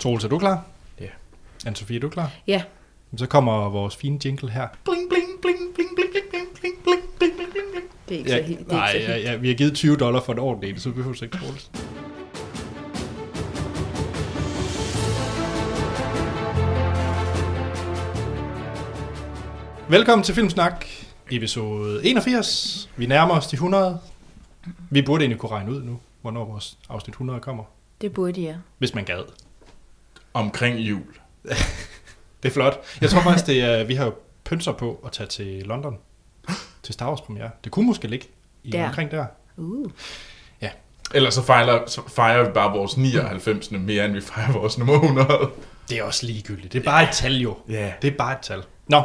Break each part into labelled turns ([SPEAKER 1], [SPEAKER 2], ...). [SPEAKER 1] Troels, er du klar?
[SPEAKER 2] Ja.
[SPEAKER 1] anne Sofie, er du klar?
[SPEAKER 3] Ja.
[SPEAKER 1] Jamen, Så kommer vores fine jingle her. Bling, bling, bling, bling, bling, bling, bling, bling, bling, bling, bling, bling, bling.
[SPEAKER 3] Det er ikke så
[SPEAKER 1] Ja,
[SPEAKER 3] helt. Det er
[SPEAKER 1] nej,
[SPEAKER 3] ikke så
[SPEAKER 1] ja,
[SPEAKER 3] helt.
[SPEAKER 1] ja, vi har givet 20 dollar for et ordentligt, så vi behøver du ikke Troels. Velkommen til Filmsnak, episode 81. Vi nærmer os de 100. Vi burde egentlig kunne regne ud nu, hvornår vores afsnit 100 kommer,
[SPEAKER 3] Det burde jeg.
[SPEAKER 1] hvis man gad.
[SPEAKER 2] Omkring jul.
[SPEAKER 1] Det er flot. Jeg tror faktisk, det er, vi har jo pønser på at tage til London til Star Wars premiere. Det kunne måske ligge i
[SPEAKER 3] Der.
[SPEAKER 1] omkring der.
[SPEAKER 3] Uh.
[SPEAKER 2] Ellers så fejler, så fejrer vi bare vores 99. mere, end vi fejrer vores nummer 100.
[SPEAKER 1] Det er også ligegyldigt. Det er bare et tal jo.
[SPEAKER 2] Ja.
[SPEAKER 1] Det er bare et tal. Nå.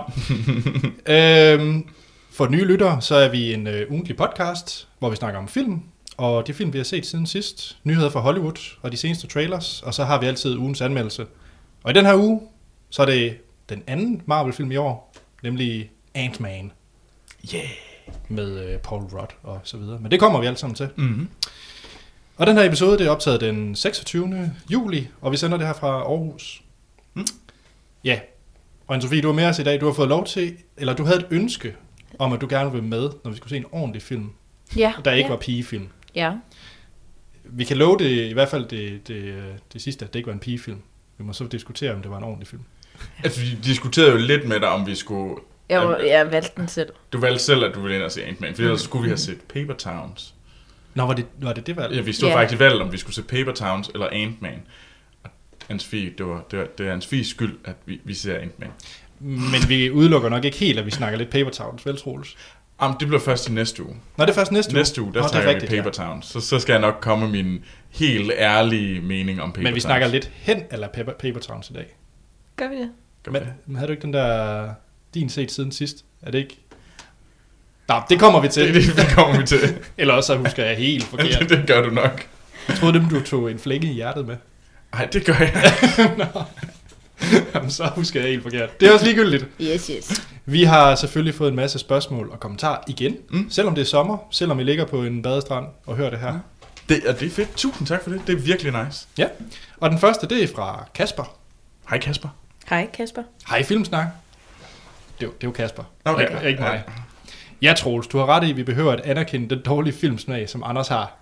[SPEAKER 1] øhm, for nye lyttere, så er vi en øh, ugentlig podcast, hvor vi snakker om film, og de film, vi har set siden sidst, nyheder fra Hollywood og de seneste trailers, og så har vi altid ugens anmeldelse. Og i den her uge, så er det den anden Marvel-film i år, nemlig Ant-Man.
[SPEAKER 2] Yeah.
[SPEAKER 1] med øh, Paul Rudd og så videre. Men det kommer vi alle sammen til.
[SPEAKER 2] Mm-hmm.
[SPEAKER 1] Og den her episode, det er optaget den 26. juli, og vi sender det her fra Aarhus.
[SPEAKER 2] Mm.
[SPEAKER 1] Ja, og Anne-Sophie, du er med os i dag. Du har fået lov til, eller du havde et ønske om, at du gerne ville med, når vi skulle se en ordentlig film,
[SPEAKER 3] Ja.
[SPEAKER 1] der ikke
[SPEAKER 3] ja.
[SPEAKER 1] var pigefilm.
[SPEAKER 3] Ja.
[SPEAKER 1] Vi kan love det, i hvert fald det, det, øh, det sidste, at det ikke var en pigefilm. Vi må så diskutere, om det var en ordentlig film.
[SPEAKER 2] Altså, vi diskuterede jo lidt med dig, om vi skulle...
[SPEAKER 3] Jeg, var- jeg valgte den selv.
[SPEAKER 2] Du valgte selv, at du ville ind og se Ant-Man, for ellers skulle vi have set Paper Towns.
[SPEAKER 1] Nå, var det var det, det valg?
[SPEAKER 2] Ja, vi stod
[SPEAKER 3] Ja.
[SPEAKER 2] yeah. faktisk i valget, om vi skulle se Paper Towns eller Ant-Man. Og Hans-Fie, det, var, det, var, det er Hans-Fies skyld, at vi, vi ser Ant-Man.
[SPEAKER 1] Men vi udelukker nok ikke helt, at vi snakker lidt Paper Towns, vel Troels?
[SPEAKER 2] Jamen, det bliver først i næste uge.
[SPEAKER 1] Nå, det er først næste uge.
[SPEAKER 2] Næste uge, der
[SPEAKER 1] Nå, det er
[SPEAKER 2] snakker
[SPEAKER 1] rigtigt,
[SPEAKER 2] vi
[SPEAKER 1] ja.
[SPEAKER 2] Paper Towns. Så, så skal jeg nok komme med min helt ærlige mening om Paper
[SPEAKER 1] Men vi
[SPEAKER 2] Towns.
[SPEAKER 1] snakker lidt hen eller paper, paper Towns i dag.
[SPEAKER 3] Gør vi det?
[SPEAKER 2] Gør
[SPEAKER 1] Men,
[SPEAKER 2] det.
[SPEAKER 1] men havde du ikke den der din set siden sidst? Er det ikke? Nej, det kommer vi
[SPEAKER 2] Det,
[SPEAKER 1] til.
[SPEAKER 2] det, det kommer vi til.
[SPEAKER 1] Eller også så husker jeg helt
[SPEAKER 2] det,
[SPEAKER 1] forkert.
[SPEAKER 2] det gør du nok.
[SPEAKER 1] Jeg troede dem, du tog en flænge i hjertet med.
[SPEAKER 2] Nej, det gør jeg.
[SPEAKER 1] Nå. Jamen, så husker jeg helt forkert. Det er også ligegyldigt.
[SPEAKER 3] Yes, yes.
[SPEAKER 1] Vi har selvfølgelig fået en masse spørgsmål og kommentarer igen. Mm.
[SPEAKER 2] Mm.
[SPEAKER 1] Selvom det er sommer, selvom I ligger på en badestrand og hører det her.
[SPEAKER 2] Ja. Det, og det er fedt. Tusind tak for det. Det er virkelig nice.
[SPEAKER 1] Ja. Og den første, det er fra Kasper.
[SPEAKER 2] Hej Kasper.
[SPEAKER 3] Hej, Kasper.
[SPEAKER 1] Hej Filmsnak. Det er jo- det er jo Kasper.
[SPEAKER 2] Nå,
[SPEAKER 1] Okay. Ikke, ikke mig. Ja, Troels, du har ret i, at vi behøver at anerkende den dårlige filmsmag, som Anders har.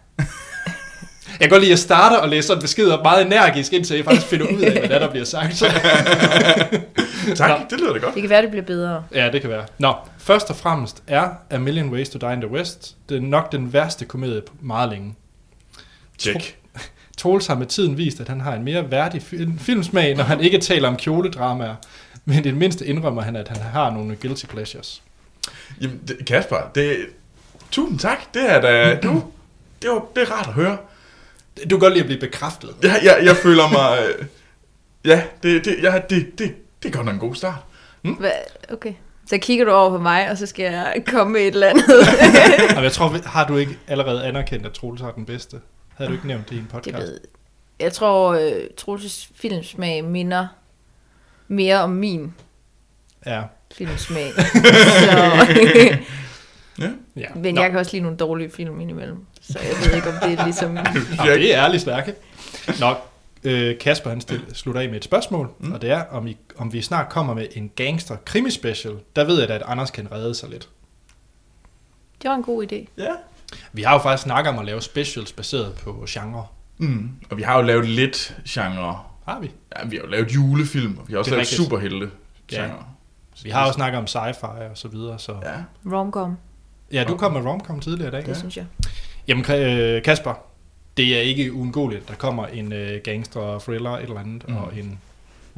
[SPEAKER 1] Jeg kan godt lide at starte og læse sådan besked op meget energisk, indtil jeg faktisk finder ud af, hvad der, der bliver sagt. Så,
[SPEAKER 2] Ja. Tak, det lyder da godt.
[SPEAKER 3] Det kan være, det bliver bedre.
[SPEAKER 1] ja, det kan være. Nå, først og fremmest er A Million Ways to Die in the West det er nok den værste komedie på meget længe.
[SPEAKER 2] Check.
[SPEAKER 1] Troels har med tiden vist, at han har en mere værdig fi- filmsmag, når han ikke taler om kjoledramaer, men i det mindste indrømmer han, at han har nogle guilty pleasures.
[SPEAKER 2] Jamen, det, Kasper, det... Tusind tak. Det er da... Du, det, var, det er rart at høre.
[SPEAKER 1] Du kan godt lide at blive bekræftet.
[SPEAKER 2] Jeg, jeg, jeg føler mig... øh, Ja, det, det, jeg, det, det, det er godt nok en god start.
[SPEAKER 3] Hva? Okay. Så kigger du over på mig, og så skal jeg komme med et eller andet.
[SPEAKER 1] Jamen, jeg tror, vi- har du ikke allerede anerkendt, at Troels har den bedste? Havde du ikke nævnt det i en
[SPEAKER 3] det
[SPEAKER 1] podcast?
[SPEAKER 3] ved jeg. tror, øh, Troels' filmsmag minder mere om min
[SPEAKER 1] Ja.
[SPEAKER 3] filmsmag. så...
[SPEAKER 1] ja.
[SPEAKER 3] Men
[SPEAKER 1] Nå,
[SPEAKER 3] jeg kan også lide nogle dårlige film indimellem, så jeg ved ikke, om det er ligesom...
[SPEAKER 1] nå, det er ærligt snakke. Nå, øh, Kasper han stil, slutter af med et spørgsmål, mm. og det er, om, I, om vi snart kommer med en gangster krimi special. Der ved jeg da, at Anders kan redde sig lidt.
[SPEAKER 3] Det var en god idé.
[SPEAKER 2] Ja.
[SPEAKER 1] Vi har jo faktisk snakket om at lave specials baseret på genre.
[SPEAKER 2] Mm. Og vi har jo lavet lidt genre.
[SPEAKER 1] Har vi?
[SPEAKER 2] Ja, vi har jo lavet julefilm, og vi har også
[SPEAKER 1] Det er
[SPEAKER 2] lavet
[SPEAKER 1] rigtigt.
[SPEAKER 2] superhelte
[SPEAKER 1] Ja.
[SPEAKER 2] genre.
[SPEAKER 1] Vi har jo snakket om sci-fi og så videre. Så.
[SPEAKER 2] Ja.
[SPEAKER 3] Romcom,
[SPEAKER 1] Ja, du kom med romcom tidligere i dag.
[SPEAKER 3] det synes jeg.
[SPEAKER 1] Jamen Ka- øh, Kasper, det er ikke uundgåeligt, at der kommer en øh, gangster thriller et eller andet, mm.
[SPEAKER 2] Mm.
[SPEAKER 1] og en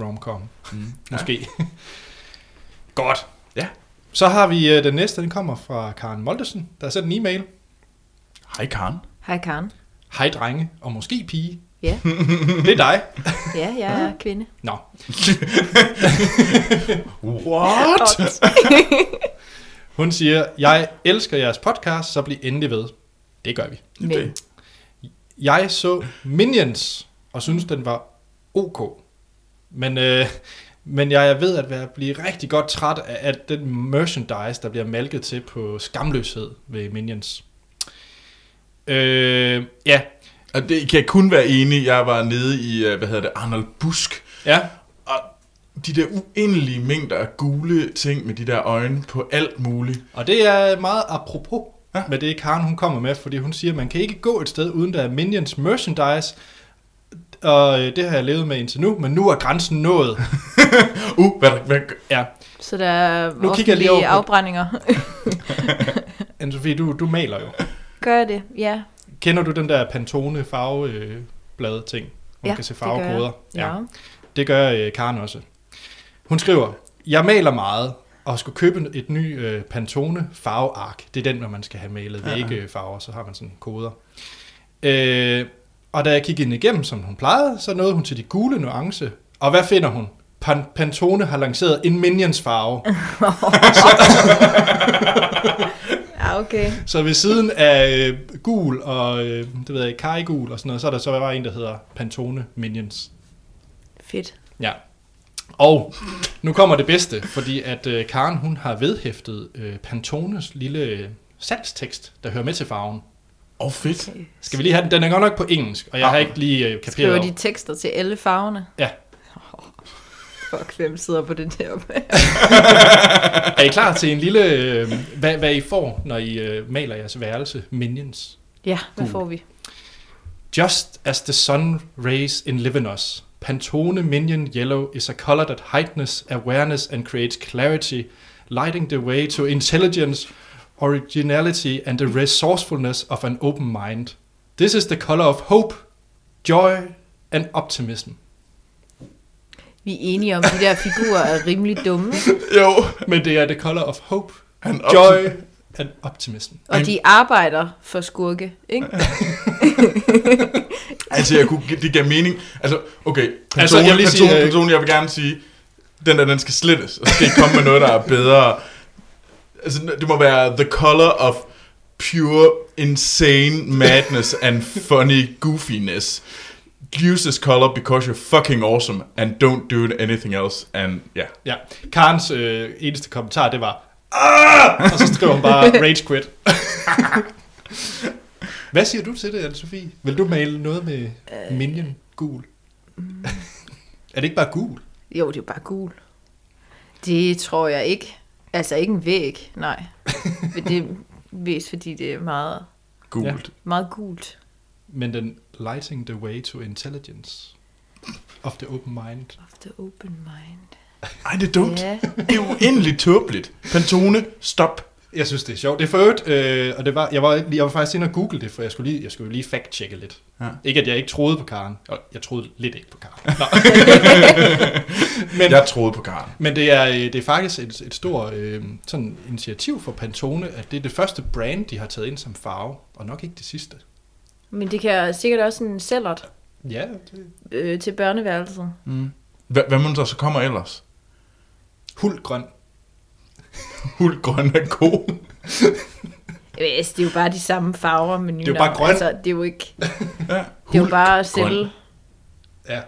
[SPEAKER 1] romcom,
[SPEAKER 2] Mm.
[SPEAKER 1] måske. Ja. Godt.
[SPEAKER 2] Ja.
[SPEAKER 1] Så har vi øh, den næste, den kommer fra Karen Moldesen, der har sendt en e-mail.
[SPEAKER 2] Hej Karen.
[SPEAKER 3] Hej Karen.
[SPEAKER 1] Hej drenge, og måske pige.
[SPEAKER 3] Ja.
[SPEAKER 1] det er dig.
[SPEAKER 3] Ja, jeg er kvinde.
[SPEAKER 1] Nå,
[SPEAKER 2] What?
[SPEAKER 1] hun siger, jeg elsker jeres podcast, så bliv endelig ved. Det gør vi.
[SPEAKER 3] Men-
[SPEAKER 2] Det.
[SPEAKER 1] Jeg så Minions, og synes den var ok. Men, øh, men jeg er ved at være, blive rigtig godt træt af at den merchandise, der bliver malket til på skamløshed ved Minions. Øh, ja,
[SPEAKER 2] Og det kan jeg kun være enig. Jeg var nede i, øh, hvad hedder det, Arnold Busk.
[SPEAKER 1] Ja,
[SPEAKER 2] Og de der uendelige mængder af gule ting med de der øjne på alt muligt.
[SPEAKER 1] og det er meget apropos
[SPEAKER 2] Ja.
[SPEAKER 1] ja. med det, Karen hun kommer med, fordi hun siger, at man kan ikke gå et sted, uden der er Minions merchandise, og øh, det har jeg levet med indtil nu, men nu er grænsen nået.
[SPEAKER 2] Uh, hvad, hvad,
[SPEAKER 1] Ja,
[SPEAKER 3] Så der er
[SPEAKER 1] Nu kigger jeg lige
[SPEAKER 3] offentlige
[SPEAKER 1] over på-
[SPEAKER 3] afbrændinger.
[SPEAKER 1] Anne-Sophie, du, du maler jo.
[SPEAKER 3] Gør jeg det? Ja.
[SPEAKER 1] Kender du den der Pantone farveblad ting, hvor man
[SPEAKER 3] Ja,
[SPEAKER 1] kan se
[SPEAKER 3] det gør jeg.
[SPEAKER 1] farvekoder?
[SPEAKER 3] Ja.
[SPEAKER 1] Det gør øh, Karen også. Hun skriver, jeg maler meget og skulle købe et ny øh, Pantone farveark. Det er den, hvor man skal have malet
[SPEAKER 2] Ja.
[SPEAKER 1] vægge øh, farver, så har man sådan koder. Øh, og da jeg kiggede hende igennem, som hun plejede, så nåede hun til de gule nuance. Og hvad finder hun? Pan- Pantone har lanceret en Minions farve.
[SPEAKER 3] Ja, okay.
[SPEAKER 1] Så ved siden af øh, gul og øh, det ved jeg, ikke, kajgul og sådan noget, så er der så bare en, der hedder Pantone Minions.
[SPEAKER 3] Fedt.
[SPEAKER 1] Ja. Og nu kommer det bedste, fordi at øh, Karen hun har vedhæftet øh, Pantones lille øh, salgstekst, der hører med til farven.
[SPEAKER 2] Åh, oh, fedt.
[SPEAKER 3] Okay.
[SPEAKER 1] Skal vi lige have den? Den er godt nok på engelsk, og jeg har
[SPEAKER 2] Ah.
[SPEAKER 1] ikke lige øh, kaperet
[SPEAKER 3] Skriver
[SPEAKER 1] over.
[SPEAKER 3] de tekster til alle farverne?
[SPEAKER 1] Ja.
[SPEAKER 3] Fuck, hvem sidder på det der?
[SPEAKER 1] Er I klar til en lille, øh, hvad, hvad I får, når I øh, maler jeres værelse? Minions.
[SPEAKER 3] ja, hvad
[SPEAKER 1] Gul.
[SPEAKER 3] får vi?
[SPEAKER 1] Just as the sun rays enliven us, Pantone Minion Yellow is a color that heightens awareness and creates clarity, lighting the way to intelligence, originality, and the resourcefulness of an open mind. This is the color of hope, joy, and optimism.
[SPEAKER 3] Vi er enige om, at de der figurer er rimelig dumme, ikke?
[SPEAKER 2] Jo.
[SPEAKER 1] Men det er the color of hope,
[SPEAKER 2] Han
[SPEAKER 1] joy, and optimism.
[SPEAKER 3] og de arbejder for skurke, ikke?
[SPEAKER 2] Altså, jeg kunne, det gav mening. Altså, okay. Pantone,
[SPEAKER 1] Altså, jeg vil lige sige,
[SPEAKER 2] Pantone,
[SPEAKER 1] øh,
[SPEAKER 2] Pantone, jeg vil gerne sige, den der, den skal slettes. Og så skal I komme med noget, der er bedre. Altså, det må være the color of pure, insane madness and funny goofiness. Use this color because you're fucking awesome and don't do anything else. And yeah.
[SPEAKER 1] Ja, Karens øh, eneste kommentar, det var, "Ah!" og så skrev hun bare, rage quit. Hvad siger du til det, Anne-Sophie? Vil du male noget med Minion gul? er det ikke bare gul?
[SPEAKER 3] Jo, det er jo bare gul. Det tror jeg ikke. Altså ikke en væg, nej. Men det er mest fordi, det er meget,
[SPEAKER 2] Gult.
[SPEAKER 3] meget gult.
[SPEAKER 1] Men den lighting the way to intelligence of the open mind.
[SPEAKER 3] Of the open mind.
[SPEAKER 2] Ej, det er dumt.
[SPEAKER 3] Ja.
[SPEAKER 2] Det er uendeligt tåbeligt. Pantone, stop.
[SPEAKER 1] Jeg synes, det er sjovt. Det er for øvrigt, øh, og det var, jeg, var, lige- jeg var faktisk inde og google det, for jeg skulle lige, jeg skulle lige fact-checke lidt.
[SPEAKER 2] Ja.
[SPEAKER 1] Ja. Ikke, at jeg ikke troede på Karen. Og jeg troede lidt ikke på Karen. Nå. Men,
[SPEAKER 2] Jeg troede på Karen.
[SPEAKER 1] Men det er, øh, det er faktisk et, et stort øh, sådan initiativ for Pantone, at det er det første brand, de har taget ind som farve, og nok ikke det sidste.
[SPEAKER 3] Men det kan sikkert også en cellert
[SPEAKER 1] Ja, det...
[SPEAKER 3] øh, til børneværelset.
[SPEAKER 2] Mm. Hvad, hvad må der så kommer ellers?
[SPEAKER 1] Hulgrøn.
[SPEAKER 2] Hulgrøn er god.
[SPEAKER 3] Jamen, altså, det er jo bare de samme farver, men
[SPEAKER 1] Det er jo bare grønt.
[SPEAKER 3] Altså, det er jo ikke...
[SPEAKER 2] Ja.
[SPEAKER 3] Det er jo bare at sælge.
[SPEAKER 1] Ja.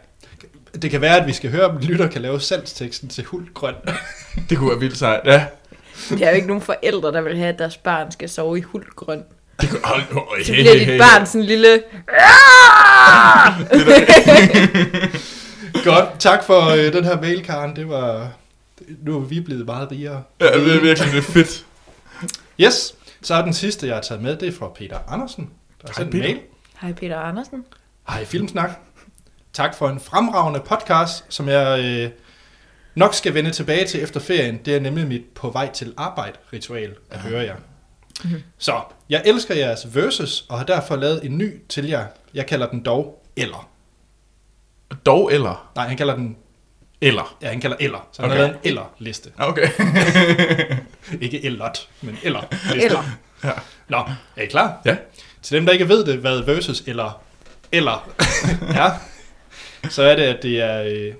[SPEAKER 1] Det kan være, at vi skal høre, om lytter kan lave salgsteksten til hulgrøn.
[SPEAKER 2] Det kunne være vildt sejt. Ja.
[SPEAKER 3] Der er jo ikke nogen forældre, der vil have, at deres barn skal sove i hulgrøn.
[SPEAKER 2] Det kunne, hold, oh, hey, Ah!
[SPEAKER 3] Så bliver dit barn sådan en lille...
[SPEAKER 1] Godt. Tak for øh, den her mail, Karen. Det var... Nu er vi blevet meget rigere.
[SPEAKER 2] Ja, det er virkelig det er fedt.
[SPEAKER 1] Yes. Så er den sidste, jeg har taget med, det er fra Peter Andersen. Der har
[SPEAKER 2] Hej,
[SPEAKER 1] sendt en
[SPEAKER 2] Peter.
[SPEAKER 1] mail.
[SPEAKER 3] Hej Peter Andersen.
[SPEAKER 1] Hej Filmsnak. Tak for en fremragende podcast, som jeg øh, nok skal vende tilbage til efter ferien. Det er nemlig mit på vej til arbejde ritual at høre jer. Så, jeg elsker jeres verses og har derfor lavet en ny til jer. Jeg kalder den dog eller.
[SPEAKER 2] Dog eller?
[SPEAKER 1] Nej, han kalder den
[SPEAKER 2] Eller.
[SPEAKER 1] Ja, han kalder eller. Så han
[SPEAKER 2] Okay.
[SPEAKER 1] har lavet en eller-liste.
[SPEAKER 2] Okay.
[SPEAKER 1] Ikke ellert, men eller.
[SPEAKER 3] Eller.
[SPEAKER 1] Nå, er I klar?
[SPEAKER 2] Ja.
[SPEAKER 1] Til dem, der ikke ved det, hvad versus eller eller er, så er det, at det er øh,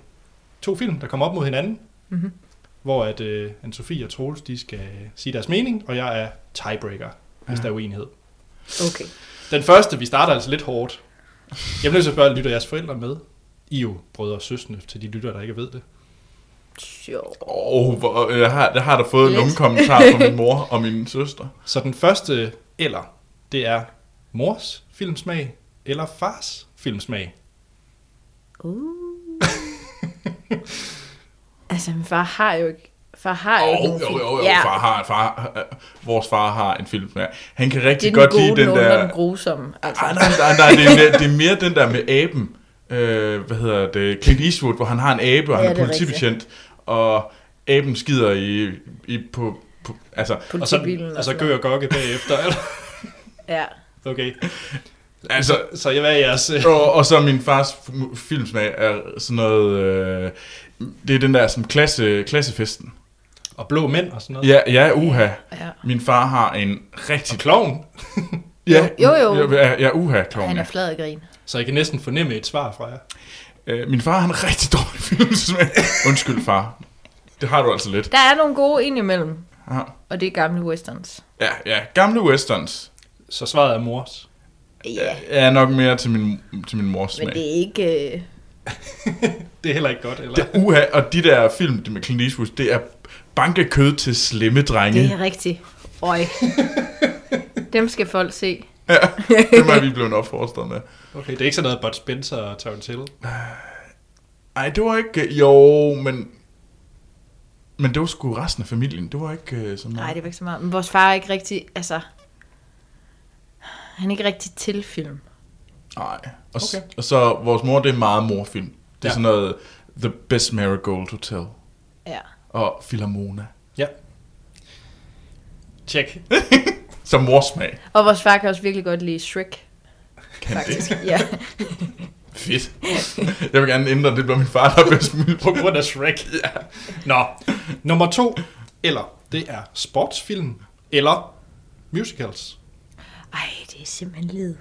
[SPEAKER 1] to film, der kommer op mod hinanden, mm-hmm. hvor at øh, Anne-Sophie og Troels, de skal øh, sige deres mening, og jeg er tiebreaker, hvis
[SPEAKER 2] Ja.
[SPEAKER 1] der er uenighed.
[SPEAKER 3] Okay.
[SPEAKER 1] Den første, vi starter altså lidt hårdt. Jeg bliver nødt til at spørge, lytter jeres forældre med? I er jo brødre og søstre til de lytter, der ikke ved det.
[SPEAKER 3] Sjov.
[SPEAKER 2] Åh, oh, jeg har, jeg har da fået
[SPEAKER 3] Lidt.
[SPEAKER 2] nogle kommentarer fra min mor og min søster.
[SPEAKER 1] Så den første eller, det er mors filmsmag, eller fars filmsmag?
[SPEAKER 3] Uh. altså, min far har jo ikke... Far har jo ikke
[SPEAKER 2] Jo,
[SPEAKER 3] nogen
[SPEAKER 2] jo,
[SPEAKER 3] film.
[SPEAKER 2] jo, jo.
[SPEAKER 3] Ja,
[SPEAKER 2] Far har, far, øh, vores far har en film. Ja. Han kan
[SPEAKER 3] det er
[SPEAKER 2] rigtig
[SPEAKER 3] den
[SPEAKER 2] godt
[SPEAKER 3] gode,
[SPEAKER 2] lide den
[SPEAKER 3] nogen og
[SPEAKER 2] der... Ah,
[SPEAKER 3] den grusomme. Altså.
[SPEAKER 2] Nej, nej, nej, nej det, er mere, det er mere den der med aben. Øh, hvad hedder det? Clint Eastwood, hvor han har en abe, og
[SPEAKER 3] Ja,
[SPEAKER 2] han
[SPEAKER 3] det
[SPEAKER 2] er
[SPEAKER 3] er
[SPEAKER 2] politibetjent. Og aben skider i, i på, på... Altså,
[SPEAKER 1] Og så,
[SPEAKER 3] Politibilen
[SPEAKER 1] og så
[SPEAKER 3] sådan
[SPEAKER 1] gør og gokke bagefter. eller-
[SPEAKER 3] noget. Ja.
[SPEAKER 1] Okay,
[SPEAKER 2] altså
[SPEAKER 1] så jeg hvad er jeres... øh,
[SPEAKER 2] og, og så min fars f- filmsmag er sådan noget... Øh, det er den der sådan, klasse, klassefesten.
[SPEAKER 1] Og blå mænd og sådan noget.
[SPEAKER 2] Ja, ja, uha.
[SPEAKER 3] ja.
[SPEAKER 2] Min far har en
[SPEAKER 1] Og
[SPEAKER 2] rigtig...
[SPEAKER 1] klovn.
[SPEAKER 2] Ja,
[SPEAKER 3] Jo, jo.
[SPEAKER 2] Ja, ja uha, kloven,
[SPEAKER 3] Han
[SPEAKER 2] ja.
[SPEAKER 3] er flad og grin.
[SPEAKER 1] Så jeg kan næsten fornemme et svar fra jer.
[SPEAKER 2] Øh, min far har en rigtig dårlig filmsmag. Undskyld, far. Det har du altså lidt.
[SPEAKER 3] Der er nogle gode indimellem,
[SPEAKER 2] Ja.
[SPEAKER 3] og det er gamle westerns.
[SPEAKER 2] Ja, ja. Gamle westerns.
[SPEAKER 1] Så svaret er mors.
[SPEAKER 3] Ja,
[SPEAKER 2] Er nok mere til min, til min mors
[SPEAKER 3] men
[SPEAKER 2] smag.
[SPEAKER 3] det er ikke... Øh,
[SPEAKER 1] Det er heller ikke godt, eller?
[SPEAKER 2] Det er uha, og de der film det med Clint Eastwood, det er banke kød til slemme drenge.
[SPEAKER 3] det er rigtigt. Øj. Dem skal folk se.
[SPEAKER 2] Dem er vi blevet opfostret med.
[SPEAKER 1] Okay, det er ikke sådan noget Bud Spencer og Tarantino.
[SPEAKER 2] Ej, det var ikke... øh, Jo, men... Men det var sgu resten af familien. Det var ikke øh, sådan
[SPEAKER 3] Nej,
[SPEAKER 2] noget.
[SPEAKER 3] det var ikke så meget. Men vores far er ikke rigtig... Altså... Han er ikke rigtig til film.
[SPEAKER 2] Nej. Og, okay.
[SPEAKER 1] Okay.
[SPEAKER 2] og så vores mor, det er meget morfilm. Det
[SPEAKER 1] Ja.
[SPEAKER 2] er sådan noget The Best Marigold Hotel
[SPEAKER 3] Ja.
[SPEAKER 2] og Philharmona.
[SPEAKER 1] Ja. Tjek.
[SPEAKER 2] Som mors smag.
[SPEAKER 3] Og vores far kan også virkelig godt lide Shrek,
[SPEAKER 2] Kan det?
[SPEAKER 3] faktisk. Ja.
[SPEAKER 2] Fedt. Jeg vil gerne ændre, det bliver min far, der er bedst muligt.
[SPEAKER 1] På grund af Shrek. ja. Nå. Nummer to. Eller. Det er sportsfilm. Eller musicals.
[SPEAKER 3] Ej, det er simpelthen led.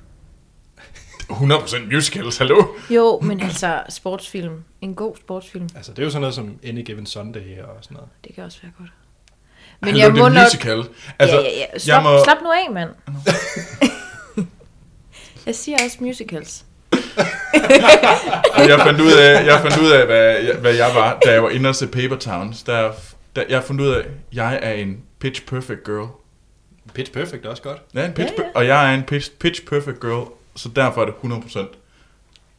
[SPEAKER 2] 100% musicals, hallo?
[SPEAKER 3] Jo, men altså sportsfilm. En god sportsfilm.
[SPEAKER 1] Altså, det er jo sådan noget som Any Given Sunday og sådan noget.
[SPEAKER 3] Det kan også være godt.
[SPEAKER 2] Men
[SPEAKER 3] Men
[SPEAKER 2] jeg
[SPEAKER 3] jeg må
[SPEAKER 2] en
[SPEAKER 3] nok...
[SPEAKER 2] musical.
[SPEAKER 3] Altså, ja, ja, ja. Slap,
[SPEAKER 2] jeg må...
[SPEAKER 3] slap nu af, mand. jeg siger også musicals.
[SPEAKER 2] altså, Jeg fandt ud af, jeg fandt ud af hvad, jeg, hvad jeg var, da jeg var inde og se Paper Towns. Der, der, jeg fandt ud af, at jeg er en pitch perfect girl.
[SPEAKER 1] Pitch Perfect er også godt.
[SPEAKER 2] Jeg er en pitch,
[SPEAKER 3] Ja,
[SPEAKER 2] ja,
[SPEAKER 3] ja.
[SPEAKER 2] ja. Og jeg er en pitch, pitch perfect girl, så derfor er det 100%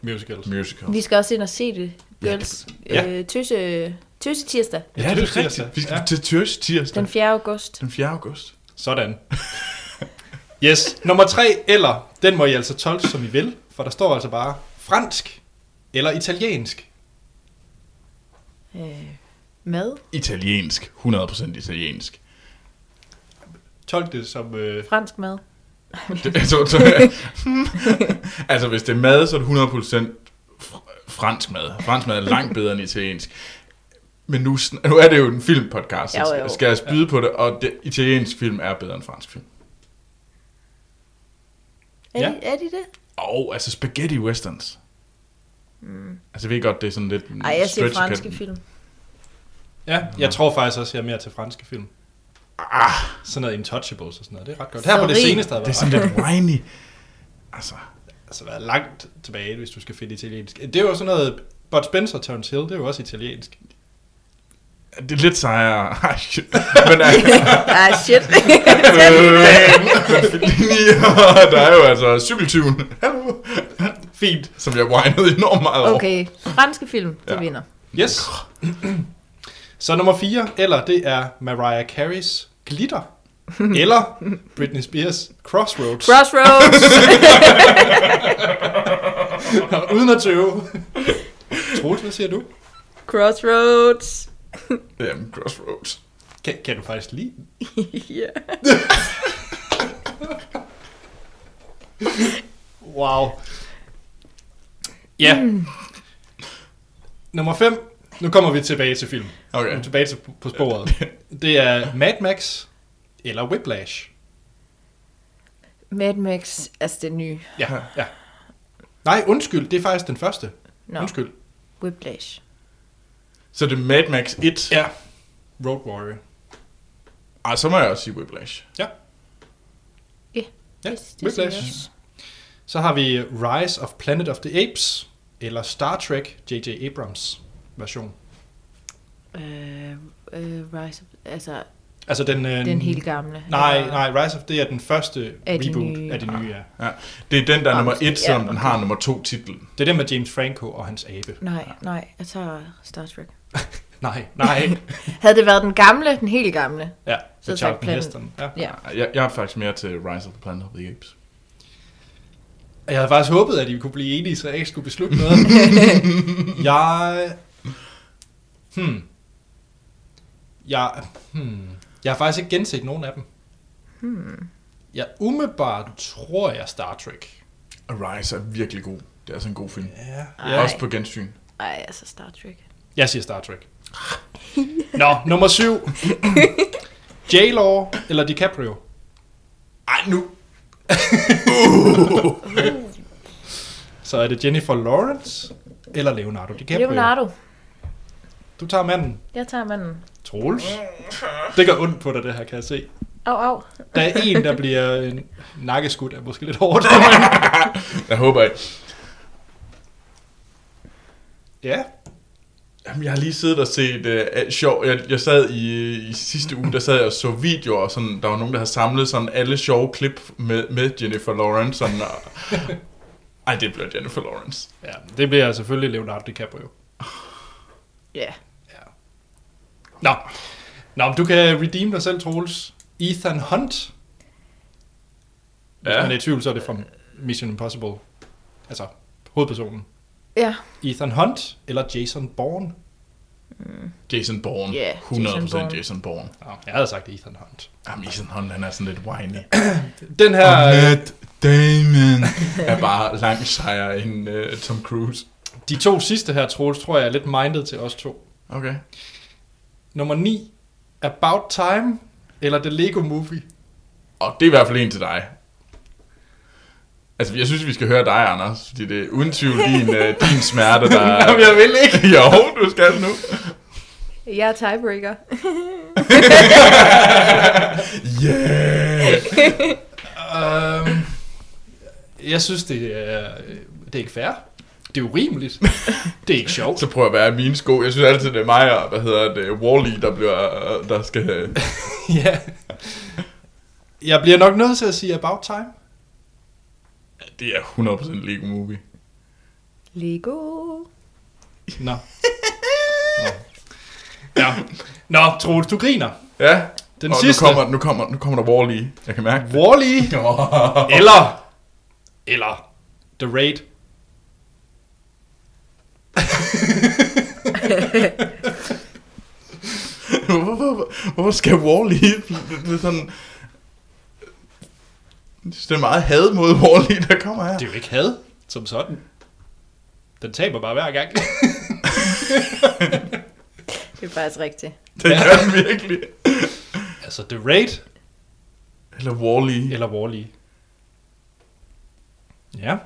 [SPEAKER 1] Musicals.
[SPEAKER 2] musical.
[SPEAKER 3] Vi skal også ind og se det. Girls.
[SPEAKER 2] Ja.
[SPEAKER 3] Ja. Øh, tøse, tøse tirsdag.
[SPEAKER 1] Ja,
[SPEAKER 2] Ja, det
[SPEAKER 1] Tøs
[SPEAKER 2] er
[SPEAKER 1] tirsdag.
[SPEAKER 2] rigtigt. Vi skal
[SPEAKER 1] Ja.
[SPEAKER 2] ja. til Tørs tirsdag
[SPEAKER 3] Den 4. august.
[SPEAKER 2] den 4. august.
[SPEAKER 1] Sådan. Yes. Nummer tre. Eller. Den må I altså tolke, som I vil. For der står altså bare fransk. Eller italiensk.
[SPEAKER 3] Øh, mad
[SPEAKER 2] Italiensk. 100% italiensk.
[SPEAKER 1] Tolk det som... Øh,
[SPEAKER 3] fransk mad.
[SPEAKER 2] Det, altså, så, altså, hvis det er mad, så er det 100% fr- fransk mad. Fransk mad er langt bedre end italiensk. Men nu, sn- nu er det jo en filmpodcast,
[SPEAKER 3] Jo,
[SPEAKER 2] så
[SPEAKER 3] jo.
[SPEAKER 2] skal jeg spyde på det, og det, italiensk film er bedre end fransk film.
[SPEAKER 3] Er,
[SPEAKER 1] Ja.
[SPEAKER 3] ja. de, er de det?
[SPEAKER 2] Og altså spaghetti westerns. Mm. Altså jeg ved godt, det er sådan lidt... en
[SPEAKER 3] Nej, jeg ser
[SPEAKER 2] stretch
[SPEAKER 3] franske
[SPEAKER 2] kanten.
[SPEAKER 3] film.
[SPEAKER 1] ja,
[SPEAKER 2] Mhm.
[SPEAKER 1] jeg tror faktisk også, jeg er mere til franske film.
[SPEAKER 2] Ah,
[SPEAKER 1] Sådan noget Intouchables og sådan noget. Det er ret godt.
[SPEAKER 3] Så
[SPEAKER 1] Her på det
[SPEAKER 3] rig.
[SPEAKER 1] seneste har
[SPEAKER 2] det er
[SPEAKER 1] været,
[SPEAKER 2] sådan lidt whiny. Altså,
[SPEAKER 1] altså, været langt tilbage, hvis du skal finde italiensk. Det er jo sådan noget... Bud Spencer og Terence Hill, det er jo også italiensk.
[SPEAKER 2] det er lidt sejere. Ej, shit. Men altså,
[SPEAKER 3] Ah, shit.
[SPEAKER 2] Men Fellini, og der er jo altså cykeltyven. Hallo.
[SPEAKER 1] Fint.
[SPEAKER 2] Som jeg whinede enormt meget over.
[SPEAKER 3] Okay, franske film, de
[SPEAKER 2] Ja.
[SPEAKER 3] ja. vinder.
[SPEAKER 1] Yes. Så nummer 4, eller det er Mariah Carey's Glitter. Eller Britney Spears Crossroads.
[SPEAKER 3] Crossroads!
[SPEAKER 1] Uden at tøve. Troels, hvad siger du?
[SPEAKER 3] Crossroads!
[SPEAKER 2] Jamen, Crossroads.
[SPEAKER 1] Kan, kan du faktisk lide den?
[SPEAKER 3] ja.
[SPEAKER 1] Wow. Ja. Nummer 5. Nu kommer vi tilbage til film. Nu er
[SPEAKER 2] Okay.
[SPEAKER 1] vi tilbage til, på sporet. Det er Mad Max eller Whiplash.
[SPEAKER 3] Mad Max, altså det nye.
[SPEAKER 1] Ja, ja. Nej, undskyld, det er faktisk den første.
[SPEAKER 3] Nå,
[SPEAKER 1] Undskyld.
[SPEAKER 3] Whiplash.
[SPEAKER 2] Så det er Mad Max 1.
[SPEAKER 1] Ja. Road Warrior.
[SPEAKER 2] Ej, så må jeg også sige Whiplash.
[SPEAKER 1] Ja,
[SPEAKER 3] Det- det siger jeg
[SPEAKER 1] Whiplash.
[SPEAKER 3] også.
[SPEAKER 1] Så har vi Rise of Planet of the Apes, eller Star Trek J.J. Abrams version.
[SPEAKER 3] Øh, øh, Rise of, altså,
[SPEAKER 1] Altså den... Øh,
[SPEAKER 3] Den helt gamle.
[SPEAKER 1] Nej,
[SPEAKER 3] eller-
[SPEAKER 1] nej, Rise of det er den første
[SPEAKER 3] Af de
[SPEAKER 1] reboot
[SPEAKER 3] nye.
[SPEAKER 1] af de nye, ja.
[SPEAKER 2] Det er den, der er
[SPEAKER 3] Ah,
[SPEAKER 2] nummer
[SPEAKER 3] måske,
[SPEAKER 2] et, selvom
[SPEAKER 3] ja,
[SPEAKER 2] den
[SPEAKER 3] okay.
[SPEAKER 2] har nummer to titlen.
[SPEAKER 1] Det er den med James Franco og hans abe.
[SPEAKER 3] Nej, nej, jeg tager Star Trek.
[SPEAKER 1] Nej, nej.
[SPEAKER 3] Havde det været den gamle, den helt gamle?
[SPEAKER 1] ja,
[SPEAKER 3] Så
[SPEAKER 1] så
[SPEAKER 3] tak,
[SPEAKER 1] Charlton
[SPEAKER 3] planen.
[SPEAKER 1] Heston. Ja.
[SPEAKER 3] Ja.
[SPEAKER 2] Jeg, jeg er faktisk mere til Rise of the Planet of the Apes.
[SPEAKER 1] Og Jeg havde faktisk håbet, at I kunne blive enige, så jeg ikke skulle beslutte noget. jeg... Hmm. Jeg... Hmm. Jeg har faktisk ikke genset nogen af dem.
[SPEAKER 3] Hmm.
[SPEAKER 1] Jeg umiddelbart tror jeg Star Trek.
[SPEAKER 2] Og Rise er virkelig god. Det er altså en god film.
[SPEAKER 1] Ja.
[SPEAKER 3] Ej.
[SPEAKER 2] Ja. Også på gensyn.
[SPEAKER 3] Ej, altså Star Trek.
[SPEAKER 1] Jeg siger Star Trek. Nå, nummer syv. J-Law eller DiCaprio?
[SPEAKER 2] Ej, nu!
[SPEAKER 1] Uh. Så er det Jennifer Lawrence eller Leonardo DiCaprio.
[SPEAKER 3] Leonardo.
[SPEAKER 1] Du tager manden.
[SPEAKER 3] Jeg tager manden.
[SPEAKER 1] Troels. Det gør ondt på dig, det her, kan jeg se.
[SPEAKER 3] Au, au.
[SPEAKER 1] Der er en, der bliver øh, nakkeskudt, er måske lidt hårdt. men-
[SPEAKER 2] Jeg håber ikke.
[SPEAKER 1] ja,
[SPEAKER 2] Jamen, jeg har lige siddet og set uh, sjov. Jeg, jeg sad i, øh, i sidste uge, der sad jeg og så videoer, og sådan, der var nogen, der havde samlet sådan alle sjove klip med, med Jennifer Lawrence. Sådan, og... Ej, det bliver Jennifer Lawrence.
[SPEAKER 1] ja, det bliver selvfølgelig Leonardo DiCaprio.
[SPEAKER 3] Ja.
[SPEAKER 1] Nå, Nå men du kan redeem dig selv, Troels. Ethan Hunt. Hvis
[SPEAKER 2] Ja.
[SPEAKER 1] man er i tvivl, så er det fra Mission Impossible. Altså, hovedpersonen.
[SPEAKER 3] Ja.
[SPEAKER 1] Ethan Hunt eller Jason Bourne?
[SPEAKER 2] Jason Bourne.
[SPEAKER 3] Ja, Jason
[SPEAKER 2] 100% Jason Bourne.
[SPEAKER 3] Bourne.
[SPEAKER 2] Jason Bourne.
[SPEAKER 1] Nå, jeg havde sagt Ethan Hunt.
[SPEAKER 2] Jamen, Ethan Hunt, han er sådan lidt whiny.
[SPEAKER 1] Den her...
[SPEAKER 2] Og
[SPEAKER 1] øh,
[SPEAKER 2] Matt Damon er bare langt sejere end uh, Tom Cruise.
[SPEAKER 1] De to sidste her, Troels, tror jeg er lidt mindet til os to.
[SPEAKER 2] Okay.
[SPEAKER 1] Nummer 9, About Time, eller The Lego Movie.
[SPEAKER 2] Og det er i hvert fald en til dig. Altså, jeg synes, vi skal høre dig, Anders, fordi det er uden tvivl din, øh, din smerte, der er...
[SPEAKER 1] Jamen, jeg vil ikke.
[SPEAKER 2] jo, du skal nu.
[SPEAKER 3] Jeg er tiebreaker.
[SPEAKER 2] Yeah!
[SPEAKER 1] Øhm, jeg synes, det er, øh, det er ikke fair. Det er urimeligt. Det er ikke sjovt.
[SPEAKER 2] Så prøv at være i mine sko. Jeg synes altid, det er mig og, hvad hedder det, Wall-E, der, bliver, der skal... øh,
[SPEAKER 1] ja. Jeg bliver nok nødt til at sige About Time.
[SPEAKER 2] Det er 100% Lego Movie.
[SPEAKER 3] Lego.
[SPEAKER 1] Nå. Nå. Ja. Nå, Troels, du griner.
[SPEAKER 2] Ja,
[SPEAKER 1] Den
[SPEAKER 2] og
[SPEAKER 1] sidste.
[SPEAKER 2] Nu kommer, nu, kommer, nu kommer der Wall-E. Jeg kan mærke det.
[SPEAKER 1] Wall-E, eller, eller The Raid.
[SPEAKER 2] hvorfor, hvorfor, hvorfor skal Wall-E... Det er sådan... Jeg synes, det er meget had mod Wall-E, der kommer her.
[SPEAKER 1] Det er jo ikke had, som sådan. Den taber bare hver gang.
[SPEAKER 3] Det er faktisk rigtigt.
[SPEAKER 2] Det gør den virkelig.
[SPEAKER 1] altså, The Raid
[SPEAKER 2] Eller Wall-E.
[SPEAKER 1] eller Wall-E. Ja.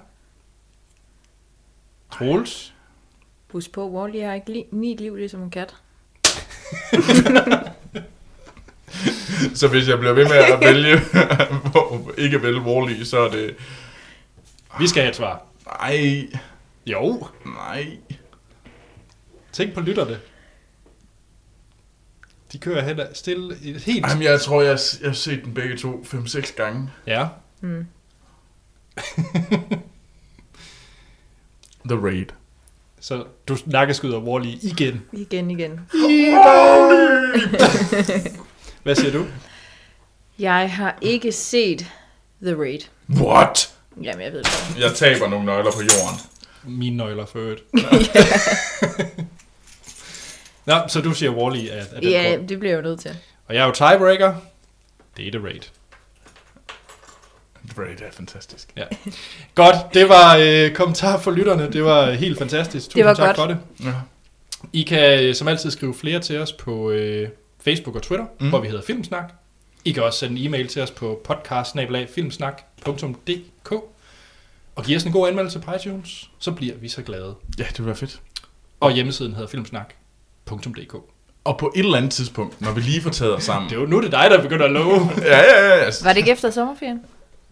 [SPEAKER 1] Troels.
[SPEAKER 3] Husk på, Wally har ikke li- ni liv, ligesom en kat.
[SPEAKER 2] Så hvis jeg bliver ved med at vælge, hvor- ikke at vælge Wall-E, så er det...
[SPEAKER 1] Vi skal have et svar.
[SPEAKER 2] Nej,
[SPEAKER 1] Jo.
[SPEAKER 2] nej.
[SPEAKER 1] Tænk på lytterne. De kører hen ad- stille i- helt...
[SPEAKER 2] Jamen, jeg tror, jeg, jeg har set den begge to 5-6 gange.
[SPEAKER 1] Ja.
[SPEAKER 3] Mm.
[SPEAKER 2] The Raid.
[SPEAKER 1] Så du nakkeskyder Wall-E igen.
[SPEAKER 3] Igen, igen.
[SPEAKER 1] Hvad siger du?
[SPEAKER 3] Jeg har ikke set The Raid.
[SPEAKER 2] What?
[SPEAKER 3] Jamen, jeg ved det godt.
[SPEAKER 2] Jeg taber nogle nøgler på jorden.
[SPEAKER 1] Mine nøgler for øvrigt. Nå, så du siger Wall-E af, af den
[SPEAKER 3] Ja,
[SPEAKER 1] grund.
[SPEAKER 3] det bliver jeg jo nødt til.
[SPEAKER 1] Og jeg er jo tiebreaker. Det er The Raid.
[SPEAKER 2] The Raid er fantastisk.
[SPEAKER 1] Godt, det var øh, kommentarer for lytterne. Det var helt fantastisk. Tusind
[SPEAKER 3] Det var
[SPEAKER 1] tak for
[SPEAKER 3] godt.
[SPEAKER 1] det.
[SPEAKER 2] Ja.
[SPEAKER 1] I kan øh, som altid skrive flere til os på øh, Facebook og Twitter, mm.
[SPEAKER 2] Mm.
[SPEAKER 1] hvor vi hedder Filmsnak. I kan også sende en e-mail til os på podcast-filmsnak.dk og give os en god anmeldelse på iTunes, så bliver vi så glade.
[SPEAKER 2] ja, det var fedt.
[SPEAKER 1] Og hjemmesiden hedder filmsnak.dk.
[SPEAKER 2] Og på et eller andet tidspunkt, når vi lige får taget os sammen...
[SPEAKER 1] Det er jo nu, det er dig, der begynder at love.
[SPEAKER 2] Ja, ja, ja. Altså,
[SPEAKER 3] Var det ikke efter sommerferien?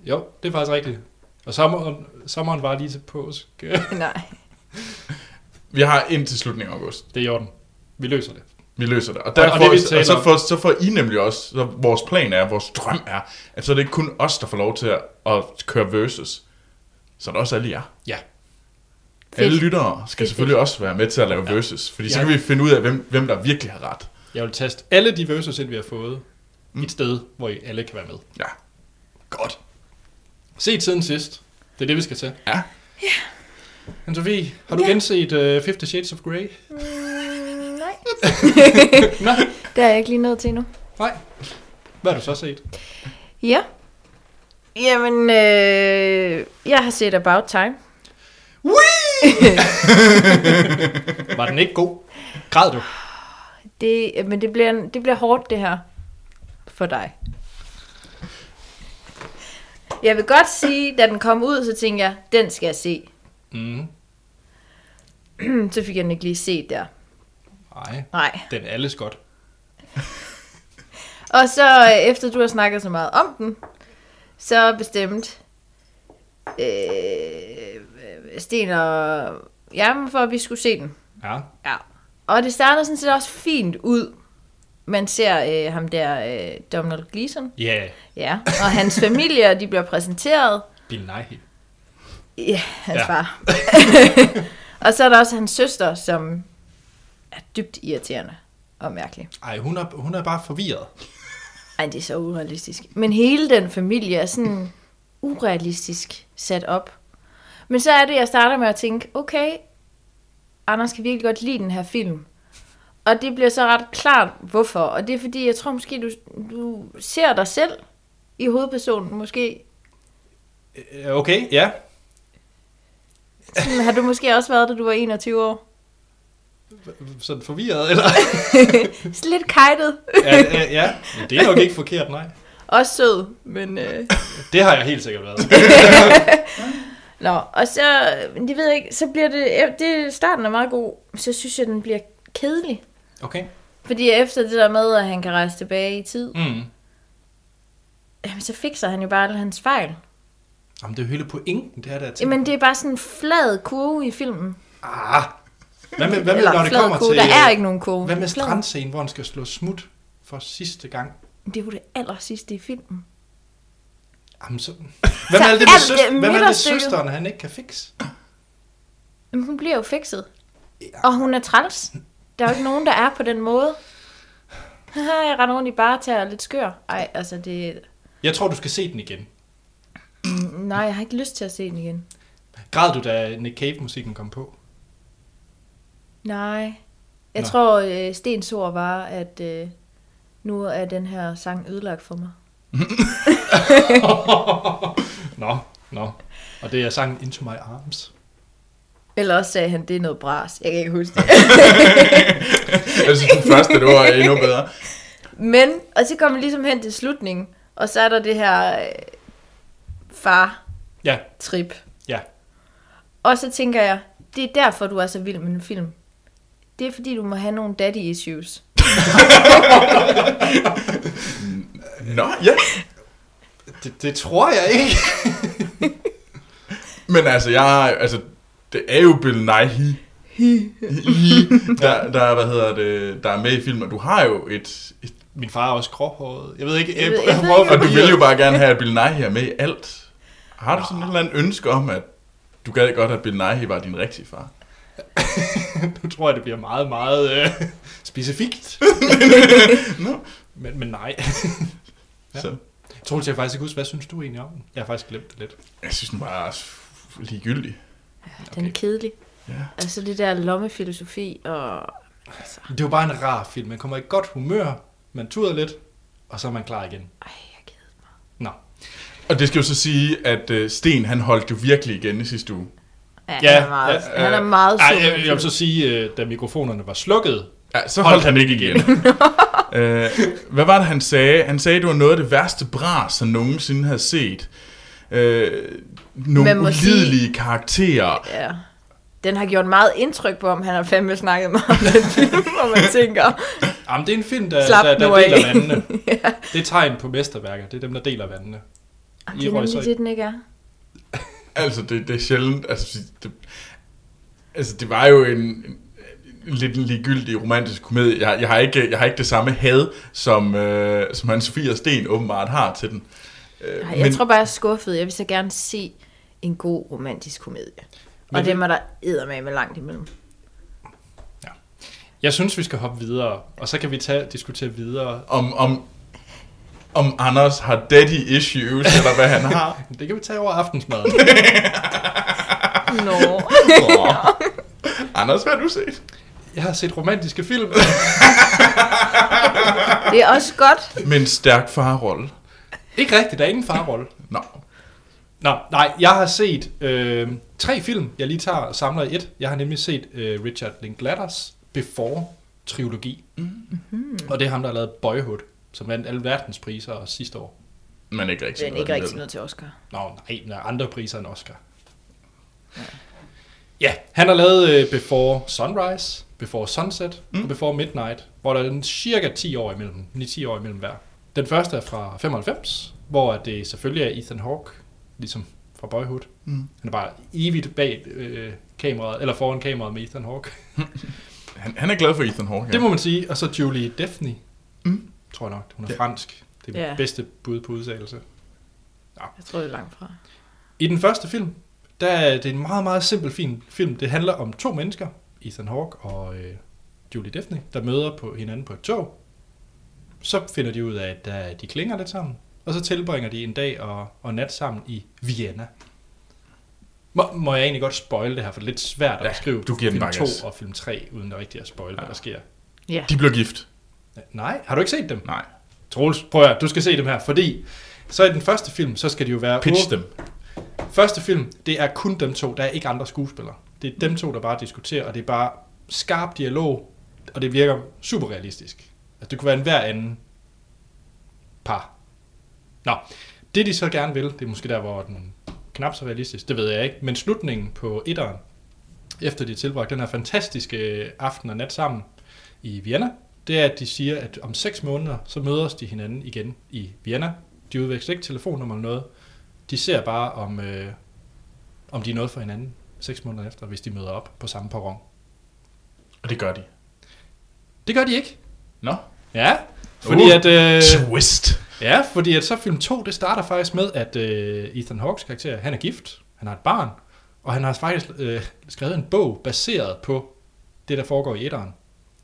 [SPEAKER 1] jo, det er faktisk rigtigt. Og sommeren, sommeren var lige til påske.
[SPEAKER 3] Nej.
[SPEAKER 2] Vi har indtil slutningen af august.
[SPEAKER 1] Det er i orden. Vi løser det.
[SPEAKER 2] Vi løser det. Og,
[SPEAKER 1] det
[SPEAKER 2] derfor, og,
[SPEAKER 1] vil vi
[SPEAKER 2] det,
[SPEAKER 1] tale
[SPEAKER 2] og så,
[SPEAKER 1] om.
[SPEAKER 2] får, så får I nemlig også, så vores plan er, vores drøm er, at så er det ikke kun os, der får lov til at, at køre versus. Så er det også alle jer.
[SPEAKER 1] Ja.
[SPEAKER 3] Fedt.
[SPEAKER 2] Alle lyttere skal
[SPEAKER 3] Fedt,
[SPEAKER 2] selvfølgelig også være med til at lave versus, fordi så
[SPEAKER 1] Ja.
[SPEAKER 2] kan vi finde ud af, hvem, hvem der virkelig har ret.
[SPEAKER 1] Jeg vil teste alle de versus, ind vi har fået, mm. et sted, hvor I alle kan være med.
[SPEAKER 2] Ja. Godt.
[SPEAKER 1] Set siden sidst. Det er det, vi skal til.
[SPEAKER 2] Ja.
[SPEAKER 1] Men Sofie, har du
[SPEAKER 3] Ja.
[SPEAKER 1] genset uh, Fifty Shades of Grey?
[SPEAKER 3] Mm, nej.
[SPEAKER 1] Nej.
[SPEAKER 3] Der er jeg ikke lige nået til endnu.
[SPEAKER 1] Nej. Hvad har du så set?
[SPEAKER 3] Ja. Jamen, øh, jeg har set About Time.
[SPEAKER 1] Var den ikke god? Græd du?
[SPEAKER 3] Det, men det bliver, det bliver hårdt, det her. For dig. Jeg vil godt sige, da den kom ud, så tænkte jeg, den skal jeg se.
[SPEAKER 1] Mm.
[SPEAKER 3] så fik jeg den ikke lige set der.
[SPEAKER 1] Nej.
[SPEAKER 3] Nej.
[SPEAKER 1] Den er alles godt.
[SPEAKER 3] Og så øh, efter du har snakket så meget om den, så bestemt øh, Sten og Jamen for, at vi skulle se den.
[SPEAKER 1] Ja.
[SPEAKER 3] Ja. Og det starter sådan set også fint ud. Man ser øh, ham der, øh, Donald Gleason.
[SPEAKER 1] Ja. Yeah.
[SPEAKER 3] Ja. Og hans familie, og de bliver præsenteret.
[SPEAKER 1] Bill Nighy.
[SPEAKER 3] Ja, hans
[SPEAKER 1] Ja.
[SPEAKER 3] ja. far. og så er der også hans søster, som er dybt irriterende og mærkelig.
[SPEAKER 1] Ej, hun er, hun er bare forvirret.
[SPEAKER 3] Ej, det er så urealistisk. Men hele den familie er sådan urealistisk sat op. Men så er det, jeg starter med at tænke, okay, Anders kan virkelig godt lide den her film. Og det bliver så ret klart, hvorfor. Og det er fordi, jeg tror måske, du, du ser dig selv i hovedpersonen. Måske
[SPEAKER 1] Øh, Okay, ja.
[SPEAKER 3] sådan, har du måske også været, da du var 21 år.
[SPEAKER 1] Sådan forvirret, eller?
[SPEAKER 3] Så lidt kajtet.
[SPEAKER 1] ja, ja, ja. Men det er nok ikke forkert, nej.
[SPEAKER 3] Også sød, men... Øh...
[SPEAKER 1] Det har jeg helt sikkert været.
[SPEAKER 3] Nå, og så, men det ved jeg ikke, så bliver det, det, starten er meget god, så synes jeg, den bliver kedelig.
[SPEAKER 1] Okay.
[SPEAKER 3] Fordi efter det der med, at han kan rejse tilbage i tid,
[SPEAKER 1] Mm.
[SPEAKER 3] jamen, så fikser han jo bare alle hans fejl.
[SPEAKER 1] Jamen, det er jo hele pointen, det her, der er til.
[SPEAKER 3] Jamen, det er bare sådan en flad kurve i filmen.
[SPEAKER 1] Ah. Hvad med, hvad med når det kommer til...
[SPEAKER 3] kurve. Der er
[SPEAKER 1] øh,
[SPEAKER 3] ikke nogen kurve.
[SPEAKER 1] Hvad med
[SPEAKER 3] Flad.
[SPEAKER 1] strandscenen, hvor han skal slå smut for sidste gang?
[SPEAKER 3] Det er jo det aller sidste i filmen.
[SPEAKER 1] Jamen, så... Hvad med
[SPEAKER 3] Så
[SPEAKER 1] alt det med,
[SPEAKER 3] alt det
[SPEAKER 1] søster, hvad med alt det
[SPEAKER 3] midterstykket.
[SPEAKER 1] søsteren, han ikke kan fikse?
[SPEAKER 3] Jamen, hun bliver jo fikset.
[SPEAKER 1] Ja.
[SPEAKER 3] Og hun er træls. Der er jo ikke nogen, der er på den måde. Haha, jeg render rundt i bare og lidt skør. Ej, altså det...
[SPEAKER 1] Jeg tror, du skal se den igen.
[SPEAKER 3] Nej, jeg har ikke lyst til at se den igen.
[SPEAKER 1] Græd du, da Nick Cave-musikken kom på?
[SPEAKER 3] Nej. Jeg
[SPEAKER 1] Nå.
[SPEAKER 3] Nå. tror, øh, Stens ord var, at øh, nu er den her sang ødelagt for mig.
[SPEAKER 1] Nå, nå. Og det er sangen Into My Arms.
[SPEAKER 3] Eller også sagde han, det er noget bras. Jeg kan ikke huske det.
[SPEAKER 2] Jeg synes, Altså, den første, det var endnu bedre.
[SPEAKER 3] Men, og så kommer vi ligesom hen til slutningen, og så er der det her øh, far-trip.
[SPEAKER 1] Ja, ja.
[SPEAKER 3] Og så tænker jeg, det er derfor, du er så vild med en film. Det er fordi, du må have nogle daddy issues.
[SPEAKER 2] Nå, ja.
[SPEAKER 1] Det, det tror jeg ikke.
[SPEAKER 2] Men altså, jeg, altså, det er jo Bill Nighy, Hi, der, der, hvad hedder det, der er med i filmen. Du har jo et, et
[SPEAKER 1] Min far er også gråhåret. Jeg ved ikke, øh, jeg,
[SPEAKER 3] ved-
[SPEAKER 1] jeg,
[SPEAKER 3] jeg ved
[SPEAKER 1] prøver
[SPEAKER 3] ikke,
[SPEAKER 1] at
[SPEAKER 2] og du vil
[SPEAKER 1] forvirre.
[SPEAKER 2] jo bare gerne have, at Bill Nighy er med i alt. Har du sådan et eller andet ønske om, at du gad godt, at Bill Nighy var din rigtige far?
[SPEAKER 1] Nu tror jeg, det bliver meget, meget øh, specifikt. men, men nej. Ja.
[SPEAKER 2] Ja. Så
[SPEAKER 1] Troels, jeg kan faktisk ikke huske, hvad synes du egentlig om den? Jeg har faktisk glemt det lidt.
[SPEAKER 2] jeg synes, den var f- ligegyldig.
[SPEAKER 3] Okay. Den er kedelig.
[SPEAKER 2] Ja.
[SPEAKER 3] Altså det der lommefilosofi, og
[SPEAKER 1] Det er jo bare en rar film. Man kommer i godt humør, man tuder lidt, og så er man klar igen.
[SPEAKER 3] ej, jeg gider.
[SPEAKER 1] Nå.
[SPEAKER 2] Og det skal jo så sige, at øh, Sten, han holdt jo virkelig igen i sidste uge.
[SPEAKER 3] Ja,
[SPEAKER 1] Ja,
[SPEAKER 3] han er meget,
[SPEAKER 1] ja,
[SPEAKER 3] han er
[SPEAKER 2] øh,
[SPEAKER 3] meget
[SPEAKER 1] Ej,
[SPEAKER 3] sur.
[SPEAKER 1] jeg, jeg vil så sige, øh, da mikrofonerne var slukket,
[SPEAKER 2] Ja, så holdt han ikke igen. øh, hvad var det, han sagde? Han sagde, det var noget af det værste bras, han nogensinde havde set. Øh, nogle
[SPEAKER 3] Man må sige-
[SPEAKER 2] ulidelige karakterer.
[SPEAKER 3] Ja. Den har gjort meget indtryk på ham. Han har fandme snakket meget om den film, og man tænker,
[SPEAKER 1] Jamen, det er en film, der,
[SPEAKER 3] Slap
[SPEAKER 1] der,
[SPEAKER 3] nu
[SPEAKER 1] der
[SPEAKER 3] af.
[SPEAKER 1] deler vandene. Det er tegn på mesterværker. Det er dem, der deler vandene.
[SPEAKER 3] "Ah,
[SPEAKER 1] I
[SPEAKER 3] det er
[SPEAKER 1] røg
[SPEAKER 3] nemlig
[SPEAKER 1] så i-
[SPEAKER 3] det, den ikke er.
[SPEAKER 2] Altså, det, det er sjældent. Altså det, altså, det var jo en, en, lidt en ligegyldig romantisk komedie. Jeg, jeg, har, ikke, jeg har ikke det samme had, som, øh, som han Sofie og Sten åbenbart har til den. Øh,
[SPEAKER 3] Ej, jeg men... tror bare, jeg er skuffet. Jeg vil så gerne se en god romantisk komedie. Men... Og
[SPEAKER 1] Men-
[SPEAKER 3] dem er der eddermame med langt imellem.
[SPEAKER 1] Jeg synes, vi skal hoppe videre, og så kan vi tage, diskutere videre.
[SPEAKER 2] om, om, om Anders har daddy issues, eller hvad han har.
[SPEAKER 1] Det kan vi tage over aftensmaden.
[SPEAKER 3] Nå.
[SPEAKER 2] Åh. Anders, hvad har du set?
[SPEAKER 1] Jeg har set romantiske film.
[SPEAKER 3] Det er også godt.
[SPEAKER 2] Med en stærk farrolle.
[SPEAKER 1] Ikke rigtigt, der er ingen farrolle.
[SPEAKER 2] Nå,
[SPEAKER 1] Nå, nej, jeg har set øh, tre film, jeg lige tager og samler i et. Jeg har nemlig set øh, Richard Linklaters Before-trilogi. Mm-hmm. Og det er ham, der har lavet Boyhood, som vandt alle verdenspriser sidste år.
[SPEAKER 2] men ikke rigtig.
[SPEAKER 3] Det er ikke rigtig noget til Oscar.
[SPEAKER 1] Nå, nej, men andre priser end Oscar. Ja, han har lavet øh, Before Sunrise, Before Sunset mm. og Before Midnight, hvor der er en cirka 10 år imellem, 9-10 år imellem hver. Den første er fra 95, hvor det selvfølgelig er Ethan Hawke, ligesom fra Boyhood. Mm. Han er bare evigt bag øh, kameraet, eller foran kameraet med Ethan Hawke.
[SPEAKER 2] Han, han er glad for Ethan Hawke.
[SPEAKER 1] Ja.
[SPEAKER 2] ja.
[SPEAKER 1] Det må man sige. Og så Julie Defny, mm. tror jeg nok. Hun er
[SPEAKER 2] Ja.
[SPEAKER 1] fransk. Det er
[SPEAKER 3] Ja.
[SPEAKER 1] ja. bedste bud på udtalelse.
[SPEAKER 3] Jeg tror, det er langt fra.
[SPEAKER 1] I den første film, der er det en meget, meget simpel fin film. Det handler om to mennesker, Ethan Hawke og øh, Julie Defny, der møder på hinanden på et tog. Så finder de ud af, at der, de klinger lidt sammen, og så tilbringer de en dag og, og nat sammen i Vienna. Må, må jeg egentlig godt spoil det her, for det er lidt svært at
[SPEAKER 2] Ja,
[SPEAKER 1] beskrive
[SPEAKER 2] du giver den
[SPEAKER 1] film
[SPEAKER 2] bare
[SPEAKER 1] 2
[SPEAKER 2] gas.
[SPEAKER 1] og film 3, uden at rigtig at spoil, hvad
[SPEAKER 2] Ja.
[SPEAKER 1] der sker.
[SPEAKER 3] Ja.
[SPEAKER 2] De blev gift.
[SPEAKER 1] Nej, har du ikke set dem?
[SPEAKER 2] Nej.
[SPEAKER 1] Troels, prøv at høre, du skal se dem her, fordi så i den første film, så skal de jo være...
[SPEAKER 2] Pitch dem.
[SPEAKER 1] Første film, det er kun dem to, der er ikke andre skuespillere. Det er dem to, der bare diskuterer, og det er bare skarp dialog, og det virker super realistisk. Altså, det kunne være en hver anden par. Nå, det de så gerne vil, det er måske der, hvor den er knap så realistisk, det ved jeg ikke, men slutningen på etteren, efter de har tilbragt den her fantastiske aften og nat sammen i Vienna, det er, at de siger, at om 6 måneder, så mødes de hinanden igen i Vienna. De udveksler ikke telefonnummer eller noget. De ser bare, om, øh, om de er noget for hinanden 6 måneder efter, hvis de møder op på samme perron.
[SPEAKER 2] Og det gør de.
[SPEAKER 1] Det gør de ikke.
[SPEAKER 2] Nå.
[SPEAKER 1] Ja, fordi
[SPEAKER 2] Uh.
[SPEAKER 1] at... Øh,
[SPEAKER 2] Twist.
[SPEAKER 1] ja, fordi at så film 2, det starter faktisk med, at øh, Ethan Hawkes karakter, han er gift, han har et barn, og han har faktisk øh, skrevet en bog baseret på det, der foregår i etteren.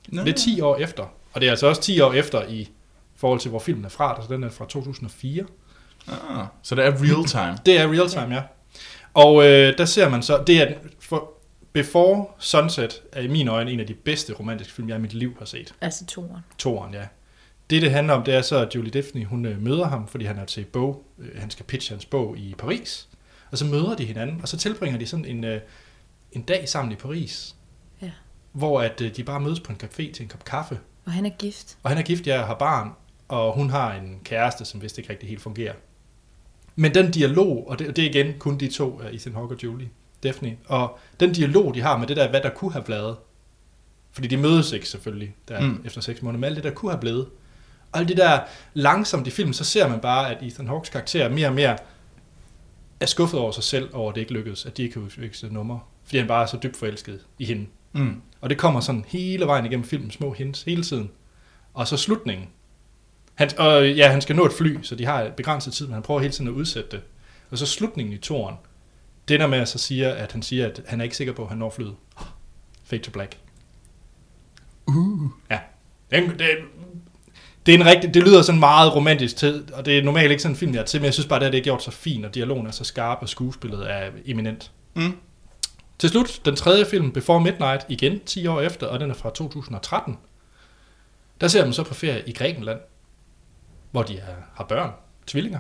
[SPEAKER 2] Nå.
[SPEAKER 1] Det er 10 år efter. Og det er altså også 10 år efter i forhold til, hvor filmen er fra. Altså, den er fra 2004.
[SPEAKER 2] Ah, så det er real time.
[SPEAKER 1] Det er real time, ja. Og øh, der ser man så, det er den- for Before Sunset er i mine øjne en af de bedste romantiske film, jeg i mit liv har set.
[SPEAKER 3] Altså toren.
[SPEAKER 1] Toren, ja. Det, det handler om, det er så, at Julie Defny, hun øh, møder ham, fordi han er til bog. Øh, han skal pitche hans bog i Paris. Og så møder de hinanden, og så tilbringer de sådan en, øh, en dag sammen i Paris.
[SPEAKER 3] Ja.
[SPEAKER 1] Hvor at øh, de bare mødes på en café til en kop kaffe.
[SPEAKER 3] Og han er gift.
[SPEAKER 1] Og han er gift, jeg har barn, og hun har en kæreste, som vist ikke rigtig helt fungerer. Men den dialog, og det, og det er igen kun de to, øh, Ethan Hawke og Julie Daphne, og den dialog, de har med det der, hvad der kunne have været, fordi de mødes ikke selvfølgelig der
[SPEAKER 2] Mm.
[SPEAKER 1] mm. efter seks måneder, men alt det der kunne have blevet, og alt det der langsomt i filmen, så ser man bare, at Ethan Hawkes karakter mere og mere er skuffet over sig selv, over at det ikke lykkedes, at de ikke kan udveksle numre, fordi han bare er så dybt forelsket i hende.
[SPEAKER 2] Mm.
[SPEAKER 1] Og det kommer sådan hele vejen igennem filmen, små hints hele tiden. Og så slutningen. Han, og ja, han skal nå et fly, så de har begrænset tid, men han prøver hele tiden at udsætte det. Og så slutningen i toren. Det der med at så siger, at han siger, at han er ikke sikker på, at han når flyet. Fade to black. Uh. Ja. Den, det, det, er en rigtig, det lyder sådan meget romantisk tid, og det er normalt ikke sådan en film, jeg er til, men jeg synes bare, at det, her, det er gjort så fint, og dialogen er så skarp, og skuespillet er eminent.
[SPEAKER 2] Mm.
[SPEAKER 1] Til slut, den tredje film, Before Midnight, igen 10 år efter, og den er fra 2013. Der ser man så på ferie i Grækenland, hvor de er, har børn, tvillinger.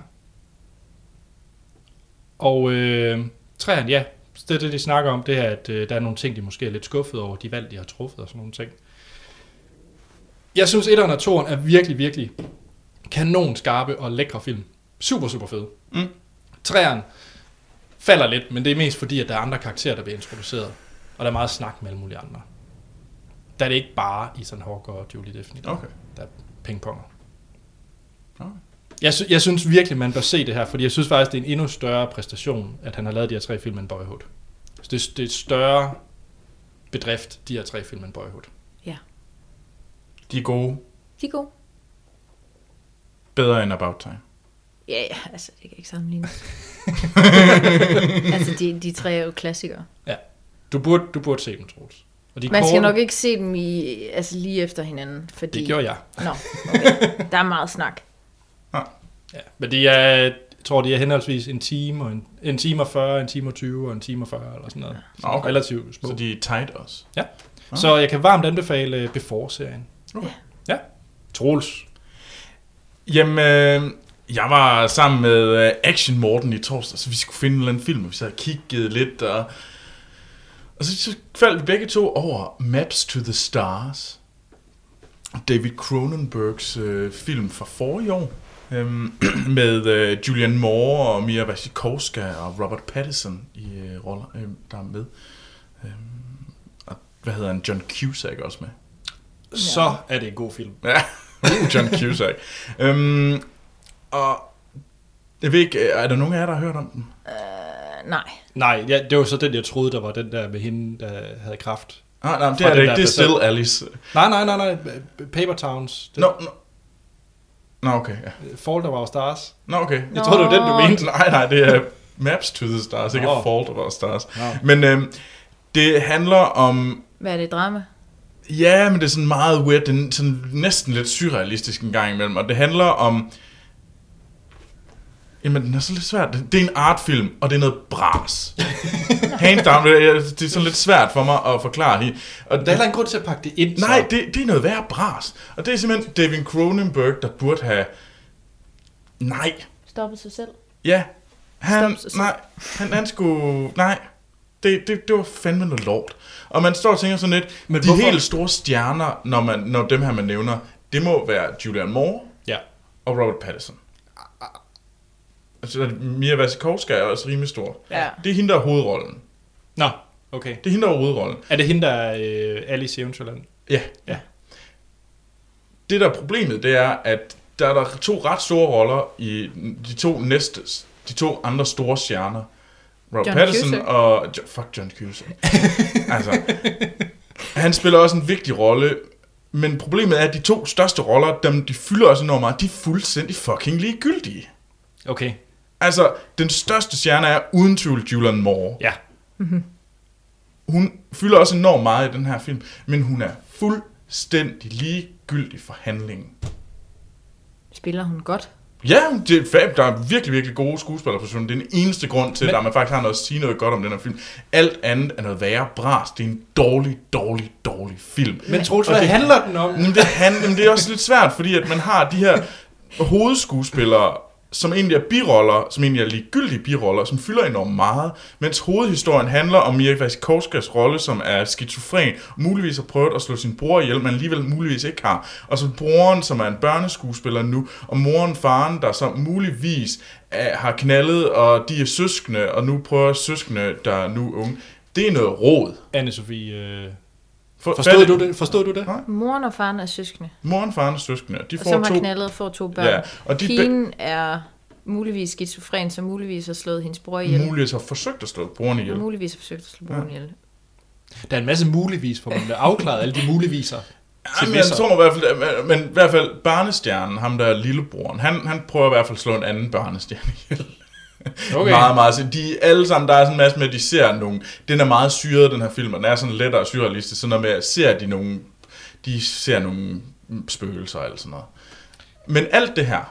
[SPEAKER 1] Og øh, træerne, ja, det er det, de snakker om, det er, at øh, der er nogle ting, de måske er lidt skuffet over, de valg, de har truffet og sådan nogle ting. Jeg synes, etteren og toeren er virkelig, virkelig kanon skarpe og lækre film. Super, super fede.
[SPEAKER 2] Mm.
[SPEAKER 1] Træerne falder lidt, men det er mest fordi, at der er andre karakterer, der bliver introduceret. Og der er meget snak med alle mulige andre. Der er det ikke bare Ethan Hawke og Julie Daphne, der,
[SPEAKER 2] Okay.
[SPEAKER 1] der er pingponger.
[SPEAKER 2] Okay.
[SPEAKER 1] Jeg, sy- jeg synes virkelig, man bør se det her, fordi jeg synes faktisk, det er en endnu større præstation, at han har lavet de her tre film end Boyhood. Så det, det er et større bedrift, de her tre film end Boyhood.
[SPEAKER 2] De er gode.
[SPEAKER 3] De er gode.
[SPEAKER 2] Bedre end About Time.
[SPEAKER 3] Ja, ja, altså, det kan ikke sammenlignes. altså, de, de tre er jo klassikere.
[SPEAKER 1] Du burde, du burde se dem, Troels. Og de er
[SPEAKER 3] Man skal
[SPEAKER 1] korte.
[SPEAKER 3] nok ikke se dem i, altså, lige efter hinanden, fordi...
[SPEAKER 1] Det gjorde jeg.
[SPEAKER 3] Nå, okay. Der er meget snak.
[SPEAKER 1] Ja. Men de er, jeg tror, de er henholdsvis en time, og en, en time og 40, en time og 20 og en time og 40, eller sådan noget.
[SPEAKER 2] Nå, okay.
[SPEAKER 1] Relativt små.
[SPEAKER 2] Så de er tight også. Ah.
[SPEAKER 1] Så jeg kan varmt anbefale øh, Before-serien.
[SPEAKER 3] Okay.
[SPEAKER 1] Ja. Troels.
[SPEAKER 2] Jamen, øh, jeg var sammen med øh, Action Morten i torsdag, så vi skulle finde en eller anden film, og vi så havde kigget lidt, og, og så, så faldt vi begge to over Maps to the Stars, David Cronenbergs øh, film fra forrige år, øhm, med øh, Julian Moore og Mia Wasikowska og Robert Pattinson i øh, roller, øh, der er med. Øhm, og hvad hedder han? John Cusack også med.
[SPEAKER 1] Så er det en god film.
[SPEAKER 2] Ja, Uh, John Cusack. øhm, og jeg ved ikke, øh, er der nogen af jer, der har hørt om den?
[SPEAKER 3] Uh, nej.
[SPEAKER 1] Nej, ja, det var så den, jeg troede, der var den der med hende, der havde kraft.
[SPEAKER 2] Ah, nej, men det
[SPEAKER 1] Fra
[SPEAKER 2] er det
[SPEAKER 1] den
[SPEAKER 2] ikke.
[SPEAKER 1] der
[SPEAKER 2] Det er
[SPEAKER 1] basal-
[SPEAKER 2] Still Alice.
[SPEAKER 1] Nej, nej, nej, nej. Paper Towns. Den,
[SPEAKER 2] Nå, nå. Nå, okay, ja.
[SPEAKER 1] Fall of Our Stars.
[SPEAKER 2] Nå, okay.
[SPEAKER 1] Jeg tror, det var den, du
[SPEAKER 3] Nå.
[SPEAKER 1] mente.
[SPEAKER 2] Nej, nej, det er Maps to the Stars, ikke
[SPEAKER 1] Nå.
[SPEAKER 2] Fault of Our Stars.
[SPEAKER 1] Nå.
[SPEAKER 2] Men øhm, det handler om...
[SPEAKER 3] Hvad er det, drama?
[SPEAKER 2] Ja, men det er sådan meget weird. Det er sådan næsten lidt surrealistisk en gang imellem. Og det handler om... Jamen, den er så lidt svært. Det er en artfilm, og det er noget bras. Hands down, det er, det er sådan lidt svært for mig at forklare. he- Og
[SPEAKER 1] Der er heller ingen grund til at pakke det ind.
[SPEAKER 2] Nej,
[SPEAKER 1] så.
[SPEAKER 2] det, det er noget værre bras. Og det er simpelthen David Cronenberg, der burde have... Nej.
[SPEAKER 3] Stoppet sig selv.
[SPEAKER 2] Ja. Han,
[SPEAKER 3] Stop sig selv.
[SPEAKER 2] nej, han, han skulle... Nej. Det, det, det var fandme noget lort. Og man står og tænker sådan lidt,
[SPEAKER 1] Men
[SPEAKER 2] Men de
[SPEAKER 1] hvorfor-
[SPEAKER 2] helt store stjerner, når, man, når dem her man nævner, det må være Julian Moore
[SPEAKER 1] Ja.
[SPEAKER 2] og Robert Pattinson. Altså, Mia Wasikowska er også rimelig stor.
[SPEAKER 3] Ja.
[SPEAKER 2] Det er hende, der er hovedrollen.
[SPEAKER 1] Nå, okay.
[SPEAKER 2] Det er hende, der er hovedrollen.
[SPEAKER 1] Er det hende, der er øh, Alice i Eventyrland?
[SPEAKER 2] Ja.
[SPEAKER 1] Ja.
[SPEAKER 2] Det, der er problemet, det er, at der er der to ret store roller i de to næste, de to andre store stjerner. Rob
[SPEAKER 3] John
[SPEAKER 2] Pattinson
[SPEAKER 3] Cusack.
[SPEAKER 2] og... Jo, fuck John Cusack. altså, han spiller også en vigtig rolle, men problemet er, at de to største roller, dem de fylder også enormt meget, de er fuldstændig fucking ligegyldige.
[SPEAKER 1] Okay,
[SPEAKER 2] Altså, den største stjerne er uden tvivl Julian Moore
[SPEAKER 1] ja.
[SPEAKER 2] hun fylder også enormt meget i den her film, men hun er fuldstændig ligegyldig for handlingen.
[SPEAKER 3] Spiller hun godt?
[SPEAKER 2] Ja, det er fab. Der er virkelig, virkelig gode skuespillere på filmen. Det er den eneste grund til,
[SPEAKER 1] Men-
[SPEAKER 2] men... at man faktisk har noget at sige noget godt om den her film. Alt andet er noget værre bras. Det er en dårlig, dårlig, dårlig film.
[SPEAKER 1] Men Troels,
[SPEAKER 2] Og
[SPEAKER 1] hvad
[SPEAKER 2] det-
[SPEAKER 1] handler den om?
[SPEAKER 2] Men det, han, men det er også lidt svært, fordi at man har de her hovedskuespillere, som egentlig er biroller, som egentlig er ligegyldige biroller, som fylder enormt meget, mens hovedhistorien handler om Mia Wasikowskas rolle, som er skizofren, muligvis har prøvet at slå sin bror ihjel, men alligevel muligvis ikke har, og så broren, som er en børneskuespiller nu, og moren, faren, der så muligvis er, har knaldet, og de er søskende, og nu prøver søskende, der er nu unge. Det er noget råd.
[SPEAKER 1] Anne-Sophie, øh,
[SPEAKER 2] For,
[SPEAKER 1] forstod, du det? forstod du det?
[SPEAKER 2] Nej.
[SPEAKER 3] Moren og faren er søskende,
[SPEAKER 2] Moren, faren og søskende, de
[SPEAKER 3] og
[SPEAKER 2] får
[SPEAKER 3] som har
[SPEAKER 2] to...
[SPEAKER 3] knaldet for to børn.
[SPEAKER 2] Ja,
[SPEAKER 3] Ja.
[SPEAKER 2] og de be-
[SPEAKER 3] Pigen er muligvis skizofren, som muligvis har slået hendes bror ihjel.
[SPEAKER 2] muligvis har forsøgt at slå broren ihjel.
[SPEAKER 3] Og muligvis har forsøgt at slå broren ihjel.
[SPEAKER 1] Der er en masse muligvis, for man bliver afklaret alle de muligviser.
[SPEAKER 2] Jamen, jeg
[SPEAKER 1] visser.
[SPEAKER 2] tror i hvert fald, at- men i hvert fald barnestjernen, ham der er lillebroren, han, han prøver i hvert fald at slå en anden barnestjerne ihjel. Okay. Meget, meget. Så de er alle sammen, der er sådan en masse med, at de ser nogle, den er meget syret, den her film, og den er sådan lettere surrealistisk, sådan noget med, at ser de nogle, de ser nogle spøgelser eller sådan noget. Men alt det her,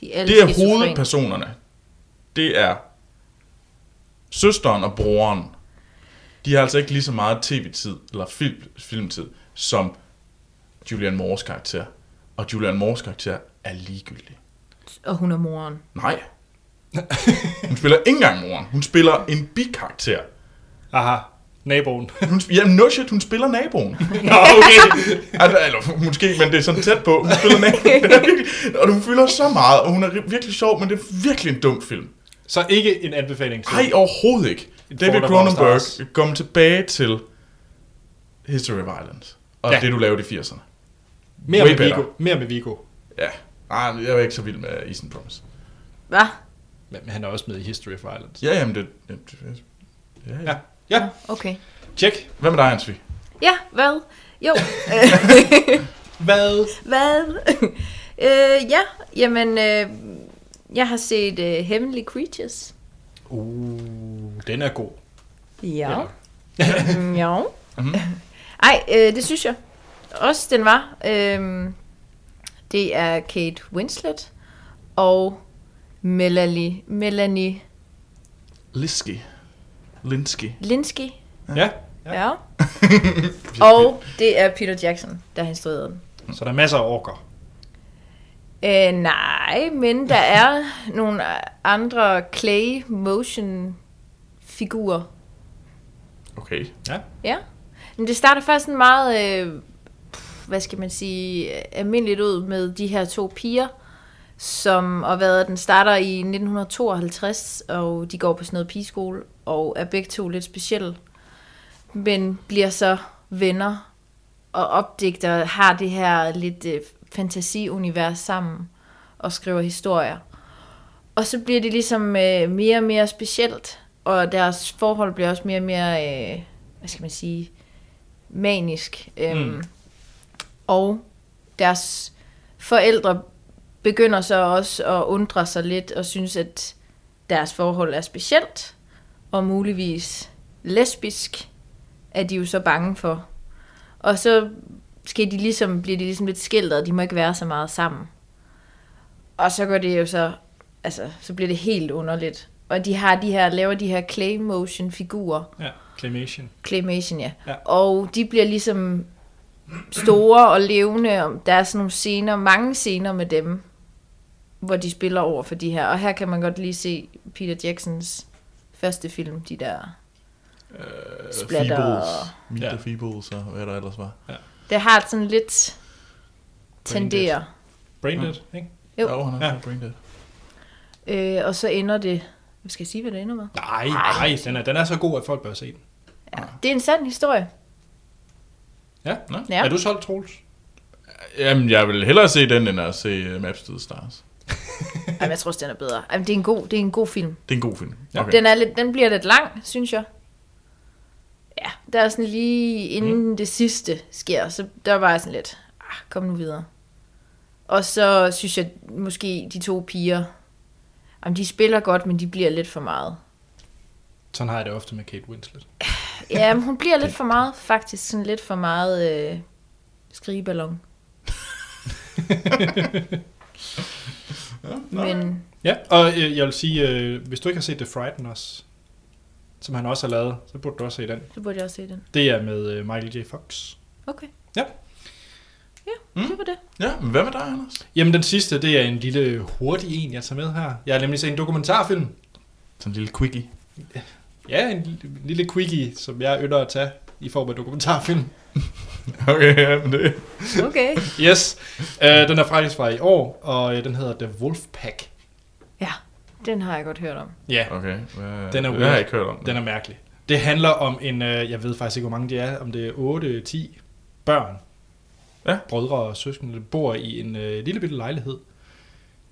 [SPEAKER 3] De er alle
[SPEAKER 2] Det er
[SPEAKER 3] skizofrene.
[SPEAKER 2] hovedpersonerne. Det er søsteren og broren. De har altså ikke lige så meget tv-tid eller film, filmtid som Julian Moores karakter. Og Julian Moores karakter er ligegyldig.
[SPEAKER 3] Og hun er moren.
[SPEAKER 2] Nej. Hun spiller ikke engang moren. Hun spiller en bikarakter.
[SPEAKER 1] Aha, naboen.
[SPEAKER 2] Hun, sp- jamen, no shit, hun spiller naboen.
[SPEAKER 1] Nå, okay.
[SPEAKER 2] Altså, eller måske, men det er sådan tæt på. Hun spiller naboen. og hun fylder så meget, og hun er ri- virkelig sjov, men det er virkelig en dum film.
[SPEAKER 1] Så ikke en anbefaling til.
[SPEAKER 2] Nej, overhovedet ikke.
[SPEAKER 1] Et
[SPEAKER 2] David
[SPEAKER 1] Fault of Our
[SPEAKER 2] Cronenberg
[SPEAKER 1] Stars.
[SPEAKER 2] kom tilbage til History of Violence. Og
[SPEAKER 1] Ja.
[SPEAKER 2] ja. det, du lavede i 80'erne.
[SPEAKER 1] Mere
[SPEAKER 2] way
[SPEAKER 1] med
[SPEAKER 2] better.
[SPEAKER 1] Vigo. Mere med Vigo.
[SPEAKER 2] Ja. Nej, jeg var ikke så vild med Eastern Promise.
[SPEAKER 3] Hvad?
[SPEAKER 1] Men men han er også med i History of Violence.
[SPEAKER 2] Ja, jamen det... det- det- Ja, ja.
[SPEAKER 1] Ja, ja.
[SPEAKER 3] Okay.
[SPEAKER 1] tjek.
[SPEAKER 2] Hvad med dig, Hans Vig?
[SPEAKER 3] Ja, hvad? Jo.
[SPEAKER 1] Hvad?
[SPEAKER 3] hvad? øh, ja, jamen, øh, jeg har set øh, Heavenly Creatures.
[SPEAKER 1] Uh, den er god.
[SPEAKER 3] Ja. ja. Ej, øh, det synes jeg også, den var. Øhm, det er Kate Winslet og Melanie, Melanie
[SPEAKER 2] Linsky. Linsky.
[SPEAKER 3] Linsky.
[SPEAKER 1] Ja.
[SPEAKER 3] Ja. og det er Peter Jackson, der har instrueret den.
[SPEAKER 1] Så der er masser af orker.
[SPEAKER 3] Øh, nej, men der er nogle andre clay motion figurer.
[SPEAKER 2] Okay.
[SPEAKER 3] Ja. Men det starter faktisk sådan meget, øh, pff, hvad skal man sige, øh, almindeligt ud med de her to piger, som og hvad den starter i 1952, og de går på sådan noget pigeskole, og er begge to lidt specielle, men bliver så venner og opdigter, har det her lidt øh, fantasiunivers sammen og skriver historier. Og så bliver det ligesom øh, mere og mere specielt, og deres forhold bliver også mere og mere, øh, hvad skal man sige, manisk. Øhm, mm. Og deres forældre begynder så også at undre sig lidt og synes, at deres forhold er specielt og muligvis lesbisk, er de jo så bange for. Og så skal de ligesom, bliver de ligesom lidt skilt, og de må ikke være så meget sammen. Og så går det jo så, altså, så bliver det helt underligt. Og de har de her, laver de her clay motion figurer,
[SPEAKER 1] Ja, claymation.
[SPEAKER 3] Claymation, ja.
[SPEAKER 1] Ja.
[SPEAKER 3] ja. Og de bliver ligesom store og levende. og Der er sådan nogle scener, mange scener med dem, hvor de spiller over for de her. Og her kan man godt lige se Peter Jacksons første film, de der...
[SPEAKER 2] Øh,
[SPEAKER 3] Splatter.
[SPEAKER 2] Feebles. Meet
[SPEAKER 1] Ja.
[SPEAKER 2] the Feebles, og hvad der ellers var.
[SPEAKER 3] Det har sådan lidt tenderer.
[SPEAKER 1] Braindead, ikke?
[SPEAKER 3] Jo.
[SPEAKER 2] Jo, han er
[SPEAKER 1] Ja.
[SPEAKER 2] ja. Braindead.
[SPEAKER 3] Øh, og så ender det... Skal jeg sige, hvad det ender med?
[SPEAKER 1] Nej, nej, den er, den er så god, at folk bør se den.
[SPEAKER 3] Ja. Det er en sand historie.
[SPEAKER 1] Ja?
[SPEAKER 3] Ja.
[SPEAKER 1] Er du solgt, Troels?
[SPEAKER 2] Jamen, jeg vil hellere se den, end at se uh, Maps to the Stars.
[SPEAKER 3] Jamen, jeg tror også, den er bedre. Jamen, det er en god, det er en god film.
[SPEAKER 2] Det er en god film.
[SPEAKER 1] Ja.
[SPEAKER 2] Okay.
[SPEAKER 3] Den, er lidt, den bliver lidt lang, synes jeg. Ja, der er sådan lige inden
[SPEAKER 1] Mhm.
[SPEAKER 3] mm. det sidste sker, så der var jeg sådan lidt, ah, kom nu videre. Og så synes jeg måske de to piger, jamen de spiller godt, men de bliver lidt for meget.
[SPEAKER 1] Sådan har jeg det ofte med Kate Winslet.
[SPEAKER 3] Ja, men hun bliver lidt for meget, faktisk. Sådan lidt for meget øh, skrigeballon. men
[SPEAKER 1] Ja, og øh, jeg vil sige, øh, hvis du ikke har set The Frighteners, som han også har lavet, så burde du også se den.
[SPEAKER 3] så burde jeg også se den.
[SPEAKER 1] Det er med øh, Michael J. Fox.
[SPEAKER 3] Okay.
[SPEAKER 1] Ja.
[SPEAKER 3] Ja,
[SPEAKER 2] Mm.
[SPEAKER 3] det var det.
[SPEAKER 2] ja, men hvad med dig, Anders?
[SPEAKER 1] Jamen den sidste, det er en lille hurtig en, jeg tager med her. Jeg har nemlig set en dokumentarfilm.
[SPEAKER 2] Sådan en lille quickie.
[SPEAKER 1] Ja, en lille- lille quickie, som jeg ynder at tage i form af dokumentarfilm.
[SPEAKER 2] Okay, ja, men det...
[SPEAKER 3] Okay.
[SPEAKER 1] Yes, øh, den er faktisk fra i år, og øh, den hedder The Wolfpack.
[SPEAKER 3] Ja, den har jeg godt hørt om.
[SPEAKER 1] Ja,
[SPEAKER 2] Okay, hvad,
[SPEAKER 1] Den er
[SPEAKER 2] det
[SPEAKER 1] weird.
[SPEAKER 2] har jeg ikke hørt om.
[SPEAKER 1] den er mærkelig. Det handler om en, øh, jeg ved faktisk ikke, hvor mange de er, om det er 8, 10 børn,
[SPEAKER 2] Ja.
[SPEAKER 1] brødre og søskende, der bor i en øh, lille bitte lejlighed.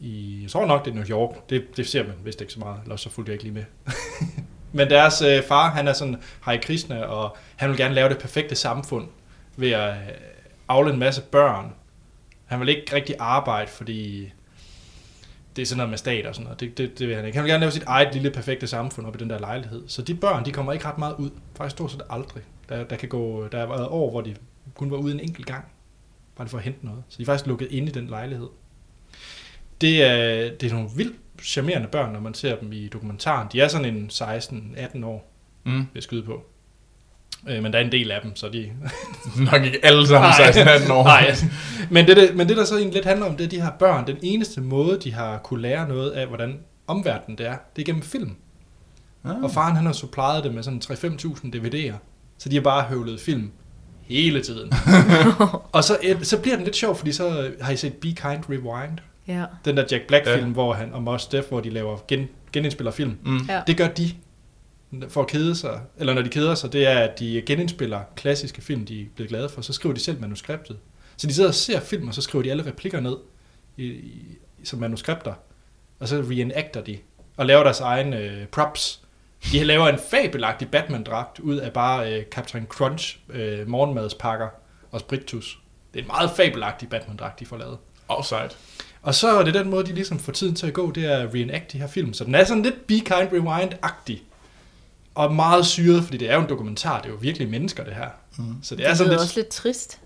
[SPEAKER 1] I, jeg tror nok, det er New York. Det, det ser man vist ikke så meget, eller så fulgte jeg ikke lige med. Men deres øh, far, han er sådan Hare Krishna, og han vil gerne lave det perfekte samfund ved at øh, afle en masse børn. Han vil ikke rigtig arbejde, fordi det er sådan noget med stat og sådan noget. Det, det, det vil han ikke. Han vil gerne lave sit eget lille perfekte samfund op i den der lejlighed. Så de børn, de kommer ikke ret meget ud. Faktisk stort set aldrig. Der, der, kan gå, der har været år, hvor de kun var ude en enkelt gang. Bare lige for at hente noget. Så de er faktisk lukket inde i den lejlighed. Det er, det er nogle vildt charmerende børn, når man ser dem i dokumentaren. De er sådan en 16-18 år,
[SPEAKER 2] Mm.
[SPEAKER 1] vil jeg skyde på. Øh, men der er en del af dem, så de,
[SPEAKER 2] Nok ikke alle sammen
[SPEAKER 1] Nej.
[SPEAKER 2] 16-18 år.
[SPEAKER 1] Nej, altså. men det, det, men det, der så egentlig lidt handler om, det er de her børn. Den eneste måde, de har kunne lære noget af, hvordan omverdenen det er, det er gennem film.
[SPEAKER 2] Ah.
[SPEAKER 1] Og faren, han har suppleret det med sådan 3-5.000 DVD'er. Så de har bare høvlet film hele tiden. og så, et- så bliver den lidt sjov, fordi så øh, har I set Be Kind Rewind?
[SPEAKER 3] Ja.
[SPEAKER 1] Den der Jack Black-film,
[SPEAKER 2] Ja.
[SPEAKER 1] hvor han og Mos Def, hvor de laver gen, genindspiller film.
[SPEAKER 2] Mm.
[SPEAKER 3] Ja.
[SPEAKER 1] Det gør de for at kede sig, eller når de keder sig, det er, at de genindspiller klassiske film, de er blevet glade for, så skriver de selv manuskriptet. Så de sidder og ser film, og så skriver de alle replikker ned i, i, som manuskripter, og så reenacter de, og laver deres egen øh, props, De laver en fabelagtig Batman-dragt ud af bare øh, Captain Crunch, øh, morgenmadspakker og spritus. Det er en meget fabelagtig Batman-dragt, de får lavet.
[SPEAKER 2] Outside.
[SPEAKER 1] Og så er det den måde, de ligesom får tiden til at gå, det er at reenact de her film. Så den er sådan lidt Be Kind Rewind-agtig. Og meget syret, fordi det er jo en dokumentar, det er jo virkelig mennesker, det her. Mm. Så det er
[SPEAKER 3] Det
[SPEAKER 1] sådan
[SPEAKER 3] er
[SPEAKER 1] lidt...
[SPEAKER 3] også lidt trist.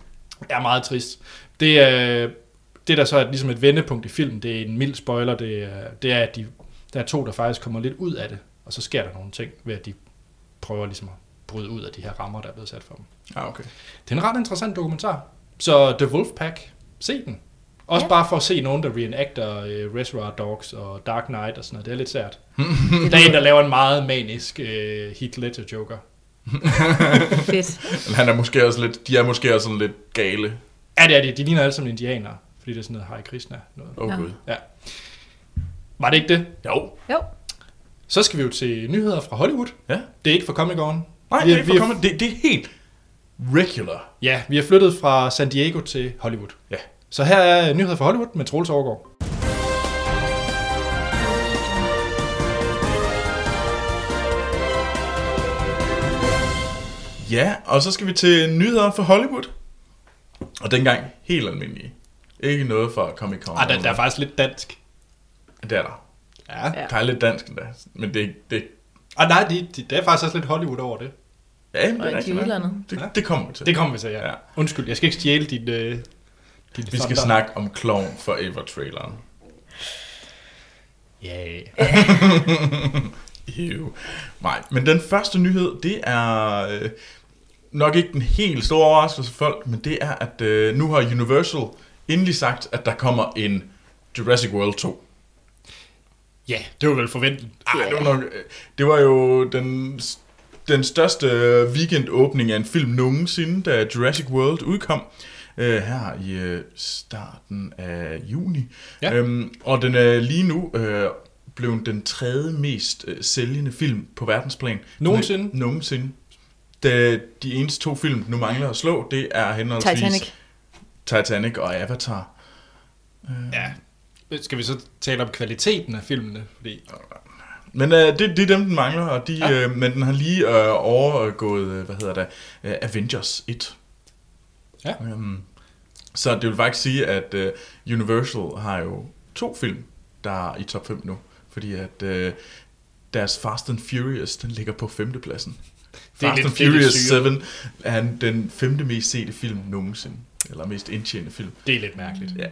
[SPEAKER 1] er meget trist. Det, øh, det der så er ligesom et vendepunkt i filmen, det er en mild spoiler, det, er- det er, at de, der er to, der faktisk kommer lidt ud af det, og så sker der nogle ting ved, at de prøver ligesom at bryde ud af de her rammer, der er blevet sat for dem.
[SPEAKER 2] Ah, okay.
[SPEAKER 1] Det er en ret interessant dokumentar. Så The Wolfpack, se den. Også ja.
[SPEAKER 3] Ja.
[SPEAKER 1] bare for at se nogen, der reenacter øh, Reservoir Dogs og Dark Knight og sådan noget. Det er lidt sært.
[SPEAKER 3] Det
[SPEAKER 1] Der er en, der
[SPEAKER 3] lyder
[SPEAKER 1] laver en meget manisk øh, Heath Ledger Joker.
[SPEAKER 3] fedt.
[SPEAKER 2] Men han er måske også lidt, de er måske også sådan lidt gale.
[SPEAKER 1] Ja, det er det. De ligner alle sammen indianere, fordi det er sådan noget Hare Krishna. Noget.
[SPEAKER 2] Åh oh,
[SPEAKER 3] Nå.
[SPEAKER 2] gud.
[SPEAKER 1] Var det ikke det?
[SPEAKER 2] Jo.
[SPEAKER 3] Jo,
[SPEAKER 1] Så skal vi jo til nyheder fra Hollywood.
[SPEAKER 2] Ja.
[SPEAKER 1] Det er ikke fra Comic Con.
[SPEAKER 2] Nej,
[SPEAKER 1] vi,
[SPEAKER 2] det er, ikke
[SPEAKER 1] vi,
[SPEAKER 2] for kommet. Det, det er helt regular.
[SPEAKER 1] Ja, vi er flyttet fra San Diego til Hollywood.
[SPEAKER 2] Ja.
[SPEAKER 1] Så her er nyheder fra Hollywood med Troels Overgaard.
[SPEAKER 2] Ja, og så skal vi til nyheder fra Hollywood. Og dengang helt almindelige. Ikke noget fra Comic Con.
[SPEAKER 1] Ah, der, der er faktisk lidt dansk.
[SPEAKER 2] Det er der.
[SPEAKER 1] Ja.
[SPEAKER 3] Ja.
[SPEAKER 1] ja.
[SPEAKER 2] Der er lidt dansk endda. Men det, er ikke- det,
[SPEAKER 1] Ah, nej, det, det, der er faktisk også lidt Hollywood over det.
[SPEAKER 2] ja, men det
[SPEAKER 3] Og
[SPEAKER 2] er
[SPEAKER 3] i
[SPEAKER 2] rigtigt nok.
[SPEAKER 3] udlandet.
[SPEAKER 2] Det,
[SPEAKER 1] Ja.
[SPEAKER 2] det kommer vi til.
[SPEAKER 1] Det kommer vi til, ja.
[SPEAKER 2] Ja.
[SPEAKER 1] ja. Undskyld, jeg skal ikke stjæle din... Øh, din
[SPEAKER 2] vi skal
[SPEAKER 1] thunder.
[SPEAKER 2] snakke om Clown Forever-traileren.
[SPEAKER 1] Ja.
[SPEAKER 2] Ew. Nej, men den første nyhed, det er øh, nok ikke den helt store overraskelse for folk, men det er, at øh, nu har Universal endelig sagt, at der kommer en Jurassic World 2.
[SPEAKER 1] ja, det var vel forventet.
[SPEAKER 2] Ej, det, var nok, øh, det var jo den, den største øh, weekendåbning af en film nogensinde, da Jurassic World udkom øh, her i øh, starten af juni.
[SPEAKER 1] Ja.
[SPEAKER 2] Øhm, og den er lige nu øh, blevet den tredje mest øh, sælgende film på verdensplan.
[SPEAKER 1] Nogensinde?
[SPEAKER 2] Den er- Nogensinde. Da de eneste to film, den nu mangler at slå, det er henholdsvis
[SPEAKER 3] Titanic.
[SPEAKER 2] Titanic og Avatar.
[SPEAKER 1] Ja. Skal vi så tale om kvaliteten af filmene? Fordi...
[SPEAKER 2] Men øh, det, det er dem, den mangler, og de,
[SPEAKER 1] Ja.
[SPEAKER 2] ja. øh, men den har lige øh, overgået, øh, hvad hedder det, øh, Avengers 1.
[SPEAKER 1] Ja.
[SPEAKER 2] Øhm, så det vil faktisk sige, at øh, Universal har jo to film, der er i top 5 nu, fordi at øh, deres Fast and Furious, den ligger på femtepladsen.
[SPEAKER 1] Det er
[SPEAKER 2] Fast
[SPEAKER 1] lidt-
[SPEAKER 2] and
[SPEAKER 1] det er lidt
[SPEAKER 2] Furious
[SPEAKER 1] syret.
[SPEAKER 2] 7 er den femte mest sete film nogensinde, eller mest indtjenende film.
[SPEAKER 1] Det er lidt mærkeligt.
[SPEAKER 2] Ja.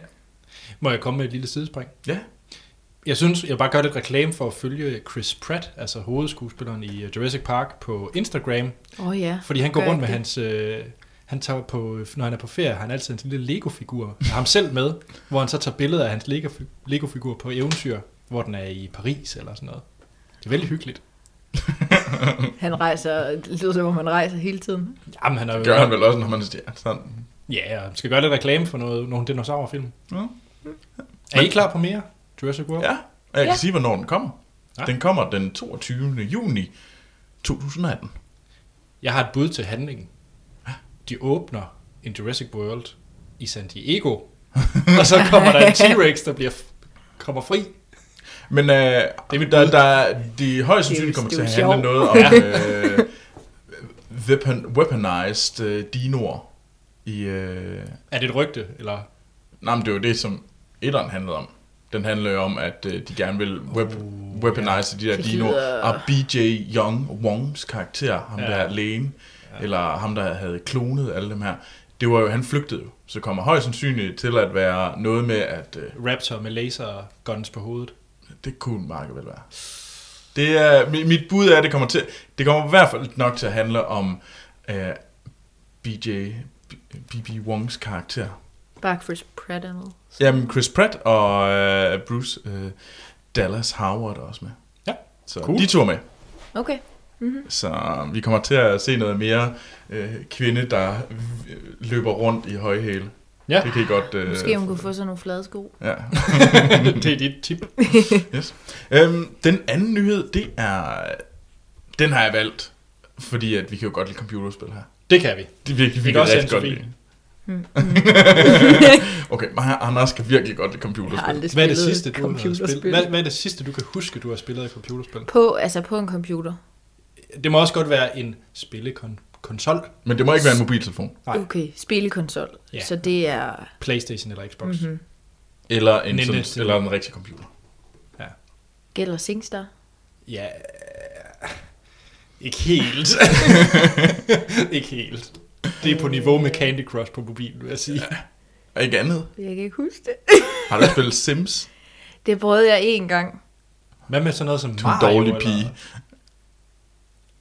[SPEAKER 1] Må jeg komme med et lille sidespring?
[SPEAKER 2] Ja,
[SPEAKER 1] Jeg synes, jeg bare gør lidt reklame for at følge Chris Pratt, altså hovedskuespilleren i øh, Jurassic Park, på Instagram.
[SPEAKER 3] Åh oh, ja.
[SPEAKER 1] Fordi han går
[SPEAKER 3] Gør
[SPEAKER 1] rundt med
[SPEAKER 3] det.
[SPEAKER 1] hans... Øh, han tager på, når han er på ferie, har han altid en lille Lego-figur af ham selv med, hvor han så tager billeder af hans Lego- Lego-figur på eventyr, hvor den er i Paris eller sådan noget. Det er vældig hyggeligt.
[SPEAKER 3] Han rejser, det lyder som om han rejser hele tiden.
[SPEAKER 1] Jamen, han er jo...
[SPEAKER 2] det gør han vel også, når man er sådan.
[SPEAKER 1] Ja, og han skal gøre lidt reklame for noget, nogle dinosaurfilm.
[SPEAKER 2] Ja.
[SPEAKER 1] Er I klar på mere? Jurassic World?
[SPEAKER 2] Ja, og jeg kan
[SPEAKER 3] Ja.
[SPEAKER 2] sige, hvornår den kommer.
[SPEAKER 1] Ja.
[SPEAKER 2] Den kommer den 22. juni 2018.
[SPEAKER 1] Jeg har et bud til handlingen. De åbner en Jurassic World i San Diego, og så kommer der en T-Rex, der bliver kommer fri.
[SPEAKER 2] Men øh, det
[SPEAKER 1] er mit
[SPEAKER 2] der,
[SPEAKER 1] bud.
[SPEAKER 2] der, de højst
[SPEAKER 3] Det er
[SPEAKER 2] sandsynligt
[SPEAKER 3] jo-
[SPEAKER 2] kommer
[SPEAKER 3] det er
[SPEAKER 2] til at
[SPEAKER 3] jo
[SPEAKER 2] handle noget om øh, weapon, weaponized øh, dinoer. I, øh...
[SPEAKER 1] Er det et rygte, eller...
[SPEAKER 2] Nej, men det var det, som etteren handlede om. Den handler jo om, at øh, de gerne vil wep- weaponize de der
[SPEAKER 3] Det
[SPEAKER 2] dinoer.
[SPEAKER 3] lyder-
[SPEAKER 2] Og BJ Young, Wongs karakter, ham
[SPEAKER 1] Ja.
[SPEAKER 2] der er lægen, eller ham der havde klonet alle dem her, det var jo, han flygtede jo. Så kommer højst sandsynligt til at være noget med, at øh,
[SPEAKER 1] Raptor med laser guns på hovedet.
[SPEAKER 2] det kunne Marke vel være. Det er, mi- mit bud er, at det kommer, til, det kommer i hvert fald nok til at handle om øh, BJ, BB Wongs karakter.
[SPEAKER 3] Bare Chris Pratt er med.
[SPEAKER 2] Jamen, Chris Pratt og øh, Bruce øh, Dallas Howard er også med.
[SPEAKER 1] Ja,
[SPEAKER 2] Så
[SPEAKER 1] cool.
[SPEAKER 2] de to er med.
[SPEAKER 3] Okay.
[SPEAKER 2] Så vi kommer til at se noget mere øh, kvinde, der øh, løber rundt i højhæle.
[SPEAKER 1] Ja.
[SPEAKER 2] Det kan I godt... Øh,
[SPEAKER 3] Måske hun kunne få sådan nogle flade sko.
[SPEAKER 2] Ja.
[SPEAKER 1] det er dit tip.
[SPEAKER 2] Yes. Øhm, den anden nyhed, det er... Den har jeg valgt, fordi at vi kan jo godt lide computerspil her.
[SPEAKER 1] Det kan vi.
[SPEAKER 2] Det er virkelig,
[SPEAKER 1] Vi
[SPEAKER 2] vi
[SPEAKER 1] kan
[SPEAKER 2] kan
[SPEAKER 1] også
[SPEAKER 2] rigtig godt
[SPEAKER 1] se en
[SPEAKER 2] lide. okay, mig og Anders kan virkelig godt lide computerspil.
[SPEAKER 3] Jeg har aldrig
[SPEAKER 1] Hvad er det
[SPEAKER 3] spillet
[SPEAKER 1] sidste, du har spillet?
[SPEAKER 3] computerspil.
[SPEAKER 1] Hvad, hvad er det sidste, du kan huske, du har spillet af computerspil?
[SPEAKER 3] På, altså på en computer.
[SPEAKER 1] Det må også godt være en spillekonsol.
[SPEAKER 2] Men det må ikke være en mobiltelefon.
[SPEAKER 1] Nej.
[SPEAKER 3] Okay, spillekonsol.
[SPEAKER 1] Ja.
[SPEAKER 3] Ja. Så det er...
[SPEAKER 1] Playstation eller Xbox. Mm-hmm.
[SPEAKER 2] Eller en,
[SPEAKER 1] Nintendo.
[SPEAKER 2] sådan, eller en rigtig computer.
[SPEAKER 3] Gælder Singstar?
[SPEAKER 1] Ja, ikke helt. ikke helt. Det er på niveau med Candy Crush på mobilen, vil jeg sige.
[SPEAKER 2] Og ikke andet.
[SPEAKER 3] Jeg kan ikke huske det.
[SPEAKER 2] Har du spillet Sims?
[SPEAKER 3] Det prøvede jeg én gang.
[SPEAKER 1] Hvad med sådan noget som
[SPEAKER 2] Du er en dårlig pige.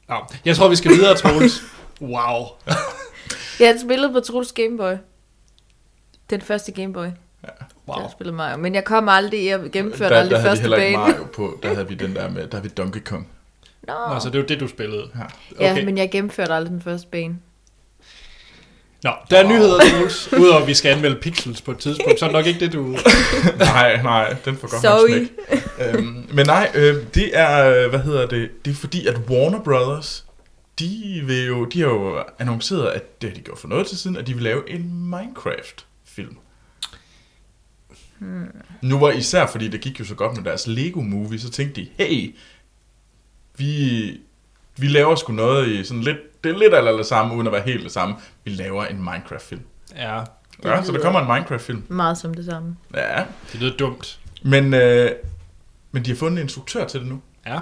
[SPEAKER 1] Nå, jeg tror, vi skal videre, Troels. Wow.
[SPEAKER 3] Jeg har spillet på Truls Gameboy. Den første Gameboy, wow.
[SPEAKER 1] wow.
[SPEAKER 3] der spillede Mario. Men jeg kom aldrig, jeg gennemførte
[SPEAKER 2] der,
[SPEAKER 3] aldrig
[SPEAKER 2] der havde vi
[SPEAKER 3] første
[SPEAKER 2] heller ikke
[SPEAKER 3] bane.
[SPEAKER 2] Mario på. Der havde vi den der med, der havde vi Donkey Kong.
[SPEAKER 3] Nå,
[SPEAKER 1] Nå, så det var det, du spillede.
[SPEAKER 2] Ja.
[SPEAKER 1] Okay.
[SPEAKER 3] ja, men jeg gennemførte aldrig den første bane.
[SPEAKER 1] Nå, der er nyheder, Troels. Udover at vi skal anmelde pixels på et tidspunkt, så er det nok ikke det, du...
[SPEAKER 2] nej, nej, den får godt nok
[SPEAKER 3] Sorry.
[SPEAKER 2] smæk. øhm, men nej, øh, det er, øh, hvad hedder det, det er fordi, at Warner Brothers, de, vil jo, de har jo annonceret, at det har de gjort for noget tid siden, at de vil lave en Minecraft-film. Hmm. Nu var især, fordi det gik jo så godt med deres Lego-movie, så tænkte de, hey, vi, vi laver sgu noget i sådan lidt, det er lidt eller det samme, uden at være helt det samme. Vi laver en Minecraft-film.
[SPEAKER 1] Ja,
[SPEAKER 2] Ja, så der kommer en Minecraft-film.
[SPEAKER 3] Meget som det samme.
[SPEAKER 2] Ja,
[SPEAKER 1] det lyder dumt.
[SPEAKER 2] men, øh, men de har fundet en instruktør til det nu.
[SPEAKER 1] Ja.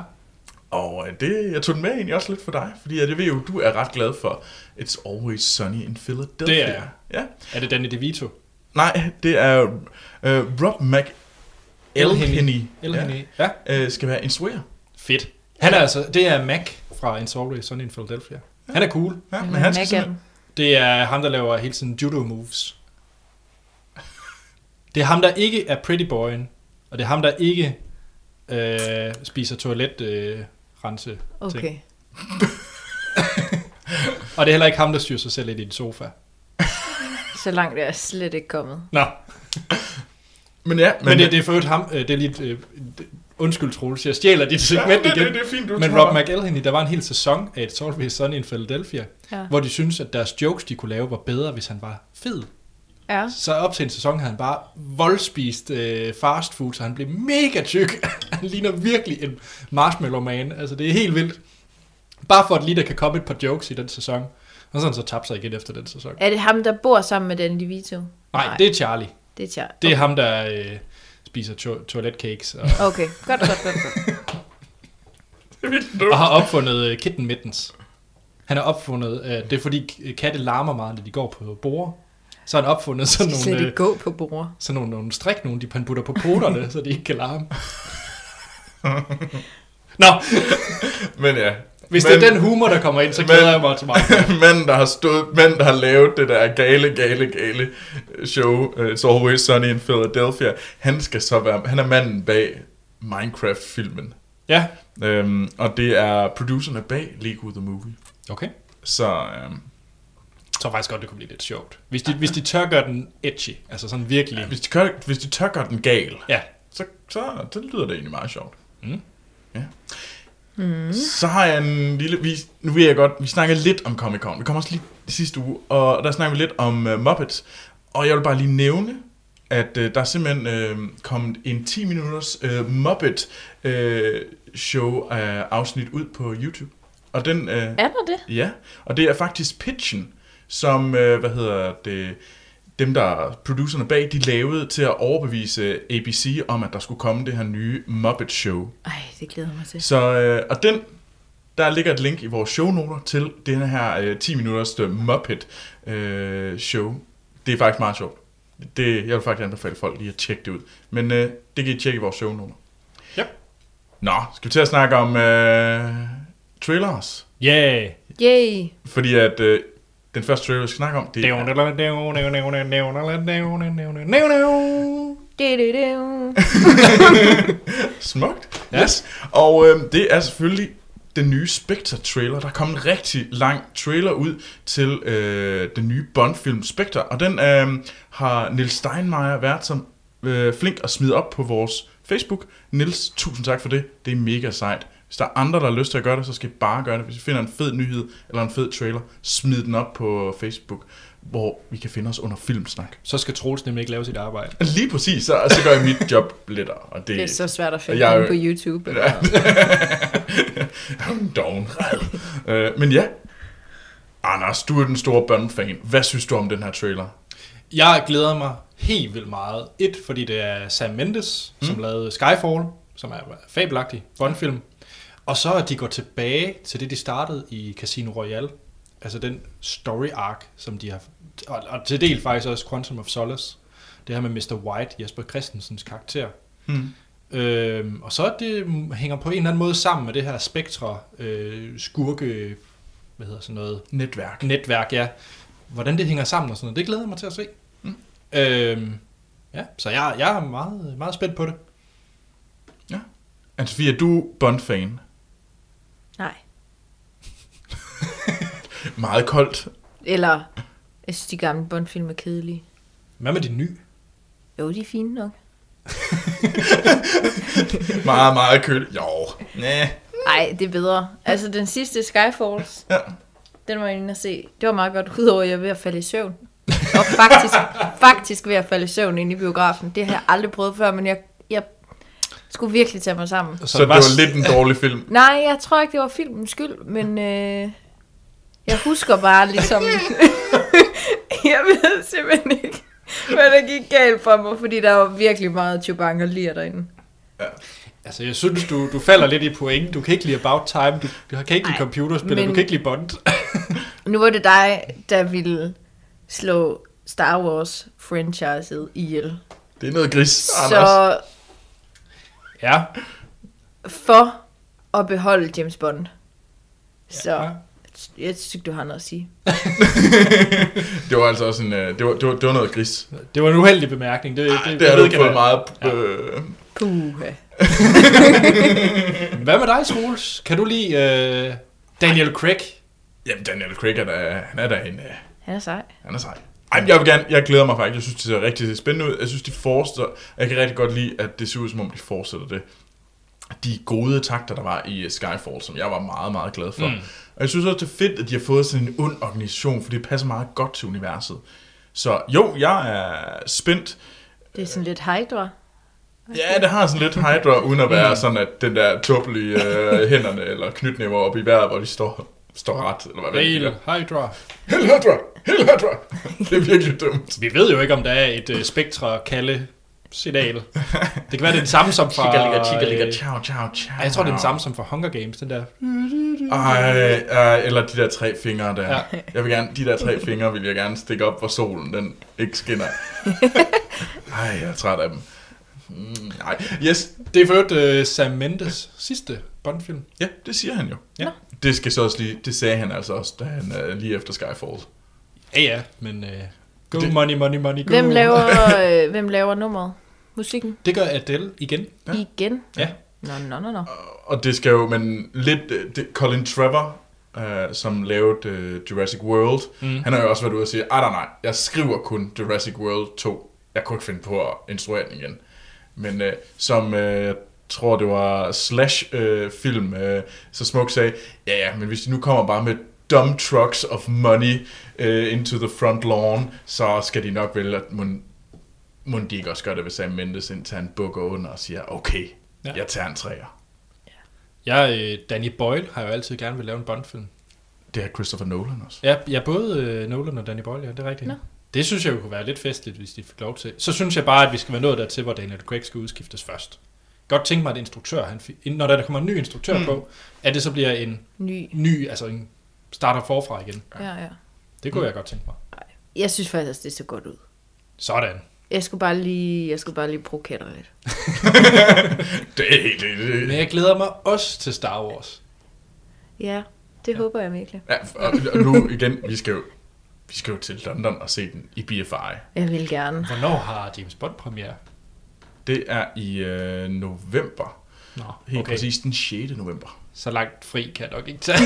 [SPEAKER 2] Og øh, det, jeg tog den med egentlig også lidt for dig, fordi at jeg ved jo, du er ret glad for It's Always Sunny in Philadelphia.
[SPEAKER 1] Det er jeg.
[SPEAKER 2] Ja.
[SPEAKER 1] Er det Danny DeVito?
[SPEAKER 2] Nej, det er øh, Rob Mac Elheny,
[SPEAKER 1] Elheny. Ja. ja.
[SPEAKER 2] Ja, øh, skal være instruer.
[SPEAKER 1] Fedt. Han er altså... Det er Mac fra It's Always Sunny in Philadelphia. Han er cool.
[SPEAKER 2] Ja,
[SPEAKER 3] Men
[SPEAKER 2] men han skal
[SPEAKER 3] Mac er den.
[SPEAKER 2] simpelthen-
[SPEAKER 1] Det er ham, der laver hele tiden judo moves. Det er ham, der ikke er pretty boyen, og det er ham, der ikke øh, spiser toilet øh, rense.
[SPEAKER 3] Okay.
[SPEAKER 1] Og det er heller ikke ham, der styrer sig selv lidt i en sofa.
[SPEAKER 3] Så langt er jeg slet ikke kommet.
[SPEAKER 1] Nå,
[SPEAKER 2] men ja,
[SPEAKER 1] men, men det, det er for øvrigt ham, øh, det er lidt, øh, det- undskyld Troels, jeg stjæler dit segment
[SPEAKER 2] ja, det, det,
[SPEAKER 1] igen.
[SPEAKER 2] det, er fint, du
[SPEAKER 1] Men
[SPEAKER 2] tror
[SPEAKER 1] Rob
[SPEAKER 2] mig.
[SPEAKER 1] McElhenney, der var en hel sæson af et Always Sunny in Philadelphia,
[SPEAKER 3] Ja.
[SPEAKER 1] hvor de syntes, at deres jokes, de kunne lave, var bedre, hvis han var fed.
[SPEAKER 3] ja.
[SPEAKER 1] Så op til en sæson havde han bare voldspist øh, fast food, så han blev mega tyk. han ligner virkelig en marshmallow man. Altså, det er helt vildt. Bare for at lige der kan komme et par jokes i den sæson. Og sådan så tabte sig igen efter den sæson.
[SPEAKER 3] Er det ham, der bor sammen med den DeVito?
[SPEAKER 1] Nej, det er Charlie.
[SPEAKER 3] det er Charlie.
[SPEAKER 1] Det er ham, der øh, spiser to- toiletcakes og,
[SPEAKER 3] Okay, godt, godt, godt. godt.
[SPEAKER 2] Det er virkelig
[SPEAKER 1] og
[SPEAKER 2] dumt.
[SPEAKER 1] har opfundet øh, kitten mittens. Han har opfundet, øh, det er fordi k- katte larmer meget, når de går på borde. Så har han opfundet sådan
[SPEAKER 3] Skal slet
[SPEAKER 1] nogle, øh,
[SPEAKER 3] ikke gå på bord.
[SPEAKER 1] sådan nogle, nogle strik, nogle de han putter på poterne, så de ikke kan larme. Nå,
[SPEAKER 2] Men ja.
[SPEAKER 1] Hvis
[SPEAKER 2] men,
[SPEAKER 1] men, det er den humor, der kommer ind, så
[SPEAKER 2] men-
[SPEAKER 1] glæder jeg mig til mig.
[SPEAKER 2] manden, der har stået, manden, der har lavet det der gale, gale, gale show, øh, It's Always Sunny in Philadelphia, han skal så være, han er manden bag Minecraft-filmen.
[SPEAKER 1] Ja.
[SPEAKER 2] Øhm, og det er producerne bag Lego The Movie.
[SPEAKER 1] Okay.
[SPEAKER 2] Så øhm,
[SPEAKER 1] Jeg tror faktisk godt, det kunne blive lidt sjovt. Hvis de, hvis de tør gøre den edgy, altså sådan virkelig.
[SPEAKER 2] hvis, de gør, hvis de tør gøre den gal,
[SPEAKER 1] Ja.
[SPEAKER 2] så, så det lyder det egentlig meget sjovt.
[SPEAKER 1] Mm.
[SPEAKER 2] Ja. Mm. Så har jeg en lille... Vi, nu ved jeg godt, vi snakker lidt om Comic Con. Vi kom også lige sidste uge, og der snakker vi lidt om uh, Muppets. Og jeg vil bare lige nævne, at uh, der er simpelthen uh, kommet en 10-minutters uh, Muppet-show uh, afsnit ud på YouTube. Og den... Uh,
[SPEAKER 3] Er der det?
[SPEAKER 2] Ja, og det er faktisk pitchen, som, øh, hvad hedder det, dem der, producerne bag, de lavede til at overbevise ABC om, at der skulle komme det her nye Muppet Show.
[SPEAKER 3] Ej, det glæder jeg mig til.
[SPEAKER 2] Så, øh, og den, der ligger et link i vores shownoter til den her øh, 10 minutters øh, Muppet øh, show. Det er faktisk meget sjovt. Det, jeg vil faktisk anbefale folk lige at tjekke det ud. Men øh, det kan I tjekke i vores shownoter.
[SPEAKER 1] Ja.
[SPEAKER 2] Nå, skal vi til at snakke om øh, trailers?
[SPEAKER 1] Yeah.
[SPEAKER 3] Yay!
[SPEAKER 2] Fordi at øh, den første trailer, vi skal snakke om, det er...
[SPEAKER 3] Det, det, det.
[SPEAKER 2] Smukt.
[SPEAKER 1] Ja.
[SPEAKER 2] Yes. Og øh, det er selvfølgelig den nye Spectre-trailer. Der er kommet en rigtig lang trailer ud til øh, den nye Bond-film Spectre. Og den øh, har Nils Steinmeier været som øh, flink at smide op på vores Facebook. Nils, tusind tak for det. Det er mega sejt. Hvis der er andre, der har lyst til at gøre det, så skal I bare gøre det. Hvis I finder en fed nyhed eller en fed trailer, smid den op på Facebook, hvor vi kan finde os under Filmsnak.
[SPEAKER 1] Så skal Troels nemlig ikke lave sit arbejde.
[SPEAKER 2] Lige præcis, så, så gør jeg mit job lettere. Og det,
[SPEAKER 3] Det er så svært at finde
[SPEAKER 2] Jeg er
[SPEAKER 3] jeg...
[SPEAKER 2] jo-
[SPEAKER 3] på YouTube.
[SPEAKER 2] Ja. Jamen, doven. øh, men ja, Anders, du er den store Bond-fan. Hvad synes du om den her trailer?
[SPEAKER 1] Jeg glæder mig helt vildt meget. Et, fordi det er Sam Mendes, mm. som lavede Skyfall, som er en fabelagtig Bond-film. Og så at de går tilbage til det, de startede i Casino Royale. Altså den story arc, som de har... Og, og til del faktisk også Quantum of Solace. Det her med Mr. White, Jesper Christensens karakter.
[SPEAKER 2] Hmm.
[SPEAKER 1] Øhm, og så at det hænger på en eller anden måde sammen med det her spektre, øh, skurke, hvad hedder sådan noget,
[SPEAKER 2] Netværk.
[SPEAKER 1] netværk, ja. Hvordan det hænger sammen og sådan noget, det glæder jeg mig til at se. Mm. Øhm, ja, så jeg, jeg er meget, meget spændt på det.
[SPEAKER 2] Anne-Sophie, er du Bond-fan?
[SPEAKER 3] Nej.
[SPEAKER 2] Meget koldt.
[SPEAKER 3] Eller, jeg synes, de gamle Bond-film er kedelige.
[SPEAKER 1] Hvad med din nye?
[SPEAKER 3] Jo, de er fine nok.
[SPEAKER 2] Meget, meget køligt. Jo. Næh.
[SPEAKER 3] Nej, det er bedre. Altså, den sidste Skyfalls,
[SPEAKER 2] Ja.
[SPEAKER 3] den var jeg inde at se. Det var meget godt, udover at jeg er ved at falde i søvn. Og faktisk, faktisk ved at falde i søvn inde i biografen. Det har jeg aldrig prøvet før, men jeg, jeg skulle virkelig tage mig sammen.
[SPEAKER 1] Altså,
[SPEAKER 2] Så, det var lidt en dårlig film.
[SPEAKER 3] Nej, jeg tror ikke, det var filmens skyld, men øh, jeg husker bare ligesom... jeg ved simpelthen ikke, hvad der gik galt for mig, fordi der var virkelig meget chubang og lir derinde.
[SPEAKER 1] Altså, jeg synes, du, du falder lidt i pointen. Du kan ikke lide About Time, du, du kan ikke lide
[SPEAKER 3] Ej,
[SPEAKER 1] computerspil, men...
[SPEAKER 3] men-
[SPEAKER 1] du kan ikke lide Bond.
[SPEAKER 3] Nu var det dig, der ville slå Star Wars-franchiset ihjel.
[SPEAKER 2] Det er noget gris, Anders.
[SPEAKER 3] Så
[SPEAKER 1] ja,
[SPEAKER 3] for at beholde James Bond. Så
[SPEAKER 1] ja.
[SPEAKER 3] jeg synes ikke, du har noget at sige.
[SPEAKER 2] Det var altså også en... øh, Det var, det var, det var noget gris.
[SPEAKER 1] Det var en uheldig bemærkning. Det,
[SPEAKER 2] Ej, det
[SPEAKER 1] jeg
[SPEAKER 2] har
[SPEAKER 1] ved
[SPEAKER 2] du
[SPEAKER 1] ikke,
[SPEAKER 2] fået
[SPEAKER 1] hvad-
[SPEAKER 2] meget... Øh,
[SPEAKER 3] Puha.
[SPEAKER 1] Hvad med dig, Troels? Kan du lide øh, Daniel Craig?
[SPEAKER 2] jamen, Daniel Craig er da, han er da en... Øh,
[SPEAKER 3] Han er sej.
[SPEAKER 2] Han er sej. Ej, men jeg vil gerne, jeg glæder mig faktisk. Jeg synes, det ser rigtig spændende ud. Jeg synes, de fortsætter. Jeg kan rigtig godt lide, at det ser ud, som om de fortsætter det. De gode takter, der var i øh, Skyfall, som jeg var meget, meget glad for. Mm. Og jeg synes også, det er fedt, at de har fået sådan en ond organisation, for det passer meget godt til universet. Så jo, jeg er spændt.
[SPEAKER 3] Det er sådan lidt hydra.
[SPEAKER 2] Ja, det har sådan lidt Hydra, uden at være sådan, at den der tåbelige øh, hænderne eller knytnæver op i vejret, hvor de står, står ret. Eller hvad
[SPEAKER 1] Rail,
[SPEAKER 2] det
[SPEAKER 1] Hydra.
[SPEAKER 2] Hell Hydra! Hell Hydra! Det er virkelig dumt.
[SPEAKER 1] Vi ved jo ikke, om der er et øh, spektre kalde signal. Det kan være, det er den samme som fra... øh,
[SPEAKER 2] ciao, ciao, ciao.
[SPEAKER 1] Ej, jeg tror, det er den samme som fra Hunger Games, den der.
[SPEAKER 2] Ej, ej, øh, eller de der tre fingre der.
[SPEAKER 1] Ja.
[SPEAKER 2] Ja. Jeg vil gerne, de der tre fingre vil jeg gerne stikke op, hvor solen den ikke skinner. Ej, jeg er træt af dem. Mm, Nej, yes.
[SPEAKER 1] Det er for øvrigt uh, Sam Mendes sidste Bond-film.
[SPEAKER 2] Ja, det siger han jo.
[SPEAKER 1] Ja. Nå.
[SPEAKER 2] Det, skal så også lige, det sagde han altså også, da han øh, lige efter Skyfall.
[SPEAKER 1] Ja, ja, men uh, go
[SPEAKER 2] Det-
[SPEAKER 1] money, money, money, go.
[SPEAKER 3] Hvem laver, øh, hvem laver nummeret? Musikken?
[SPEAKER 1] Det gør Adele igen.
[SPEAKER 2] Ja.
[SPEAKER 3] Ja. Igen?
[SPEAKER 1] Ja.
[SPEAKER 3] Nå, nå, nå, nå.
[SPEAKER 2] Og det skal jo, men lidt, øh, det, Colin Trevor, øh, som lavede øh, Jurassic World,
[SPEAKER 1] Mm.
[SPEAKER 2] han har jo også været ude og sige, nej, nej, nej, jeg skriver kun Jurassic World 2. Jeg kunne ikke finde på at instruere den igen. Men øh, som øh, jeg tror, det var Slash-film, øh, film, øh, så Smuk sagde, ja, ja, men hvis de nu kommer bare med dumb trucks of money øh, into the front lawn, så skal de nok vælge, at mon, mon de ikke også gør det, hvis Sam Mendes indtager en bukker under og siger, okay,
[SPEAKER 1] Ja.
[SPEAKER 2] ja. jeg tager en træer.
[SPEAKER 1] Jeg, øh, Danny Boyle, har jo altid gerne vil lave en Bond-film.
[SPEAKER 2] Det har Christopher Nolan også.
[SPEAKER 1] Ja, ja både øh, Nolan og Danny Boyle, ja, det er rigtigt.
[SPEAKER 3] Nå.
[SPEAKER 1] Det synes jeg jo kunne være lidt festligt, hvis de fik lov til. Så synes jeg bare, at vi skal være nået dertil, hvor Daniel Craig skal udskiftes først. Godt tænke mig, at instruktør, han, fi- inden- når der kommer en ny instruktør mm. på, at det så bliver en
[SPEAKER 3] Ny.
[SPEAKER 1] ny, altså en starter forfra igen.
[SPEAKER 3] Ja, ja.
[SPEAKER 1] Det kunne mm. jeg godt tænke mig.
[SPEAKER 3] Jeg synes faktisk, også, det så godt ud.
[SPEAKER 1] Sådan.
[SPEAKER 3] Jeg skulle bare lige, jeg skulle bare lige provokere dig lidt.
[SPEAKER 2] Det er helt det,
[SPEAKER 1] Men
[SPEAKER 2] det.
[SPEAKER 1] jeg glæder mig også til Star Wars.
[SPEAKER 3] Ja, det ja. håber jeg virkelig.
[SPEAKER 2] Ja, og, og nu igen, vi skal jo vi skal jo til London og se den i BFI.
[SPEAKER 3] Jeg vil gerne.
[SPEAKER 1] Hvornår har James Bond premiere?
[SPEAKER 2] Det er i øh, november.
[SPEAKER 1] Nå,
[SPEAKER 2] Helt okay. præcis den 6. november.
[SPEAKER 1] Så langt fri kan jeg nok ikke tage.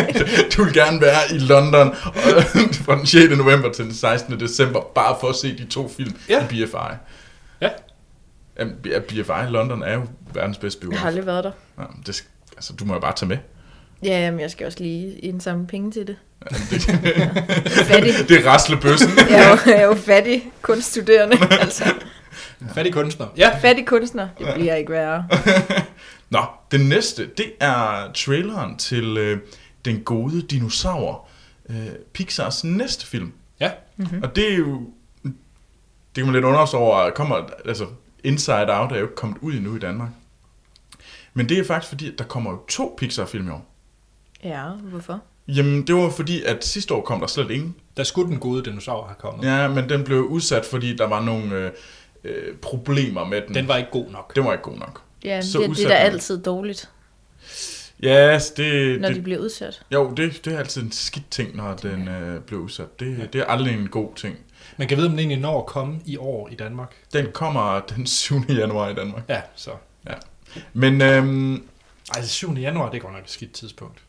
[SPEAKER 2] Du vil gerne være i London øh, fra den 6. november til den 16. december, bare for at se de to film
[SPEAKER 1] Ja.
[SPEAKER 2] ja. i BFI.
[SPEAKER 1] Ja.
[SPEAKER 2] Jamen, B- BFI i London er jo verdens bedste
[SPEAKER 3] Jeg
[SPEAKER 2] biograf.
[SPEAKER 3] har aldrig været der.
[SPEAKER 2] Ja, det, sk- Altså, du må jo bare tage med.
[SPEAKER 3] Ja, jamen, jeg skal også lige indsamle penge til det. Fattig.
[SPEAKER 2] det, det er raslebøssen.
[SPEAKER 3] Jeg er jo, jeg er jo fattig kunststuderende, altså.
[SPEAKER 1] En fattig kunstner. Ja,
[SPEAKER 3] Fattig kunstner, det bliver ikke værre.
[SPEAKER 2] Nå, den næste, det er traileren til øh, Den gode dinosaur. Øh, Pixars næste film.
[SPEAKER 1] Ja.
[SPEAKER 3] Mhm.
[SPEAKER 2] Mm-hmm. Og det er jo... Det kan man lidt undre sig over, kommer, altså Inside Out er jo ikke kommet ud endnu i Danmark. Men det er faktisk fordi, at der kommer jo to Pixar-film i år.
[SPEAKER 3] Ja, hvorfor?
[SPEAKER 2] Jamen, det var fordi, at sidste år kom der slet ingen.
[SPEAKER 1] der skulle den gode dinosaur have kommet. Ja.
[SPEAKER 2] Ja, men den blev udsat, fordi der var nogle øh, øh, problemer med den.
[SPEAKER 1] Den var ikke god nok.
[SPEAKER 2] den var ikke god nok.
[SPEAKER 3] Ja,
[SPEAKER 2] Så
[SPEAKER 3] så det, det er
[SPEAKER 2] udsat
[SPEAKER 3] da
[SPEAKER 2] man.
[SPEAKER 3] altid dårligt,
[SPEAKER 2] Ja, yes, det,
[SPEAKER 3] når
[SPEAKER 2] det,
[SPEAKER 3] de bliver udsat.
[SPEAKER 2] Jo, det, det er altid en skidt ting, når den øh, bliver udsat. Det, det er aldrig en god ting.
[SPEAKER 1] Man kan vide, om den egentlig når at komme i år i Danmark.
[SPEAKER 2] Den kommer den 7. januar i Danmark.
[SPEAKER 1] Ja, så.
[SPEAKER 2] Men, øhm,
[SPEAKER 1] Ej, det 7. januar, det er godt nok et skidt tidspunkt.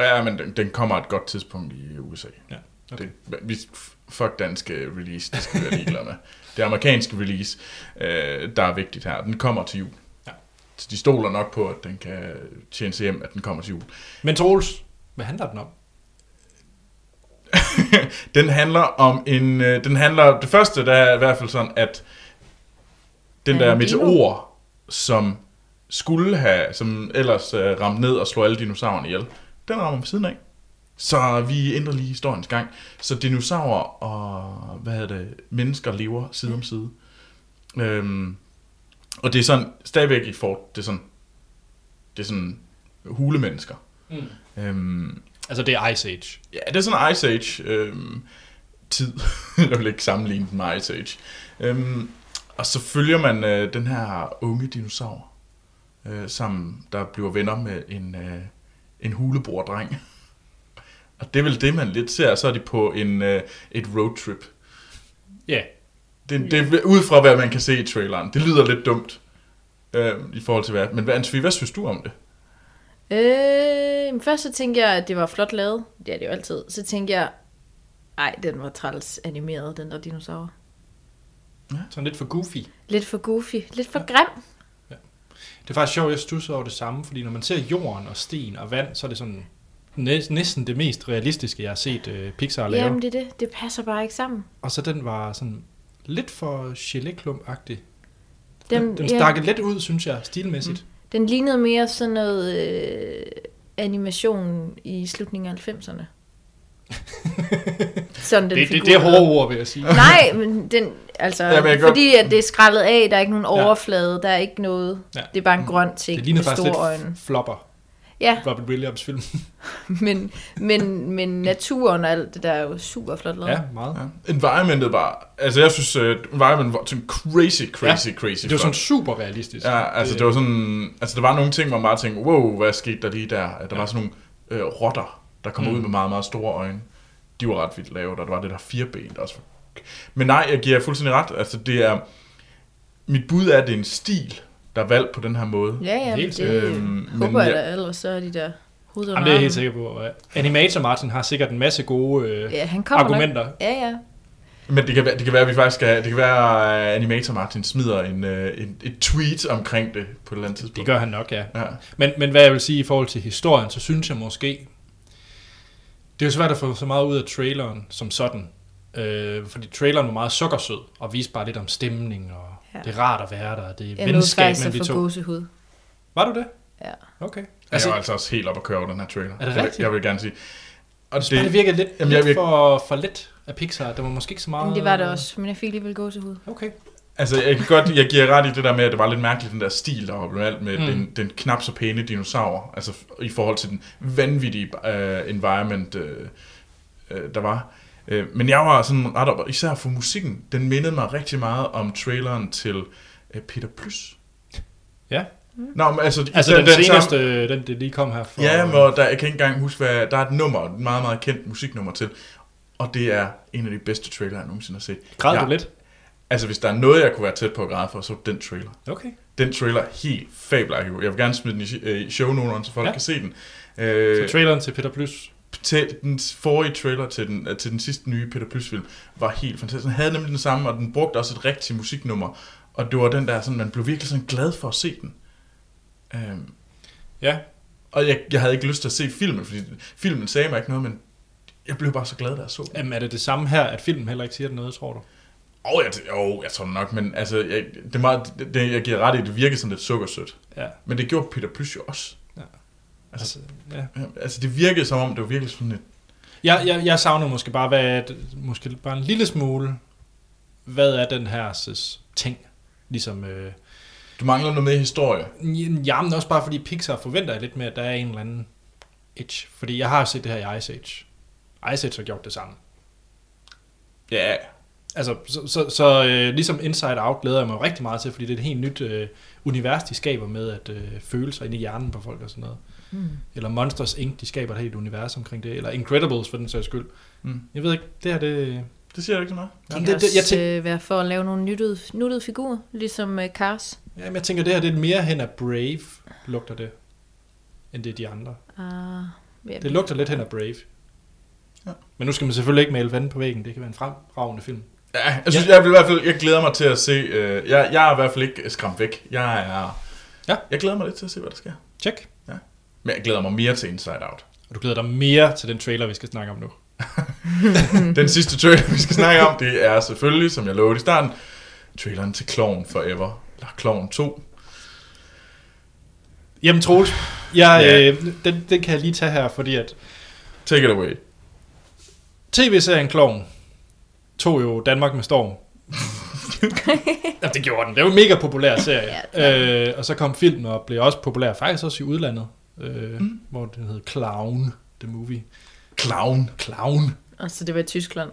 [SPEAKER 2] ja, men den, den kommer et godt tidspunkt i USA.
[SPEAKER 1] Ja, okay.
[SPEAKER 2] Okay. Det, vi, fuck danske release, det skal vi være ligeglade med. Det amerikanske release, øh, der er vigtigt her. Den kommer til jul.
[SPEAKER 1] Ja.
[SPEAKER 2] Så de stoler nok på, at den kan tjene sig hjem, at den kommer til jul.
[SPEAKER 1] Men Troels, hvad handler den om?
[SPEAKER 2] Den handler om en... Øh, den handler... Det første, der er i hvert fald sådan, at den
[SPEAKER 3] Er det
[SPEAKER 2] der
[SPEAKER 3] en dino?
[SPEAKER 2] meteor, som skulle have... Som ellers øh, ramte ned og slog alle dinosaurerne ihjel, den rammer ved siden af. Så vi ændrer lige historiens gang. Så dinosaurer og hvad hedder det, mennesker lever side om side. Øhm, og det er sådan, stadigvæk i Fort, det er sådan, det er sådan hulemennesker.
[SPEAKER 1] Mm.
[SPEAKER 2] Øhm,
[SPEAKER 1] Altså, det er Ice Age.
[SPEAKER 2] Ja, det er sådan Ice Age øhm, tid. Jeg vil ikke sammenligne den med Ice Age. Øhm, og så følger man øh, den her unge dinosaur, øh, sammen, der bliver venner med en, øh, en hulebordreng. Og det er vel det, man lidt ser, og så er de på en, øh, et roadtrip.
[SPEAKER 1] Ja,
[SPEAKER 2] Det, det er ud fra, hvad man kan se i traileren. Det lyder lidt dumt øh, i forhold til hvad. Men hvad, Anne-Sophie, hvad synes du om det?
[SPEAKER 3] Øh, men først så tænkte jeg, at det var flot lavet. Ja, det er jo altid. Så tænkte jeg, ej, den var træls animeret, den der dinosaur.
[SPEAKER 1] sådan lidt for goofy.
[SPEAKER 3] Lidt for goofy, lidt for grim.
[SPEAKER 1] Det er faktisk sjovt, jeg stusser over det samme, fordi når man ser jorden og sten og vand, så er det sådan næ- næsten det mest realistiske, jeg har set øh, Pixar lave.
[SPEAKER 3] Jamen, det er det. Det passer bare ikke sammen.
[SPEAKER 1] Og så den var sådan lidt for geléklump-agtig. Den,
[SPEAKER 3] Den,
[SPEAKER 1] den
[SPEAKER 3] ja,
[SPEAKER 1] stak lidt ud, synes jeg, stilmæssigt. Mm.
[SPEAKER 3] den lignede mere sådan noget øh, animation i slutningen af 90'erne. sådan den
[SPEAKER 1] Det, det,
[SPEAKER 3] figur
[SPEAKER 1] det er
[SPEAKER 3] hed.
[SPEAKER 1] hårde ord, vil jeg sige.
[SPEAKER 3] Nej, men den, altså,
[SPEAKER 2] Ja, men jeg
[SPEAKER 3] ja,
[SPEAKER 2] kan
[SPEAKER 3] fordi at det er skrællet af, der er ikke nogen overflade, der er ikke noget.
[SPEAKER 1] Ja.
[SPEAKER 3] Ja. Det er bare en grøn ting
[SPEAKER 1] Det ligner
[SPEAKER 3] med
[SPEAKER 1] faktisk
[SPEAKER 3] store
[SPEAKER 1] lidt
[SPEAKER 3] øjne.
[SPEAKER 1] flopper,
[SPEAKER 3] Ja,
[SPEAKER 1] Robert Williams film.
[SPEAKER 3] men, men, men naturen og alt det der er jo super flot lavet.
[SPEAKER 1] ja, meget.
[SPEAKER 2] Ja. Environmentet var... Altså, jeg synes, uh, environmentet var sådan crazy, crazy, ja. crazy.
[SPEAKER 1] Det var
[SPEAKER 2] flot.
[SPEAKER 1] sådan super realistisk.
[SPEAKER 2] Ja, altså det var sådan, altså der var nogle ting, hvor man bare tænkte, wow, hvad skete der lige der? At Der ja. var sådan nogle øh, rotter, der kom mm. ud med meget, meget store øjne. De var ret vildt lavet, og der var det der fireben, der også var... Men nej, jeg giver jer fuldstændig ret. Altså det er, mit bud er, at det er en stil, der er valgt på den her måde.
[SPEAKER 3] ja, ja men
[SPEAKER 1] Helt
[SPEAKER 3] det
[SPEAKER 2] sikkert. Øhm,
[SPEAKER 3] øhm,
[SPEAKER 2] men
[SPEAKER 3] håber jeg
[SPEAKER 2] jeg-
[SPEAKER 3] da, ellers så er de der hoveder
[SPEAKER 1] Jamen, det er jeg helt sikker på. ja. Animator Martin har sikkert en masse gode øh,
[SPEAKER 3] Ja, han kommer
[SPEAKER 1] argumenter.
[SPEAKER 3] nok. Ja, ja.
[SPEAKER 2] Men det kan, være, det kan være, at vi faktisk skal, det kan være, at Animator Martin smider en, øh, en, et tweet omkring det på et eller andet tidspunkt.
[SPEAKER 1] Det gør han nok, ja.
[SPEAKER 2] Ja.
[SPEAKER 1] Men, men hvad jeg vil sige i forhold til historien, så synes jeg måske, det er jo svært at få så meget ud af traileren som sådan. Øh, fordi traileren var meget sukkersød, og viste bare lidt om stemning, og ja.
[SPEAKER 3] Ja.
[SPEAKER 1] det er rart at være der, og det er
[SPEAKER 3] Jeg nåede
[SPEAKER 1] venskab
[SPEAKER 3] faktisk
[SPEAKER 1] mellem
[SPEAKER 3] at
[SPEAKER 1] de
[SPEAKER 3] få
[SPEAKER 1] to.
[SPEAKER 3] gåsehud.
[SPEAKER 1] Var du det?
[SPEAKER 3] Ja.
[SPEAKER 1] Okay.
[SPEAKER 2] Altså,
[SPEAKER 1] Altså,
[SPEAKER 2] jeg var altså også helt op at køre over den her trailer.
[SPEAKER 1] Er det
[SPEAKER 2] Jeg vil-
[SPEAKER 1] rigtigt?
[SPEAKER 2] Jeg vil gerne sige. Og
[SPEAKER 1] det, det virkede lidt, jamen,
[SPEAKER 2] Jamen, jeg
[SPEAKER 1] lidt
[SPEAKER 2] vil-
[SPEAKER 1] for, for let af Pixar. Der var måske ikke så meget...
[SPEAKER 3] Men det var det også, men jeg fik alligevel gåsehud.
[SPEAKER 1] Okay.
[SPEAKER 2] Altså, jeg kan godt, jeg giver ret i det der med, at det var lidt mærkeligt, den der stil, der var blevet alt med
[SPEAKER 1] Mm.
[SPEAKER 2] mm. den, den knap så pæne dinosaur, altså f- i forhold til den vanvittige uh, environment, uh, uh, der var. Uh, men jeg var sådan ret op, især for musikken, den mindede mig rigtig meget om traileren til uh, Peter Plys.
[SPEAKER 1] Ja.
[SPEAKER 2] Nå, men altså,
[SPEAKER 1] Altså
[SPEAKER 2] især
[SPEAKER 1] den, den seneste, den det lige kom her for...
[SPEAKER 2] Ja, men der, jeg kan ikke engang huske, hvad, der er et nummer, et meget, meget kendt musiknummer til, og det er en af de bedste trailere, jeg nogensinde har set.
[SPEAKER 1] Græd du
[SPEAKER 2] Ja.
[SPEAKER 1] lidt?
[SPEAKER 2] Altså, hvis der er noget, jeg kunne være tæt på at græde for, så er det den trailer.
[SPEAKER 1] Okay.
[SPEAKER 2] Den trailer er helt fabelagtig. Jeg vil gerne smide den i- øh, i shownoteren, så folk
[SPEAKER 1] Ja.
[SPEAKER 2] ja. kan se den.
[SPEAKER 1] Så
[SPEAKER 2] Øh,
[SPEAKER 1] traileren til Peter Plys.
[SPEAKER 2] til den forrige trailer til den, øh, til den sidste nye Peter Plys film var helt fantastisk. Den havde nemlig den samme, og den brugte også et rigtigt musiknummer. Og det var den der, sådan, man blev virkelig sådan glad for at se den. Øh,
[SPEAKER 1] Ja,
[SPEAKER 2] Og jeg, jeg havde ikke lyst til at se filmen, fordi filmen sagde mig ikke noget, men jeg blev bare så glad, da jeg så den.
[SPEAKER 1] Jamen, er det det samme her, at filmen heller ikke siger det noget, tror du?
[SPEAKER 2] Og jeg, t- jo, jeg tror nok, men altså, jeg, det er meget, det, det, jeg giver ret i, det virker sådan lidt sukkersødt.
[SPEAKER 1] Ja.
[SPEAKER 2] Men det gjorde Peter Plys jo også.
[SPEAKER 1] Altså, ja.
[SPEAKER 2] Ja, Altså, det virkede som om, det var virkelig sådan lidt...
[SPEAKER 1] Jeg, jeg, jeg savner måske bare, hvad er det, måske bare en lille smule, hvad er den her ses, ting? Ligesom, øh,
[SPEAKER 2] Du mangler noget med historie.
[SPEAKER 1] jamen også bare fordi Pixar forventer jeg lidt med, at der er en eller anden itch. Fordi jeg har set det her i Ice Age. Ice Age har gjort det samme.
[SPEAKER 2] Ja,
[SPEAKER 1] Altså, så, så, så øh, ligesom Inside Out glæder jeg mig rigtig meget til, fordi det er et helt nyt øh, univers, de skaber med at øh, føle sig ind i hjernen på folk og sådan noget.
[SPEAKER 3] Mm.
[SPEAKER 1] Eller Monsters Inc., de skaber et helt univers omkring det. Eller Incredibles, for den sags skyld.
[SPEAKER 2] Mm.
[SPEAKER 1] Jeg ved ikke, det her det...
[SPEAKER 2] det siger jeg ikke så meget.
[SPEAKER 3] Det
[SPEAKER 1] Jamen,
[SPEAKER 3] kan
[SPEAKER 1] det, det, jeg,
[SPEAKER 3] også
[SPEAKER 1] tænker,
[SPEAKER 3] øh, være for at lave nogle nuttede, nuttede figurer, ligesom øh, Cars.
[SPEAKER 1] jamen, jeg tænker, det her det er mere hen af Brave, lugter det, end det er de andre.
[SPEAKER 3] Ah, ja,
[SPEAKER 1] Det lugter lidt hen af Brave.
[SPEAKER 2] Ja.
[SPEAKER 1] Men nu skal man selvfølgelig ikke male vand på væggen, det kan være en fremragende film.
[SPEAKER 2] Ja, jeg synes, ja. jeg vil i hvert fald, jeg glæder mig til at se, øh, jeg, jeg er i hvert fald ikke skræmt væk. Jeg er,
[SPEAKER 1] Ja.
[SPEAKER 2] jeg glæder mig lidt til at se, hvad der sker.
[SPEAKER 1] Tjek.
[SPEAKER 2] Men jeg glæder mig mere til Inside Out.
[SPEAKER 1] Og du glæder dig mere til den trailer, vi skal snakke om nu.
[SPEAKER 2] Den sidste trailer, vi skal snakke om, det er selvfølgelig, som jeg lovede i starten, traileren til Clown Forever, eller Clown 2.
[SPEAKER 1] Jamen Troels, jeg,
[SPEAKER 2] Ja.
[SPEAKER 1] øh, den, den kan jeg lige tage her, fordi at
[SPEAKER 2] Take it away.
[SPEAKER 1] tv-serien Kloven tog jo Danmark med storm. Jamen, det gjorde den. Det var en mega populær serie. Ja, øh, og så kom filmen og blev også populær, faktisk også i udlandet, øh, mm. hvor den hed Clown, the movie.
[SPEAKER 2] Clown.
[SPEAKER 1] Clown.
[SPEAKER 3] Og så det var i Tyskland.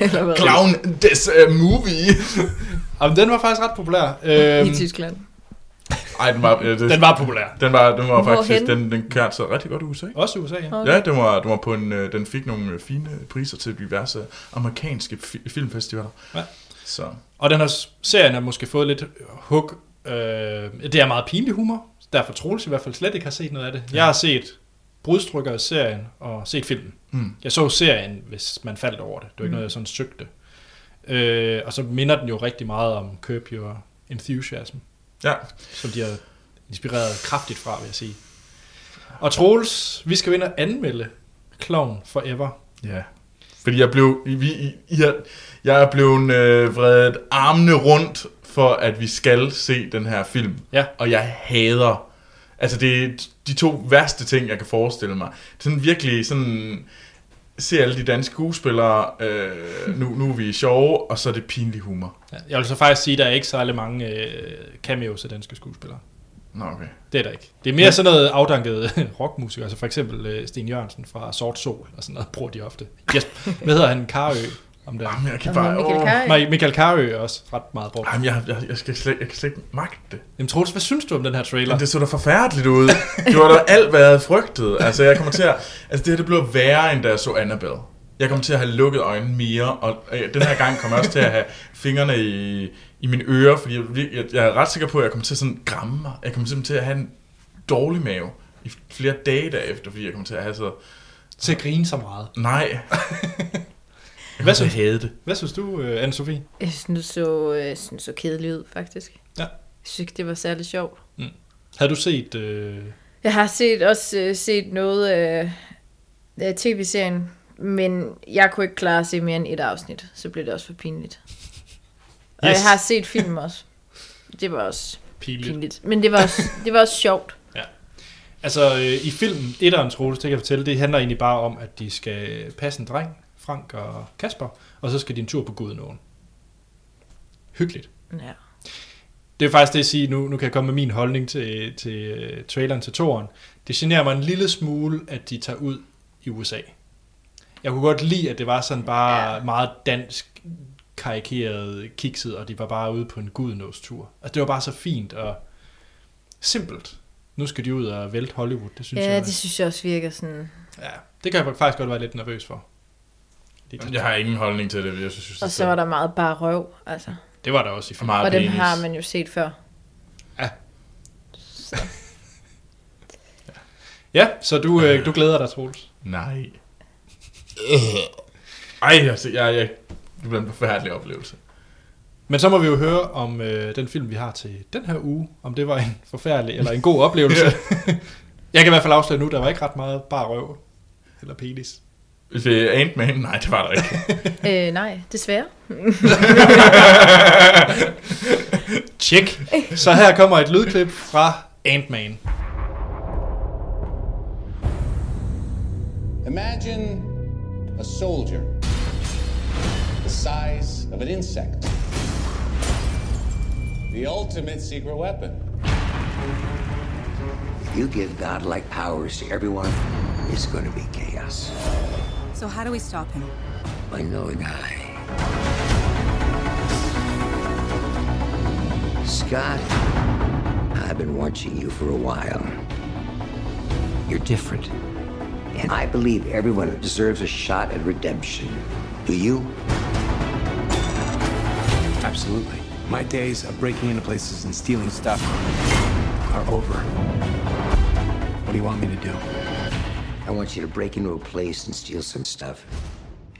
[SPEAKER 3] Eller hvad?
[SPEAKER 2] Clown, this uh, movie.
[SPEAKER 1] Jamen, den var faktisk ret populær. Øhm,
[SPEAKER 3] I Tyskland.
[SPEAKER 2] Ej, den var, øh, det,
[SPEAKER 1] den var populær.
[SPEAKER 2] den var, den var faktisk,
[SPEAKER 3] Hvorhen?
[SPEAKER 2] den, den kørte sig rigtig godt i USA.
[SPEAKER 1] Også i USA, ja.
[SPEAKER 3] Okay.
[SPEAKER 2] Ja, den var, den var på en, øh, den fik nogle øh, fine priser til diverse amerikanske fi- filmfestivaler.
[SPEAKER 1] Ja.
[SPEAKER 2] Så.
[SPEAKER 1] Og den her s- serien har måske fået lidt hug. Øh, det er meget pinlig humor. Derfor Troels i hvert fald slet ikke har set noget af det. Jeg har set brudstykker af serien og set filmen.
[SPEAKER 2] Mm.
[SPEAKER 1] Jeg så serien, hvis man faldt over det. Det var ikke
[SPEAKER 3] Mm.
[SPEAKER 1] noget, jeg sådan søgte. Øh, og så minder den jo rigtig meget om Curb Your Enthusiasm,
[SPEAKER 2] Ja,
[SPEAKER 1] som de har inspireret kraftigt fra, vil jeg sige. Og Troels, vi skal jo ind og anmelde Clown Forever.
[SPEAKER 2] Ja. Fordi jeg blev, vi, I, I har, jeg er blevet øh, vredet armene rundt for, at vi skal se den her film.
[SPEAKER 1] Ja.
[SPEAKER 2] Og jeg hader, altså det er de to værste ting, jeg kan forestille mig. Det er sådan virkelig sådan, se alle de danske skuespillere, øh, nu, nu er vi sjove, og så er det pinlig humor.
[SPEAKER 1] Ja, Jeg vil så faktisk sige, at der er ikke særlig mange øh, cameos af danske skuespillere.
[SPEAKER 2] Nå, okay.
[SPEAKER 1] Det er der ikke. Det er mere sådan noget afdanket rockmusikere, altså for eksempel øh, Sten Jørgensen fra Sort Sol og sådan noget, bruger de ofte. Jesper, hvad hedder han? Karø? Om der.
[SPEAKER 2] Jamen, jeg kan
[SPEAKER 3] Og
[SPEAKER 2] bare,
[SPEAKER 3] Michael Kaj.
[SPEAKER 1] Nej, Michael Karø er også ret meget brugt.
[SPEAKER 2] Jamen, jeg, jeg, jeg, skal slet, jeg kan slet ikke magte det.
[SPEAKER 1] Jamen Troels, hvad synes du om den her trailer?
[SPEAKER 2] Jamen, det så da forfærdeligt ud. Det var da alt, hvad jeg havde frygtet. Altså, jeg kommer til at... Altså, det her, det blev værre, end da jeg så Annabelle. Jeg kommer til at have lukket øjnene mere, og øh, den her gang kommer jeg også til at have fingrene i, i mine ører, fordi jeg, vir- jeg, jeg er ret sikker på, at jeg kommer til at sådan gramme mig. Jeg kommer simpelthen til at have en dårlig mave i flere dage derefter, fordi jeg kommer til at have så...
[SPEAKER 1] Til at grine så meget.
[SPEAKER 2] Nej.
[SPEAKER 1] Hvad synes,
[SPEAKER 2] havde det?
[SPEAKER 1] hvad synes du, øh, Anne-Sophie?
[SPEAKER 3] Jeg synes, det så, øh, jeg synes, det så kedeligt ud, faktisk.
[SPEAKER 1] Ja.
[SPEAKER 3] Jeg synes ikke, det var særlig sjovt.
[SPEAKER 1] Havde du set... Øh...
[SPEAKER 3] Jeg har set også øh, set noget af øh, tv-serien, men jeg kunne ikke klare at se mere end et afsnit. Så blev det også for pinligt. Yes. Og
[SPEAKER 1] Yes.
[SPEAKER 3] jeg har set film også. Det var også
[SPEAKER 1] Pinligt.
[SPEAKER 3] pinligt. Men det var også, det var også sjovt.
[SPEAKER 1] Altså, øh, i filmen, etteren Troels, det kan jeg fortælle, det handler egentlig bare om, at de skal passe en dreng, Frank og Kasper, og så skal de en tur på Gudenåen. Hyggeligt.
[SPEAKER 3] Ja.
[SPEAKER 1] Det er faktisk det, jeg siger nu. Nu kan jeg komme med min holdning til, til øh, traileren til toren. Det generer mig en lille smule, at de tager ud i USA. Jeg kunne godt lide, at det var sådan bare ja.
[SPEAKER 3] Ja.
[SPEAKER 1] meget dansk karikeret kikset, og de var bare ude på en gudenåstur. Altså, det var bare så fint og simpelt. Nu skal de ud og vælte Hollywood, det synes
[SPEAKER 3] ja,
[SPEAKER 1] jeg.
[SPEAKER 3] det synes jeg også virker sådan.
[SPEAKER 1] Ja, det kan jeg faktisk godt være lidt nervøs for. Det,
[SPEAKER 2] Jeg har ingen holdning til det. Jeg synes, det er
[SPEAKER 3] Og så var der meget bare røv, altså.
[SPEAKER 1] det var der også i
[SPEAKER 2] så
[SPEAKER 1] filmen.
[SPEAKER 2] meget
[SPEAKER 3] Og dem
[SPEAKER 2] penis.
[SPEAKER 3] har man jo set før.
[SPEAKER 1] Ja, så du, øh, du glæder dig, Troels.
[SPEAKER 2] Nej. Ej, altså, jeg, jeg, det blev en forfærdelig oplevelse.
[SPEAKER 1] Men så må vi jo høre om øh, den film, vi har til den her uge, om det var en forfærdelig eller en god oplevelse. jeg kan i hvert fald afsløre nu, der var ikke ret meget bare røv eller penis.
[SPEAKER 2] Ved Ant-Man? Nej, det var der ikke.
[SPEAKER 3] Øh, nej, desværre.
[SPEAKER 1] Tjek. Så her kommer et lydklip fra Ant-Man.
[SPEAKER 4] Imagine a soldier the size of an insect. The ultimate secret weapon.
[SPEAKER 5] You give godlike powers to everyone, it's going to be chaos.
[SPEAKER 6] So how do we stop him?
[SPEAKER 5] By knowing I. Scott, I've been watching you for a while. You're different. And I believe everyone deserves a shot at redemption. Do you?
[SPEAKER 7] Absolutely. My days of breaking into places and stealing stuff are over. What do you want me to do?
[SPEAKER 5] I want you to break into a place and steal some stuff.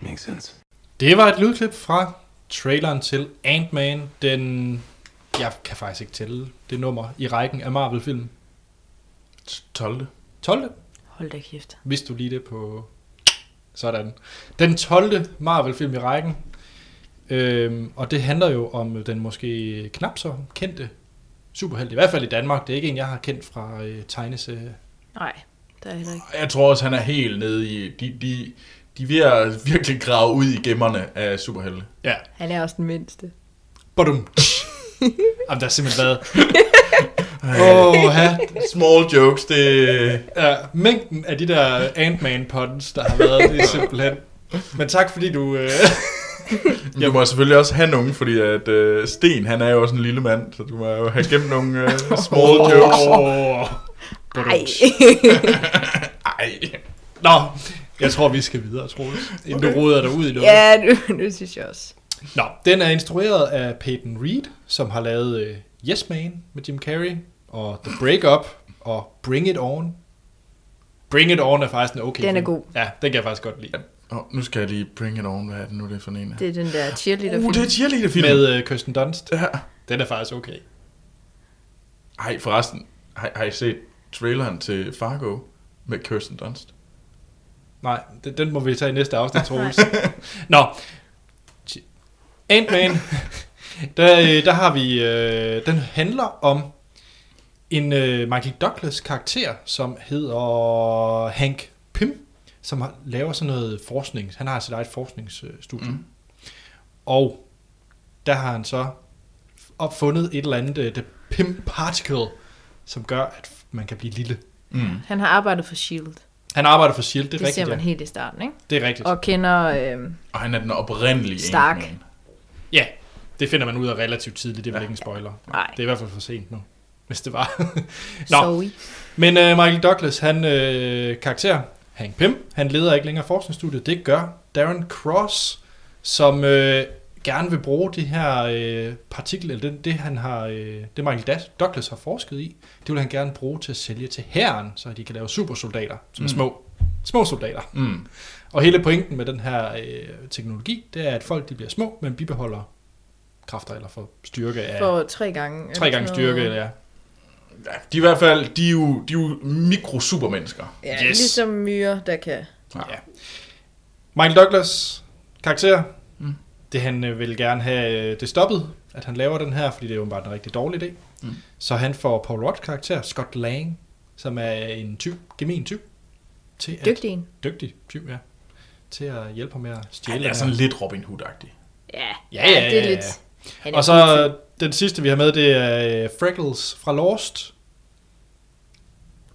[SPEAKER 7] Makes sense.
[SPEAKER 1] Det var et lydklip fra traileren til Ant-Man, den... Jeg kan faktisk ikke tælle det nummer i rækken af Marvel-film.
[SPEAKER 2] 12.
[SPEAKER 1] 12.
[SPEAKER 3] Hold da kæft.
[SPEAKER 1] Vidste du lige det på... Sådan. Den 12. Marvel-film i rækken. Øhm, og det handler jo om den måske knap så kendte superhelt, i hvert fald i Danmark. Det er ikke en, jeg har kendt fra øh, tegneserie.
[SPEAKER 3] Nej, der er heller ikke.
[SPEAKER 2] Jeg tror også, han er helt nede i... De, de, de er ved at virkelig grave ud i gemmerne af superhelte.
[SPEAKER 1] Ja.
[SPEAKER 3] Han er også den mindste.
[SPEAKER 1] Badum. Jamen, der er simpelthen været... Åh, ja.
[SPEAKER 2] Small jokes, det...
[SPEAKER 1] ja, mængden af de der Ant-Man puns, der har været, det er simpelthen... Men tak fordi du... Øh...
[SPEAKER 2] Men Du må selvfølgelig også have nogen, fordi at øh, Sten, han er jo også en lille mand, så du må jo have gemt nogle øh, small jokes.
[SPEAKER 1] Åh.
[SPEAKER 3] Nej.
[SPEAKER 2] Ej.
[SPEAKER 1] Nå, jeg tror, vi skal videre, Troels. Inden okay. du roder dig ud i noget.
[SPEAKER 3] ja, nu, nu synes jeg også.
[SPEAKER 1] Nå, den er instrueret af Peyton Reed, som har lavet øh, Yes Man med Jim Carrey, og The Breakup, og Bring It On. Bring It On er faktisk en okay
[SPEAKER 3] Den er
[SPEAKER 1] film.
[SPEAKER 3] god.
[SPEAKER 1] Ja, den kan jeg faktisk godt lide.
[SPEAKER 2] Oh, nu skal jeg lige bring it on. Hvad er det nu, det er for en?
[SPEAKER 3] Det er den der cheerleader
[SPEAKER 2] Uh, det er cheerleader-film. Med...
[SPEAKER 1] Med øh, Kirsten Dunst.
[SPEAKER 2] Ja.
[SPEAKER 1] Den er faktisk okay.
[SPEAKER 2] Ej, forresten, har, har I set traileren til Fargo med Kirsten Dunst?
[SPEAKER 1] Nej, den, den må vi tage i næste afsnit, Troels. Nå. Ti- Ant-Man. Der, øh, der har vi... Øh, den handler om en øh, Michael Douglas karakter, som hedder Hank Pym, som har, laver sådan noget forskning. Han har sit eget forskningsstudie. Mm. Og der har han så opfundet et eller andet, øh, The Pym Particle, som gør, at man kan blive lille.
[SPEAKER 3] Han har arbejdet for S.H.I.E.L.D.
[SPEAKER 1] Han arbejder for S.H.I.E.L.D., det er
[SPEAKER 3] E Det ser
[SPEAKER 1] rigtigt.
[SPEAKER 3] man
[SPEAKER 1] ja.
[SPEAKER 3] helt i starten, ikke?
[SPEAKER 1] Det er rigtigt.
[SPEAKER 3] Og kender... Øh,
[SPEAKER 2] Og han er den oprindelige
[SPEAKER 3] Stark.
[SPEAKER 2] Ant-Man.
[SPEAKER 1] Ja, det finder man ud af relativt tidligt. Det er vel ikke en spoiler.
[SPEAKER 3] Nej.
[SPEAKER 1] Det er i hvert fald for sent nu, hvis det var. Nå,
[SPEAKER 3] Zoe.
[SPEAKER 1] men øh, Michael Douglas, han øh, karakter, Hank Pym, han leder ikke længere forskningsstudiet. Det gør Darren Cross, som øh, gerne vil bruge det her øh, partikel, eller det, det, han har, øh, det Michael Das- Douglas har forsket i, det vil han gerne bruge til at sælge til hæren, så de kan lave supersoldater, som mm. er små. Små soldater.
[SPEAKER 2] Mm.
[SPEAKER 1] Og hele pointen med den her øh, teknologi, det er, at folk de bliver små, men bibeholder kræfter eller får styrke af...
[SPEAKER 3] For tre gange. eller
[SPEAKER 1] tre gange
[SPEAKER 3] sådan
[SPEAKER 1] styrke,
[SPEAKER 3] noget.
[SPEAKER 1] eller ja.
[SPEAKER 2] Ja, de er i hvert fald, de er jo, de er jo mikrosupermennesker.
[SPEAKER 3] Ja,
[SPEAKER 1] Yes.
[SPEAKER 3] yes. ligesom myre, der kan...
[SPEAKER 1] ja. Michael Douglas karakter, mm. det han øh, vil gerne have øh, det stoppet, at han laver den her, fordi det er åbenbart en rigtig dårlig idé. Mm. Så han får Paul Rudd karakter, Scott Lang, som er en tyv, gemen tyv. Til at,
[SPEAKER 3] Dygtig en.
[SPEAKER 1] Dygtig tyv, ja. Til at hjælpe ham med at stjæle.
[SPEAKER 2] Han
[SPEAKER 1] den
[SPEAKER 2] er
[SPEAKER 1] her-
[SPEAKER 2] sådan lidt Robin Hood-agtig.
[SPEAKER 3] Ja,
[SPEAKER 1] Ja, ja,
[SPEAKER 3] det er
[SPEAKER 1] ja,
[SPEAKER 3] lidt...
[SPEAKER 1] ja.
[SPEAKER 3] Han er
[SPEAKER 1] Og
[SPEAKER 3] lidt-
[SPEAKER 1] så den sidste, vi har med, det er øh, Freckles fra Lost.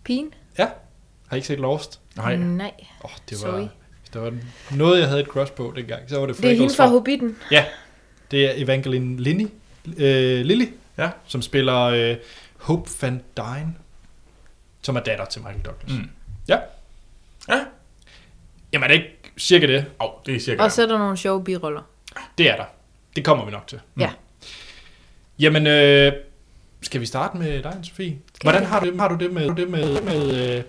[SPEAKER 3] Pigen?
[SPEAKER 1] Ja, har I ikke set Lost?
[SPEAKER 2] Nej. Mm.
[SPEAKER 3] Nej.
[SPEAKER 1] Åh, oh, det
[SPEAKER 3] Sorry.
[SPEAKER 1] var, hvis der var noget, jeg havde et crush på dengang, så var det
[SPEAKER 3] Det er
[SPEAKER 1] Freckles
[SPEAKER 3] hende fra Hobbiten.
[SPEAKER 1] Ja, det er Evangeline Lilly, øh, Lilly
[SPEAKER 2] Ja.
[SPEAKER 1] som spiller øh, Hope Van Dyne, som er datter til Michael Douglas. Mm. Ja.
[SPEAKER 2] Ja.
[SPEAKER 1] Jamen, er det ikke cirka det?
[SPEAKER 2] Au, det er cirka.
[SPEAKER 3] Og så er der nogle sjove biroller.
[SPEAKER 1] Det er der. Det kommer vi nok til.
[SPEAKER 3] Ja.
[SPEAKER 1] Jamen, øh, skal vi starte med dig, Sofie? Hvordan har du, har du det med, det med, med, øh,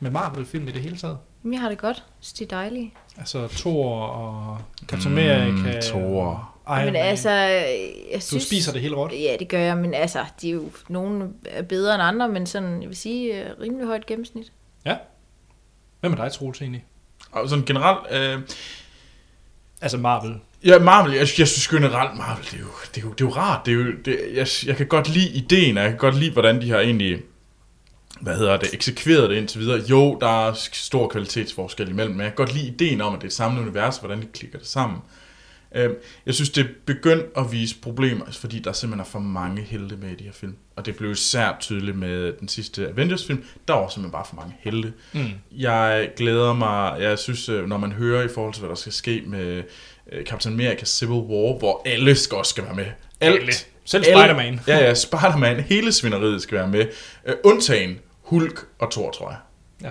[SPEAKER 1] med Marvel-film i det hele taget?
[SPEAKER 3] Men jeg har det godt. Så de er dejlige.
[SPEAKER 1] Altså Thor og Captain America.
[SPEAKER 2] Thor.
[SPEAKER 1] Iron
[SPEAKER 3] men
[SPEAKER 1] Man.
[SPEAKER 3] altså, jeg
[SPEAKER 1] du
[SPEAKER 3] synes...
[SPEAKER 1] spiser det hele råt.
[SPEAKER 3] Ja, det gør jeg, men altså, de er jo, nogle er bedre end andre, men sådan, jeg vil sige, øh, rimelig højt gennemsnit.
[SPEAKER 1] Ja. Hvem er dig, Troels, egentlig?
[SPEAKER 2] Og sådan generelt... Øh,
[SPEAKER 1] Altså Marvel.
[SPEAKER 2] Ja, Marvel, jeg, jeg synes generelt, Marvel, det er jo, det er jo, det er jo rart. Det er jo, det, jeg, jeg kan godt lide ideen, og jeg kan godt lide, hvordan de har egentlig, hvad hedder det, eksekveret det indtil videre. Jo, der er sk- stor kvalitetsforskel imellem, men jeg kan godt lide ideen om, at det er et samlet univers, hvordan de klikker det sammen. Øhm, Jeg synes, det er begyndt at vise problemer, fordi der simpelthen er for mange helte med i de her film. Og det blev især tydeligt med den sidste Avengers-film. Der var simpelthen bare for mange helte. Mm. Jeg glæder mig, jeg synes, øh, når man hører i forhold til, hvad der skal ske med øh, Captain America Civil War, hvor alle skal også skal være med. Alt.
[SPEAKER 1] Alle. Selv
[SPEAKER 2] Alle.
[SPEAKER 1] Spider-Man.
[SPEAKER 2] Ja, ja, Spider-Man. Hele svineriet skal være med. Øh, Undtagen Hulk og Thor, tror jeg.
[SPEAKER 1] Ja.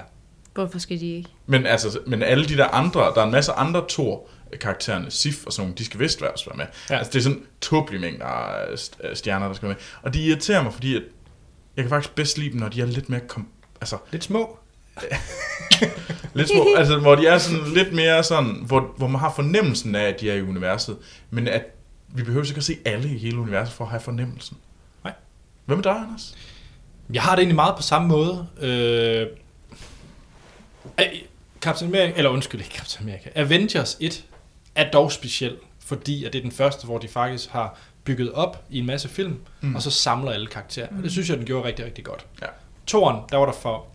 [SPEAKER 3] Hvorfor skal de ikke?
[SPEAKER 2] Men, altså, men alle de der andre, der er en masse andre tor karaktererne, Sif og sådan nogle, de skal vist være, være med.
[SPEAKER 1] Ja.
[SPEAKER 2] Ja. Altså, det er sådan tåbelige mængder af st- af stjerner, der skal være med. Og de irriterer mig, fordi at jeg kan faktisk bedst lide dem, når de er lidt mere kom- altså,
[SPEAKER 1] Lidt små.
[SPEAKER 2] lidt små, altså, hvor de er sådan lidt mere sådan, hvor, hvor man har fornemmelsen af, at de er i universet, men at vi behøver ikke at se alle i hele universet for at have fornemmelsen.
[SPEAKER 1] Nej.
[SPEAKER 2] Hvad med dig, Anders?
[SPEAKER 1] Jeg har det egentlig meget på samme måde. Øh, øh, Captain America, eller undskyld, ikke Captain America. Avengers 1 er dog speciel, fordi at det er den første, hvor de faktisk har bygget op i en masse film, mm. og så samler alle karakterer. Mm. Det synes jeg, den gjorde rigtig, rigtig godt.
[SPEAKER 2] Ja.
[SPEAKER 1] Toren, der var der for...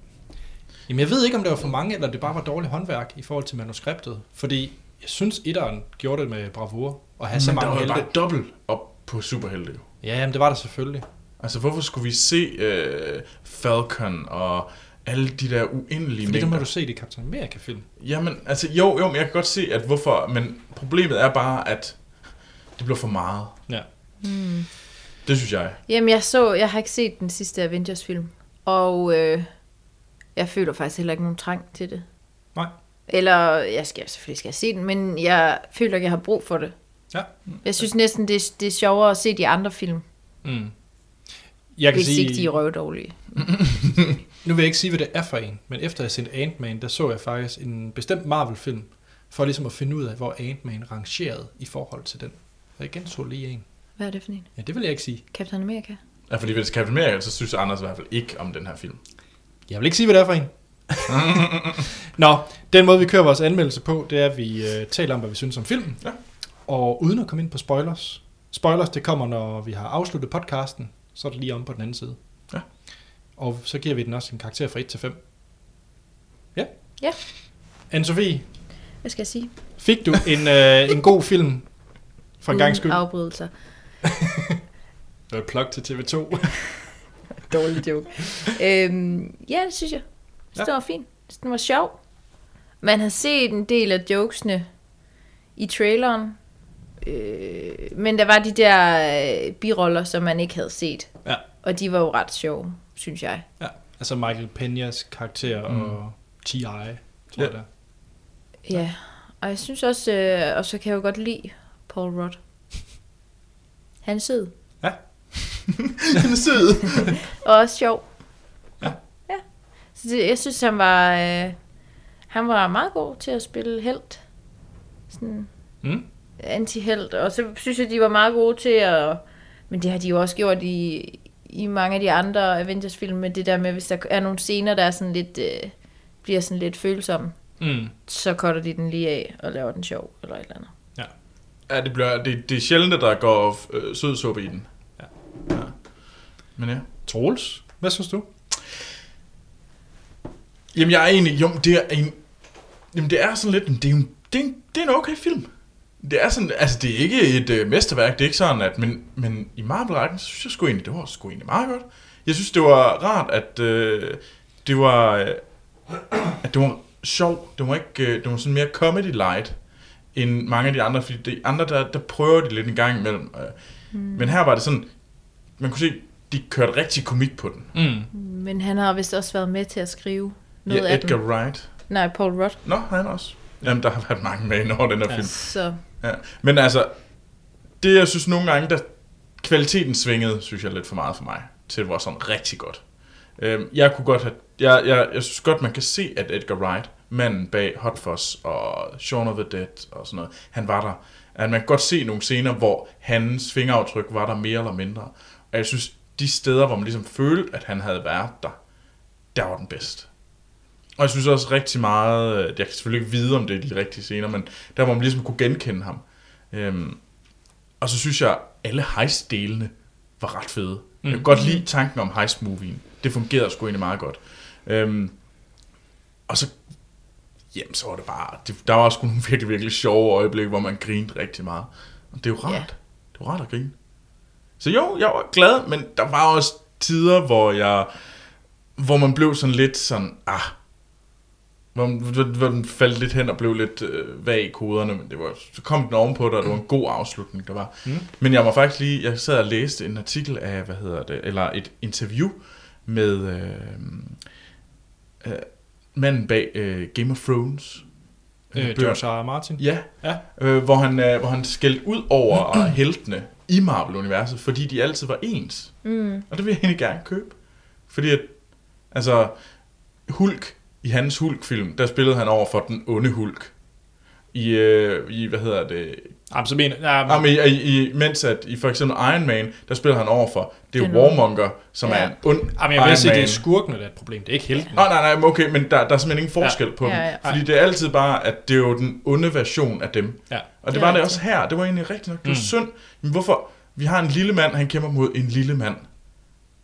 [SPEAKER 1] Jamen jeg ved ikke, om det var for mange, eller det bare var dårligt håndværk i forhold til manuskriptet. Fordi jeg synes, etteren gjorde det med bravur, og have så
[SPEAKER 2] Men der
[SPEAKER 1] mange
[SPEAKER 2] var jo
[SPEAKER 1] helte.
[SPEAKER 2] bare dobbelt op på superhelte, jo.
[SPEAKER 1] Ja, jamen det var der selvfølgelig.
[SPEAKER 2] Altså, hvorfor skulle vi se øh, Falcon og alle de der uendelige
[SPEAKER 1] Fordi der må
[SPEAKER 2] mængder?
[SPEAKER 1] du se det i Captain America-film.
[SPEAKER 2] Jamen, altså, jo, jo, men jeg kan godt se, at hvorfor... Men problemet er bare, at det bliver for meget.
[SPEAKER 1] Ja.
[SPEAKER 2] Det synes jeg.
[SPEAKER 3] Jamen, jeg så, jeg har ikke set den sidste Avengers-film, og øh, jeg føler faktisk heller ikke nogen trang til det.
[SPEAKER 1] Nej.
[SPEAKER 3] Eller, jeg skal selvfølgelig skal jeg se den, men jeg føler ikke, jeg har brug for det.
[SPEAKER 1] Ja.
[SPEAKER 3] Jeg synes næsten, det, det er sjovere at se de andre film,
[SPEAKER 1] Jeg kan
[SPEAKER 3] hvis
[SPEAKER 1] sige,
[SPEAKER 3] ikke de er røvdårlige.
[SPEAKER 1] nu vil jeg ikke sige, hvad det er for en, men efter jeg sendte Ant-Man, der så jeg faktisk en bestemt Marvel-film, for ligesom at finde ud af, hvor Ant-Man rangerede i forhold til den. Så jeg genså lige en.
[SPEAKER 3] Hvad er det for en?
[SPEAKER 1] Ja, det vil jeg ikke sige.
[SPEAKER 3] Captain America?
[SPEAKER 2] Ja, fordi hvis Captain America, så synes Anders i hvert fald ikke om den her film.
[SPEAKER 1] Jeg vil ikke sige, hvad det er for en. Nå, den måde, vi kører vores anmeldelse på, det er, at vi øh, taler om, hvad vi synes om filmen.
[SPEAKER 2] Ja.
[SPEAKER 1] Og uden at komme ind på spoilers. Spoilers, det kommer, når vi har afsluttet podcasten. Så er det lige om på den anden side.
[SPEAKER 2] Ja.
[SPEAKER 1] Og så giver vi den også en karakter fra 1 til 5. Ja.
[SPEAKER 3] Ja.
[SPEAKER 1] Anne-Sophie,
[SPEAKER 3] Hvad skal jeg sige?
[SPEAKER 1] fik du en, øh, en god film for en gang skyld?
[SPEAKER 3] Uden afbrydelser.
[SPEAKER 1] Det var et plug til TV2.
[SPEAKER 3] Dårlig joke. øhm, ja, det synes jeg. Det
[SPEAKER 1] Ja.
[SPEAKER 3] ja. var fint. Jeg synes, Den var sjov. Man har set en del af jokesene i traileren. Øh, men der var de der øh, biroller, som man ikke havde set.
[SPEAKER 1] ja.
[SPEAKER 3] Og de var jo ret sjove, synes jeg.
[SPEAKER 1] ja. Altså Michael Peñas karakter mm. og T.I., tror ja. jeg der.
[SPEAKER 3] Ja. Og jeg synes også, øh, og så kan jeg jo godt lide Paul Rudd. Han er sød.
[SPEAKER 1] Ja.
[SPEAKER 2] Den er sød.
[SPEAKER 3] Og også sjov. Ja. ja. Så det, jeg synes, han var, øh, han var meget god til at spille held. Sådan
[SPEAKER 1] Mm.
[SPEAKER 3] anti-held. Og så synes jeg, de var meget gode til at... Men det har de jo også gjort i, i mange af de andre Avengers-film, med det der med, hvis der er nogle scener, der er sådan lidt, øh, bliver sådan lidt følsomme,
[SPEAKER 1] Mm.
[SPEAKER 3] så cutter de den lige af og laver den sjov, eller et eller andet.
[SPEAKER 2] Ja, det, bliver, det, det er sjældent, at der går øh, sødsuppe i den.
[SPEAKER 1] Ja.
[SPEAKER 2] ja. Men ja.
[SPEAKER 1] Troels, hvad synes du?
[SPEAKER 2] Jamen, jeg er egentlig... Jo, men det er en... Jamen, det er sådan lidt... men Det er, jo, det, er en, det er en okay film. Det er sådan... Altså, det er ikke et øh, mesterværk. Det er ikke sådan, at... Men, men i Marvel-rækken, så synes jeg sgu egentlig, det var sgu egentlig meget godt. Jeg synes, det var rart, at øh, det var... Øh, at det var sjov. Det var ikke... Øh, det var sådan mere comedy light end mange af de andre, fordi de andre, der, der prøver de lidt en gang imellem. Øh. Mm.
[SPEAKER 3] Hmm.
[SPEAKER 2] Men her var det sådan, man kunne se, de kørte rigtig komik på den.
[SPEAKER 1] Mm.
[SPEAKER 3] Men han har vist også været med til at skrive noget
[SPEAKER 2] ja,
[SPEAKER 3] af
[SPEAKER 2] Edgar
[SPEAKER 3] den.
[SPEAKER 2] Wright.
[SPEAKER 3] Nej, Paul Rudd.
[SPEAKER 2] Nå, han også. Jamen, der har været mange med ind over den her
[SPEAKER 1] Ja.
[SPEAKER 2] ja. film.
[SPEAKER 3] Så
[SPEAKER 2] Ja. Men altså, det jeg synes nogle gange, der kvaliteten svingede, synes jeg lidt for meget for mig, til det var sådan rigtig godt. Øhm, jeg kunne godt have, jeg, jeg, jeg synes godt, man kan se, at Edgar Wright, manden bag Hot Fuzz og Shaun of the Dead og sådan noget, han var der. at man kan godt se nogle scener, hvor hans fingeraftryk var der mere eller mindre. Og jeg synes, de steder, hvor man ligesom følte, at han havde været der, der var den bedst. Og jeg synes også rigtig meget, øh, jeg kan selvfølgelig ikke vide, om det er de rigtige scener, men der, hvor man ligesom kunne genkende ham. Øhm, og så synes jeg, alle heist-delene var ret fede. Mm. Jeg kan godt lide tanken om heist-movien. Det fungerede sgu egentlig meget godt. Øhm, og så, jamen, så var det bare, det, der var også nogle virkelig, virkelig sjove øjeblikke, hvor man grinede rigtig meget. Og det er jo rart.
[SPEAKER 3] Ja.
[SPEAKER 2] Det er jo rart at grine. Så jo, jeg var glad, men der var også tider, hvor jeg, hvor man blev sådan lidt sådan, ah, hvor, man- hvor, hvor den faldt lidt hen og blev lidt øh, vag i koderne, men det var, så kom den ovenpå dig, og det var en god afslutning, der var. Mm. Men jeg var faktisk lige, jeg sad og læste en artikel af, hvad hedder det, eller et interview med øh, øh, manden bag øh, Game of Thrones.
[SPEAKER 1] Øh,
[SPEAKER 2] bøger.
[SPEAKER 1] George R. R. Martin.
[SPEAKER 2] Ja,
[SPEAKER 1] Ja.
[SPEAKER 2] Øh, hvor, han, øh, hvor han skældte ud over heltene i Marvel-universet, fordi de altid var ens. Mm. Og det vil jeg egentlig gerne købe. Fordi at, altså, Hulk, i hans Hulk-film, der spillede han over for den onde Hulk. I, øh, i hvad hedder det?
[SPEAKER 1] Jamen, så mener ja,
[SPEAKER 2] Jamen, i, i, i, mens at i for eksempel Iron Man, der spiller han over for, det er
[SPEAKER 3] Den
[SPEAKER 2] Warmonger, som
[SPEAKER 3] Ja.
[SPEAKER 2] er en ond
[SPEAKER 1] Jamen, Ah, jeg
[SPEAKER 2] Iron
[SPEAKER 1] vil sige, det
[SPEAKER 2] Man.
[SPEAKER 1] er skurkene, der er et problem. Det er ikke helten.
[SPEAKER 2] Nå, nej, nej, men okay, men der, der er simpelthen ingen forskel
[SPEAKER 1] Ja.
[SPEAKER 2] på dem.
[SPEAKER 3] Ja, ja.
[SPEAKER 2] Fordi det er altid bare, at det er jo den onde version af dem.
[SPEAKER 1] Ja.
[SPEAKER 2] Og
[SPEAKER 3] Det
[SPEAKER 2] det
[SPEAKER 3] er
[SPEAKER 2] var det
[SPEAKER 3] rigtigt.
[SPEAKER 2] også her. Det var egentlig rigtigt nok. Det var mm. synd. Men hvorfor? Vi har en lille mand, han kæmper mod en lille mand.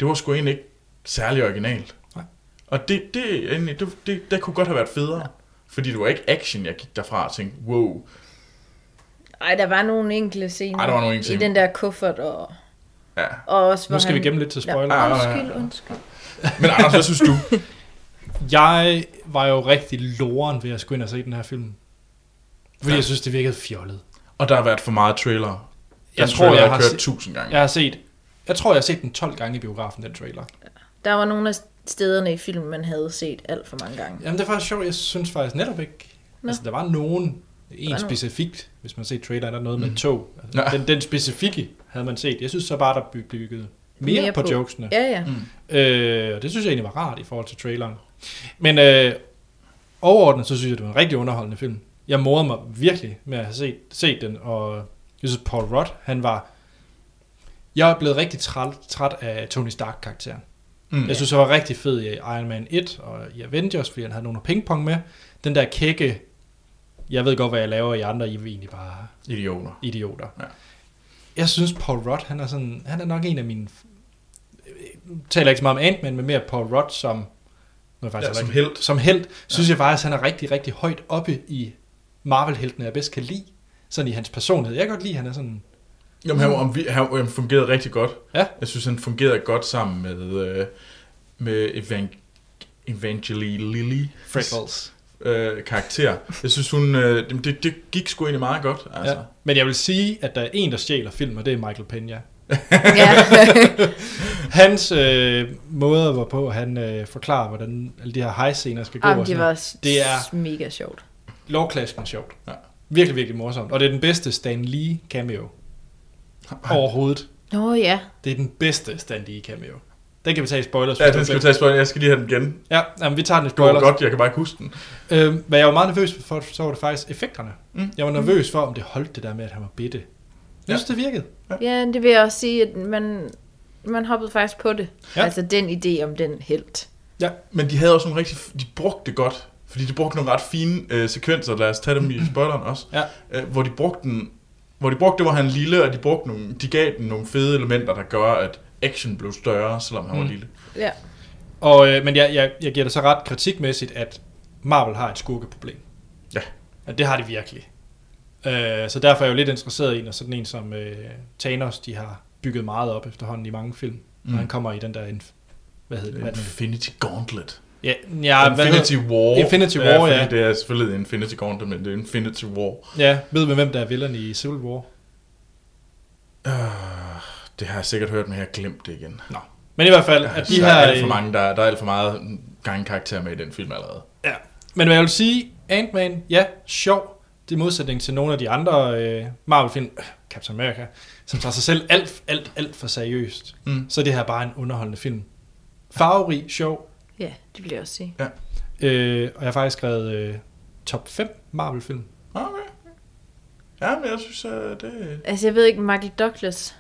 [SPEAKER 2] Det var sgu egentlig ikke særlig originalt.
[SPEAKER 1] Nej.
[SPEAKER 2] Og det, det, er egentlig- det, det, det kunne godt have været federe. Ja. Fordi det var ikke action, jeg gik derfra og tænkte, wow.
[SPEAKER 3] Ej, der var nogle enkelte scener.
[SPEAKER 2] Ej, der var nogle enkelte
[SPEAKER 3] I
[SPEAKER 2] scener.
[SPEAKER 3] den der kuffert og...
[SPEAKER 2] Ja.
[SPEAKER 3] og også, hvor
[SPEAKER 1] Nu skal vi
[SPEAKER 3] han...
[SPEAKER 1] gemme lidt til spoiler.
[SPEAKER 2] Ja.
[SPEAKER 3] Nå, undskyld, undskyld.
[SPEAKER 2] Men Anders, hvad synes du?
[SPEAKER 1] Jeg var jo rigtig loren ved at skulle ind og se den her film. Fordi ja. jeg synes, det virkede fjollet.
[SPEAKER 2] Og der har været for meget trailer. Den
[SPEAKER 1] Jeg
[SPEAKER 2] jeg
[SPEAKER 1] tror,
[SPEAKER 2] tror, trailer,
[SPEAKER 1] jeg
[SPEAKER 2] jeg
[SPEAKER 1] har
[SPEAKER 2] har kørt
[SPEAKER 1] set-
[SPEAKER 2] tusind gange.
[SPEAKER 1] Jeg har set... Jeg tror, jeg har set den 12 gange i biografen, den trailer.
[SPEAKER 3] Der var nogle af stederne i filmen, man havde set alt for mange gange.
[SPEAKER 1] Jamen, det er faktisk sjovt. Jeg synes faktisk netop ikke... Nå. Altså, der var nogen... En specifikt, hvis man har set traileren, der er noget
[SPEAKER 2] Mm.
[SPEAKER 1] med tog.
[SPEAKER 2] Nå.
[SPEAKER 1] Altså, den, den specifikke havde man set. Jeg synes så bare, der blev bygget mere, mere på, på jokesene.
[SPEAKER 3] Ja, ja.
[SPEAKER 1] Øh, og det synes jeg egentlig var rart i forhold til traileren. Men øh, overordnet, så synes jeg, det var en rigtig underholdende film. Jeg morede mig virkelig med at have set, set den, og jeg synes, Paul Rudd, han var... Jeg er blevet rigtig træt, træt af Tony Stark-karakteren. Mm, jeg synes, han var rigtig fed i Iron Man 1 og i Avengers, fordi han havde nogle pingpong med. Den der kække, jeg ved godt, hvad jeg laver, og I andre, I er egentlig bare
[SPEAKER 2] Idioter.
[SPEAKER 1] idioter. Ja.
[SPEAKER 2] Ja.
[SPEAKER 1] Jeg synes, Paul Rudd, han er, sådan, han er nok en af mine... Jeg taler ikke så meget om Ant-Man, men mere Paul Rudd som... Nu er jeg faktisk
[SPEAKER 2] Ja, som
[SPEAKER 1] rigtig-
[SPEAKER 2] helt.
[SPEAKER 1] Som held, synes jeg faktisk, han er rigtig, rigtig højt oppe i Marvel-heltene, jeg bedst kan lide. Sådan i hans personlighed. Jeg kan godt lide, han er sådan...
[SPEAKER 2] Jamen, han, var- han, han fungerede rigtig godt.
[SPEAKER 1] Ja.
[SPEAKER 2] Jeg synes, han fungerede godt sammen med, øh, med Evang- Evangeline Lilly.
[SPEAKER 1] Freckles.
[SPEAKER 2] Øh, karakter. Jeg synes, hun, øh, jamen, det, det gik sgu egentlig meget godt. Altså.
[SPEAKER 1] Ja. Men jeg vil sige, at der er en, der stjæler film, og det er Michael Pena.
[SPEAKER 3] ja.
[SPEAKER 1] Hans øh, måde, hvorpå han øh, forklarer, hvordan alle de her high-scener skal gå.
[SPEAKER 3] Jamen,
[SPEAKER 1] og
[SPEAKER 3] det
[SPEAKER 1] sådan
[SPEAKER 3] var
[SPEAKER 1] noget.
[SPEAKER 3] s-
[SPEAKER 1] det er
[SPEAKER 3] mega sjovt.
[SPEAKER 1] lovklassen sjovt.
[SPEAKER 2] Ja.
[SPEAKER 1] Virkelig, virkelig morsomt. Og det er den bedste Stan Lee cameo overhovedet.
[SPEAKER 3] Nå ja,
[SPEAKER 1] Det er den bedste Stan Lee cameo. Den kan vi tage i spoilers.
[SPEAKER 2] Ja,
[SPEAKER 1] hvis
[SPEAKER 2] den
[SPEAKER 1] du
[SPEAKER 2] skal vi
[SPEAKER 1] glemte.
[SPEAKER 2] tage i spoiler. Jeg skal lige have den igen. Det
[SPEAKER 1] Ja, jamen, vi tager den i
[SPEAKER 2] var
[SPEAKER 1] spoilers.
[SPEAKER 2] godt, jeg kan bare ikke huske den.
[SPEAKER 1] Øhm, men jeg var meget nervøs for, så var det faktisk effekterne. Mm. Jeg var nervøs for, om det holdt det der med, at han var bitte. Jeg synes, ja. det virkede.
[SPEAKER 3] Ja, det vil jeg også sige, at man, man hoppede faktisk på det.
[SPEAKER 1] Ja.
[SPEAKER 3] Ja. Altså den idé om den helt.
[SPEAKER 1] Ja.
[SPEAKER 2] Men de havde også nogle rigtig... De brugte det godt. Fordi de brugte nogle ret fine øh, sekvenser. Lad os tage dem i spoileren også.
[SPEAKER 1] Ja.
[SPEAKER 2] Øh, hvor de brugte den... Hvor de brugte det, hvor han er lille, og de, brugte nogle, de gav den nogle fede elementer, der gør, at action blev større, selvom
[SPEAKER 1] Mm.
[SPEAKER 2] han var lille.
[SPEAKER 3] Ja.
[SPEAKER 1] Og, øh, men jeg, jeg, jeg giver det så ret kritikmæssigt, at Marvel har et skurkeproblem.
[SPEAKER 2] Ja.
[SPEAKER 1] Ja, det har de virkelig. Øh, så derfor er jeg jo lidt interesseret i, når sådan en som øh, Thanos, de har bygget meget op efterhånden i mange film. Mm. Når han kommer i den der... Inf- hvad hedder det? Hvad er den?
[SPEAKER 2] Øh, Infinity Gauntlet.
[SPEAKER 1] Ja, ja, Ah, hvad
[SPEAKER 2] Infinity
[SPEAKER 1] hedder-
[SPEAKER 2] War.
[SPEAKER 1] Infinity War, ja.
[SPEAKER 2] fordi Det er selvfølgelig Infinity Gauntlet, men det er Infinity War.
[SPEAKER 1] Ja, ved vi, hvem der er villerne i Civil War?
[SPEAKER 2] Det har jeg sikkert hørt, men jeg har glemt det igen.
[SPEAKER 1] Nå. Men i hvert fald,
[SPEAKER 2] Ja,
[SPEAKER 1] at
[SPEAKER 2] de
[SPEAKER 1] de
[SPEAKER 2] der, er
[SPEAKER 1] her...
[SPEAKER 2] alt for mange, der, der er alt for meget gange karakterer med i den film allerede.
[SPEAKER 1] Ja. Men hvad jeg vil sige, Ant-Man, ja, sjov. Det er modsætning til nogle af de andre øh, Marvel-film, øh, Captain America, som tager sig selv alt, alt, alt for seriøst. Mm. Så er det her bare en underholdende film. Farverig, sjov.
[SPEAKER 3] ja, det vil jeg også sige.
[SPEAKER 1] Øh, og jeg øh, har faktisk skrevet øh, top 5 Marvel-film.
[SPEAKER 2] Okay. Ja, men jeg synes, at det...
[SPEAKER 3] Altså, jeg ved ikke, Michael Douglas.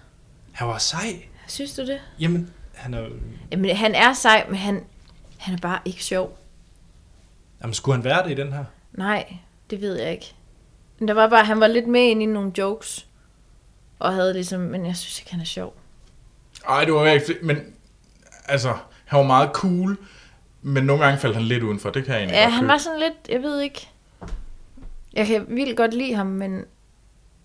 [SPEAKER 1] Han var sej.
[SPEAKER 3] Synes du det?
[SPEAKER 1] Jamen, han er...
[SPEAKER 3] Jamen, han er sej, men han, han er bare ikke sjov.
[SPEAKER 1] Jamen, skulle han være det i den her?
[SPEAKER 3] Nej, det ved jeg ikke. Men der var bare, han var lidt med ind i nogle jokes. Og havde ligesom, men jeg synes ikke, han er sjov.
[SPEAKER 2] Ej, det var ikke... fedt, Men altså, han var meget cool, men nogle gange faldt han lidt udenfor. Det kan jeg egentlig
[SPEAKER 3] Ja,
[SPEAKER 2] godt
[SPEAKER 3] han
[SPEAKER 2] købe.
[SPEAKER 3] var sådan lidt, jeg ved ikke. Jeg kan vildt godt lide ham, men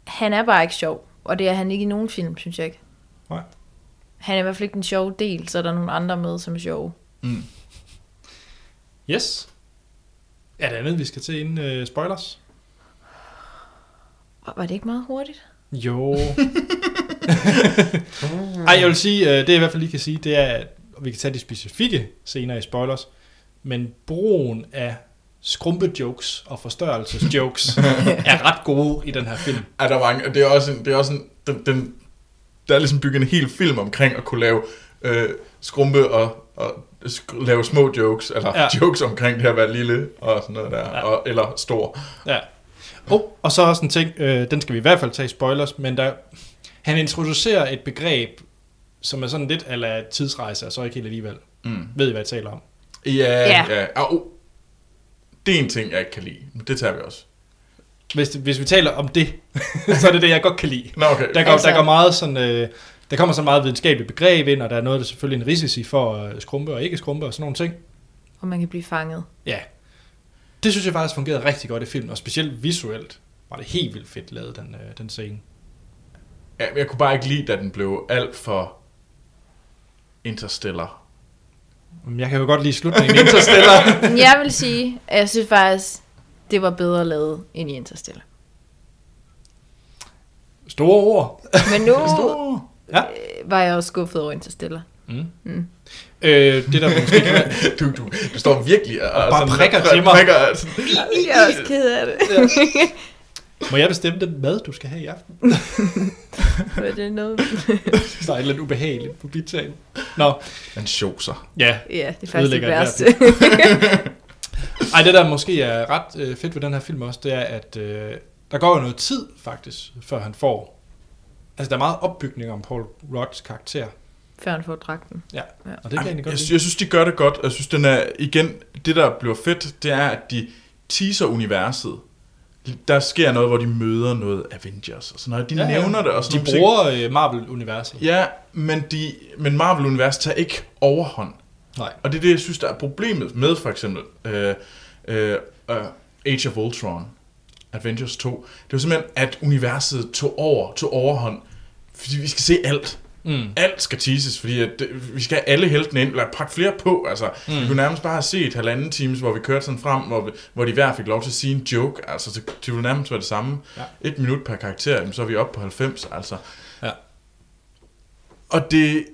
[SPEAKER 3] han er bare ikke sjov. Og det er han ikke i nogen film, synes jeg ikke.
[SPEAKER 1] Nej.
[SPEAKER 3] Han er i hvert fald ikke den sjove del, så er der nogle andre med, som er sjove.
[SPEAKER 1] Yes. Er der andet, vi skal til inden øh, spoilers?
[SPEAKER 3] Var det ikke meget hurtigt?
[SPEAKER 1] Jo. Ej, jeg vil sige, øh, det jeg i hvert fald lige kan sige, det er, at og vi kan tage de specifikke scener i spoilers, men brugen af skrumpejokes og forstørrelsesjokes er ret gode i den her film.
[SPEAKER 2] Ja, der er mange, og det er også en, det er også en, den, den, der er ligesom bygget en hel film omkring at kunne lave øh, skrumpe og, og sk- lave små jokes, eller
[SPEAKER 1] Ja.
[SPEAKER 2] ja. jokes omkring det at være lille og sådan noget der, ja. og, eller stor.
[SPEAKER 1] Ja. Oh, og så også en ting, øh, den skal vi i hvert fald tage i spoilers, men der, han introducerer et begreb, som er sådan lidt ala tidsrejse, og så ikke helt alligevel. Mm. Ved I, hvad jeg taler om?
[SPEAKER 2] Ja,
[SPEAKER 3] Ja.
[SPEAKER 2] ja. ja. Au. Det er en ting, jeg ikke kan lide, men det tager vi også.
[SPEAKER 1] Hvis, hvis vi taler om det, så er det det, jeg godt kan lide.
[SPEAKER 2] Nå, okay.
[SPEAKER 1] Der, går, altså,
[SPEAKER 3] Altså-
[SPEAKER 1] der, går meget sådan, øh, der kommer så meget videnskabeligt begreb ind, og der er noget, der selvfølgelig er en risici for at skrumpe og ikke skrumpe og sådan nogle ting.
[SPEAKER 3] Og man kan blive fanget.
[SPEAKER 1] Ja. Det synes jeg faktisk fungerede rigtig godt i filmen, og specielt visuelt var det helt vildt fedt lavet, den, øh, den scene.
[SPEAKER 2] Ja, men jeg kunne bare ikke lide, da den blev alt for interstellar.
[SPEAKER 1] Men jeg kan jo godt lide slutningen i Interstellar.
[SPEAKER 3] Men jeg vil sige, at jeg synes faktisk, det var bedre lavet end i Interstellar.
[SPEAKER 1] Store ord.
[SPEAKER 3] Men nu
[SPEAKER 1] Store
[SPEAKER 3] øh, var jeg også skuffet over Interstellar.
[SPEAKER 1] Øh, det der måske kan være...
[SPEAKER 2] Du, du, du står virkelig og, og
[SPEAKER 1] bare prikker til mig.
[SPEAKER 2] Prikker, sådan,
[SPEAKER 3] Jeg er også ked af det.
[SPEAKER 1] Må jeg bestemme den mad, du skal have i aften?
[SPEAKER 3] Var det noget?
[SPEAKER 1] Der er et eller andet ubehageligt på bittagen. Nå,
[SPEAKER 2] man sjoser.
[SPEAKER 1] ja.
[SPEAKER 3] Ja, det er faktisk det
[SPEAKER 1] Ødelægger det
[SPEAKER 3] værste.
[SPEAKER 1] Ej, det der måske er ret øh, fedt ved den her film også, det er, at øh, der går jo noget tid faktisk, før han får... Altså, der er meget opbygning om Paul Rodds karakter.
[SPEAKER 3] Før han får dragten.
[SPEAKER 1] Ja,
[SPEAKER 3] Ja.
[SPEAKER 1] og det kan jeg egentlig
[SPEAKER 2] Jeg,
[SPEAKER 1] godt
[SPEAKER 2] jeg,
[SPEAKER 1] lide.
[SPEAKER 2] jeg synes, de gør det godt. og Jeg synes, den er, igen, det der bliver fedt, det er, at de teaser universet. Der sker noget, hvor de møder noget Avengers og sådan noget. De ja, nævner det og sådan
[SPEAKER 1] De
[SPEAKER 2] nogle ting.
[SPEAKER 1] bruger øh, Marvel-universet.
[SPEAKER 2] Ja, men, de, men Marvel-universet tager ikke overhånd.
[SPEAKER 1] Nej.
[SPEAKER 2] Og det er det, jeg synes, der er problemet med for eksempel øh, øh, øh, Age of Ultron, Avengers 2. Det var simpelthen, at universet tog over, tog overhånd, fordi vi skal se alt. Mm. Alt skal teases, fordi at det, vi skal have alle heltene ind, eller pakke flere på. Altså, mm. Vi kunne nærmest bare have set halvanden times, hvor vi kørte sådan frem, hvor, vi, hvor de hver fik lov til at sige en joke. Altså, det, det ville nærmest være det samme.
[SPEAKER 1] Ja.
[SPEAKER 2] Ja. Et minut per karakter, jamen, så er vi oppe på 90. Altså,
[SPEAKER 1] Ja.
[SPEAKER 2] og det,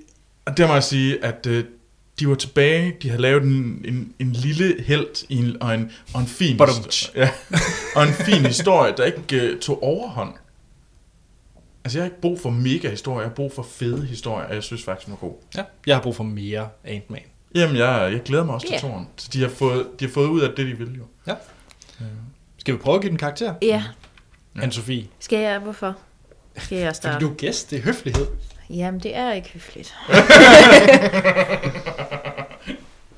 [SPEAKER 2] og der må jeg sige, at øh, de var tilbage, de havde lavet en, en, en lille held i en, og, en, og, en fin
[SPEAKER 1] Badum.
[SPEAKER 2] ja, og en fin historie, der ikke øh, tog overhånd. Altså, jeg har ikke brug for mega historier, jeg har brug for fede historier, og jeg synes faktisk, den var god.
[SPEAKER 1] ja. Jeg har brug for mere Ant-Man.
[SPEAKER 2] Jamen, jeg, jeg glæder mig også
[SPEAKER 3] Ja.
[SPEAKER 2] til toren. Så de har, fået, de har fået ud af det, de ville jo.
[SPEAKER 1] Ja. Øh. Skal vi prøve at give den karakter?
[SPEAKER 3] Ja,
[SPEAKER 1] Ja. Anne-Sophie.
[SPEAKER 3] skal jeg? Hvorfor? Skal jeg
[SPEAKER 1] Fordi
[SPEAKER 3] starte?
[SPEAKER 1] du er gæst, det er høflighed.
[SPEAKER 3] Jamen, det er ikke høfligt.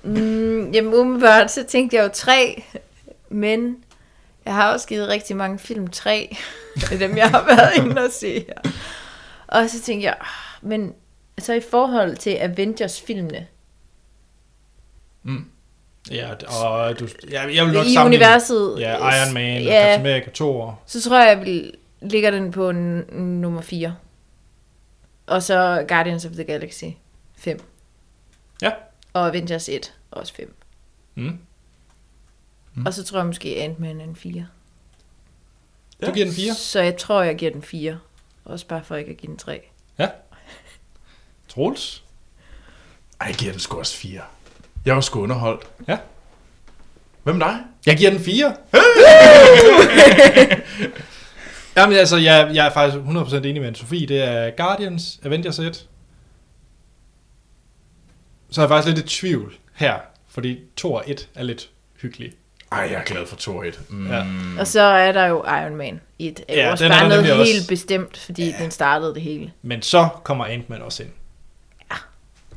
[SPEAKER 3] mm, jamen, umiddelbart, så tænkte jeg jo tre, men jeg har også givet rigtig mange film tre, af dem jeg har været inde og se her. Og så tænkte jeg, "Ah, men så i forhold til Avengers-filmene,
[SPEAKER 1] Ja, og du, ja, jeg vil nok
[SPEAKER 3] I
[SPEAKER 1] sammenligne-
[SPEAKER 3] universet.
[SPEAKER 1] Ja, Iron Man, ja.
[SPEAKER 3] Ja.
[SPEAKER 1] Captain America 2 år.
[SPEAKER 3] så tror jeg, jeg vil, ligger den på n- nummer 4. Og så Guardians of the Galaxy 5.
[SPEAKER 1] Ja.
[SPEAKER 3] Og Avengers 1, også 5.
[SPEAKER 1] Mm.
[SPEAKER 3] Og så tror jeg måske Ant-Man er en 4.
[SPEAKER 1] Du giver den 4.
[SPEAKER 3] Så jeg tror, jeg giver den 4. Også bare for ikke at give den 3.
[SPEAKER 1] Ja. Troels.
[SPEAKER 2] Ej, jeg giver den sgu også fire. Jeg var sgu underholdt.
[SPEAKER 1] Ja.
[SPEAKER 2] Hvem med dig?
[SPEAKER 1] Jeg giver den 4. Jamen altså, jeg, jeg er faktisk 100% enig med Sofie. Det er Guardians, Avengers 1. Så er jeg faktisk lidt i tvivl her, fordi 2 og 1 er lidt hyggelige.
[SPEAKER 2] Ej, jeg er glad for Thor 1. Mm.
[SPEAKER 1] Ja.
[SPEAKER 3] Og så er der jo Iron Man 1. Er
[SPEAKER 1] Ja,
[SPEAKER 3] ja, også
[SPEAKER 1] den er
[SPEAKER 3] bare
[SPEAKER 1] der
[SPEAKER 3] noget
[SPEAKER 1] nemlig
[SPEAKER 3] helt
[SPEAKER 1] også.
[SPEAKER 3] bestemt, fordi ja. den startede det hele.
[SPEAKER 1] Men så kommer Ant-Man også ind.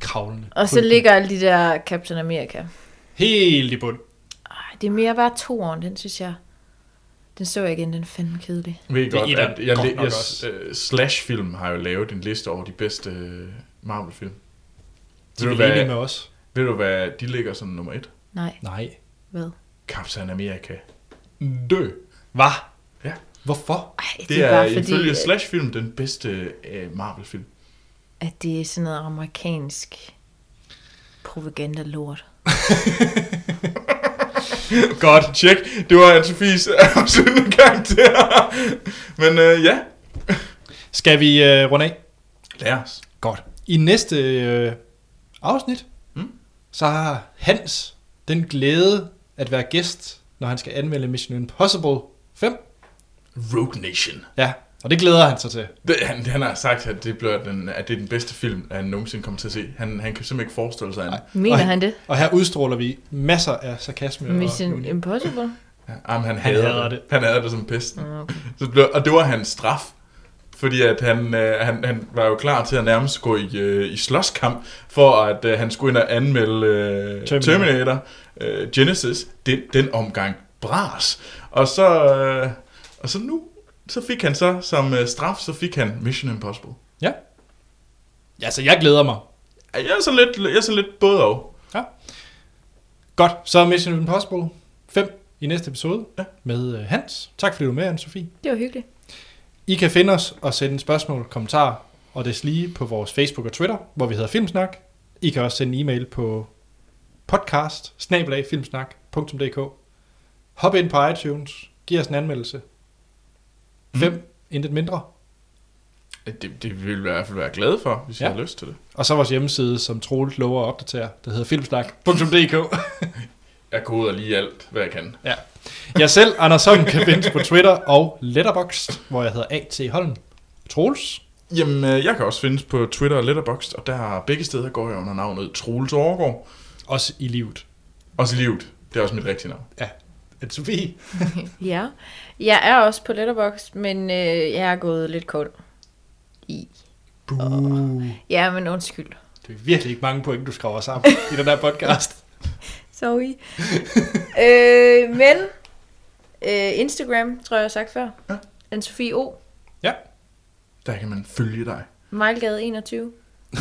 [SPEAKER 1] Kravlende.
[SPEAKER 3] Og så ligger alle de der Captain America.
[SPEAKER 1] Helt i bund.
[SPEAKER 3] Ej, det er mere bare toeren, den synes jeg. Den så jeg igen, den er fandme kedelig.
[SPEAKER 2] Ved I
[SPEAKER 1] Det er
[SPEAKER 2] godt,
[SPEAKER 1] etteren
[SPEAKER 2] at jeg,
[SPEAKER 1] godt
[SPEAKER 2] jeg,
[SPEAKER 1] nok
[SPEAKER 2] jeg,
[SPEAKER 1] også.
[SPEAKER 2] øh, Slash Film har jo lavet en liste over de bedste øh, Marvel-film.
[SPEAKER 1] De
[SPEAKER 2] Ved du,
[SPEAKER 1] vil enige med
[SPEAKER 2] hvad,
[SPEAKER 1] os.
[SPEAKER 2] ved du hvad, de ligger som nummer et?
[SPEAKER 3] Nej,
[SPEAKER 1] Nej.
[SPEAKER 3] hvad?
[SPEAKER 2] Captain America. Dø.
[SPEAKER 1] Hvad?
[SPEAKER 2] Ja.
[SPEAKER 1] Hvorfor?
[SPEAKER 3] Ej, det,
[SPEAKER 2] Det,
[SPEAKER 3] er,
[SPEAKER 2] er
[SPEAKER 3] bare fordi, øh,
[SPEAKER 2] ifølge
[SPEAKER 3] at-
[SPEAKER 2] Slash Film den bedste øh, Marvel-film.
[SPEAKER 3] at det er sådan noget amerikansk propaganda-lort.
[SPEAKER 2] Godt, tjek. Det var Anne-Sophies afsluttende karakter. Men øh, ja,
[SPEAKER 1] Skal vi øh, runde af?
[SPEAKER 2] lad os.
[SPEAKER 1] Godt. I næste øh, afsnit,
[SPEAKER 2] Mm.
[SPEAKER 1] mm. så har Hans den glæde at være gæst, når han skal anmelde Mission Impossible 5.
[SPEAKER 2] Rogue Nation.
[SPEAKER 1] Ja, og det glæder han sig til.
[SPEAKER 2] Det, han, han har sagt, at det, bliver den, at det er den bedste film, han nogensinde kommer til at se. Han, han kan simpelthen ikke forestille sig andet.
[SPEAKER 3] Mener
[SPEAKER 1] og,
[SPEAKER 3] han det?
[SPEAKER 1] Og her udstråler vi masser af sarkasme. og
[SPEAKER 3] Mission
[SPEAKER 1] ironi.
[SPEAKER 3] Impossible?
[SPEAKER 2] Ja, Jamen, han,
[SPEAKER 1] Han
[SPEAKER 2] hader,
[SPEAKER 1] hader
[SPEAKER 2] det.
[SPEAKER 1] det.
[SPEAKER 2] Han hader det som pesten. Okay. Så blev, og det var hans straf. Fordi at han, øh, han, han var jo klar til at nærmest gå i, øh, i slåskamp, for at øh, han skulle ind og anmelde øh, Terminator,
[SPEAKER 1] Terminator.
[SPEAKER 2] Terminator øh, Genesis, den, den omgang bras. Og så, øh, og så nu, så fik han så, som øh, straf, så fik han Mission Impossible.
[SPEAKER 1] Ja. Ja, så jeg glæder mig.
[SPEAKER 2] Jeg er sådan lidt, jeg er sådan lidt både og.
[SPEAKER 1] Ja. Godt, så er Mission Impossible 5 i næste episode ja.
[SPEAKER 2] Ja.
[SPEAKER 1] med øh, Hans. Tak fordi du var med, Anne-Sophie.
[SPEAKER 3] Det var hyggeligt.
[SPEAKER 1] I kan finde os og sende spørgsmål, kommentarer og deslige på vores Facebook og Twitter, hvor vi hedder Filmsnak. I kan også sende en e-mail på podcast Hop ind på iTunes, giv os en anmeldelse. Fem, mm. intet mindre.
[SPEAKER 2] Det, det vil jeg i hvert fald være glad for, hvis ja. jeg
[SPEAKER 1] Ja.
[SPEAKER 2] har lyst til det.
[SPEAKER 1] Og så vores hjemmeside, som Troels lover at opdatere, der hedder filmsnak.dk.
[SPEAKER 2] Jeg koder lige alt, hvad jeg kan.
[SPEAKER 1] ja. Jeg selv, Anders Holm, kan findes på Twitter og Letterboxd, hvor jeg hedder A.T. Holm. Troels,
[SPEAKER 2] Jamen, øh, jeg kan også findes på Twitter og Letterboxd, og der begge steder går jeg under navnet Troels Overgaard.
[SPEAKER 1] også i livet.
[SPEAKER 2] Også Livet, det er også mit rigtige navn.
[SPEAKER 1] Ja. Anne-Sophie.
[SPEAKER 3] Ja. Jeg er også på Letterboxd, men øh, jeg er gået lidt kold i.
[SPEAKER 1] Buh.
[SPEAKER 3] Ja, men undskyld.
[SPEAKER 1] Det er virkelig ikke mange point, du skriver sammen i den her podcast.
[SPEAKER 3] Sorry. øh, men øh, Instagram, tror jeg, jeg har sagt før.
[SPEAKER 2] Ja.
[SPEAKER 3] Den Sofie O.
[SPEAKER 1] Ja,
[SPEAKER 2] Der kan man følge dig.
[SPEAKER 3] Mejlgade 21.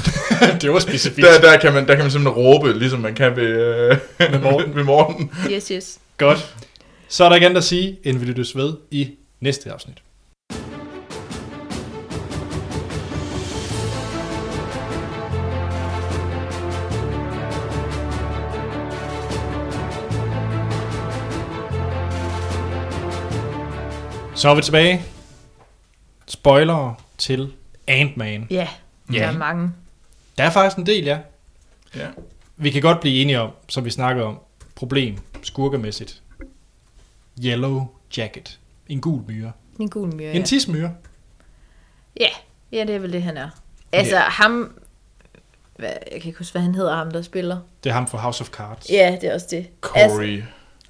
[SPEAKER 1] det var specifikt.
[SPEAKER 2] Der, der, kan, man, der kan man simpelthen råbe, ligesom man kan ved, øh,
[SPEAKER 1] Ved Morten.
[SPEAKER 2] ved Morten.
[SPEAKER 3] Yes, yes.
[SPEAKER 1] Godt. Så er der ikke andet at sige, end vi lyttes ved i næste afsnit. Så er vi tilbage. Spoiler til Ant-Man.
[SPEAKER 3] Ja,
[SPEAKER 1] Ja.
[SPEAKER 3] der er mange.
[SPEAKER 1] Der er faktisk en del, ja.
[SPEAKER 2] Ja.
[SPEAKER 1] Vi kan godt blive enige om, som vi snakker om, problem, skurkemæssigt. Yellow jacket. En gul myre.
[SPEAKER 3] En gul myre,
[SPEAKER 1] Ja. En tismyre.
[SPEAKER 3] Ja, ja, det er vel det, han er. Altså,
[SPEAKER 1] Ja.
[SPEAKER 3] ham... Hvad, jeg kan ikke huske, hvad han hedder, ham der spiller.
[SPEAKER 1] Det er ham fra House of Cards.
[SPEAKER 3] Ja, det er også det. Altså,
[SPEAKER 2] Corey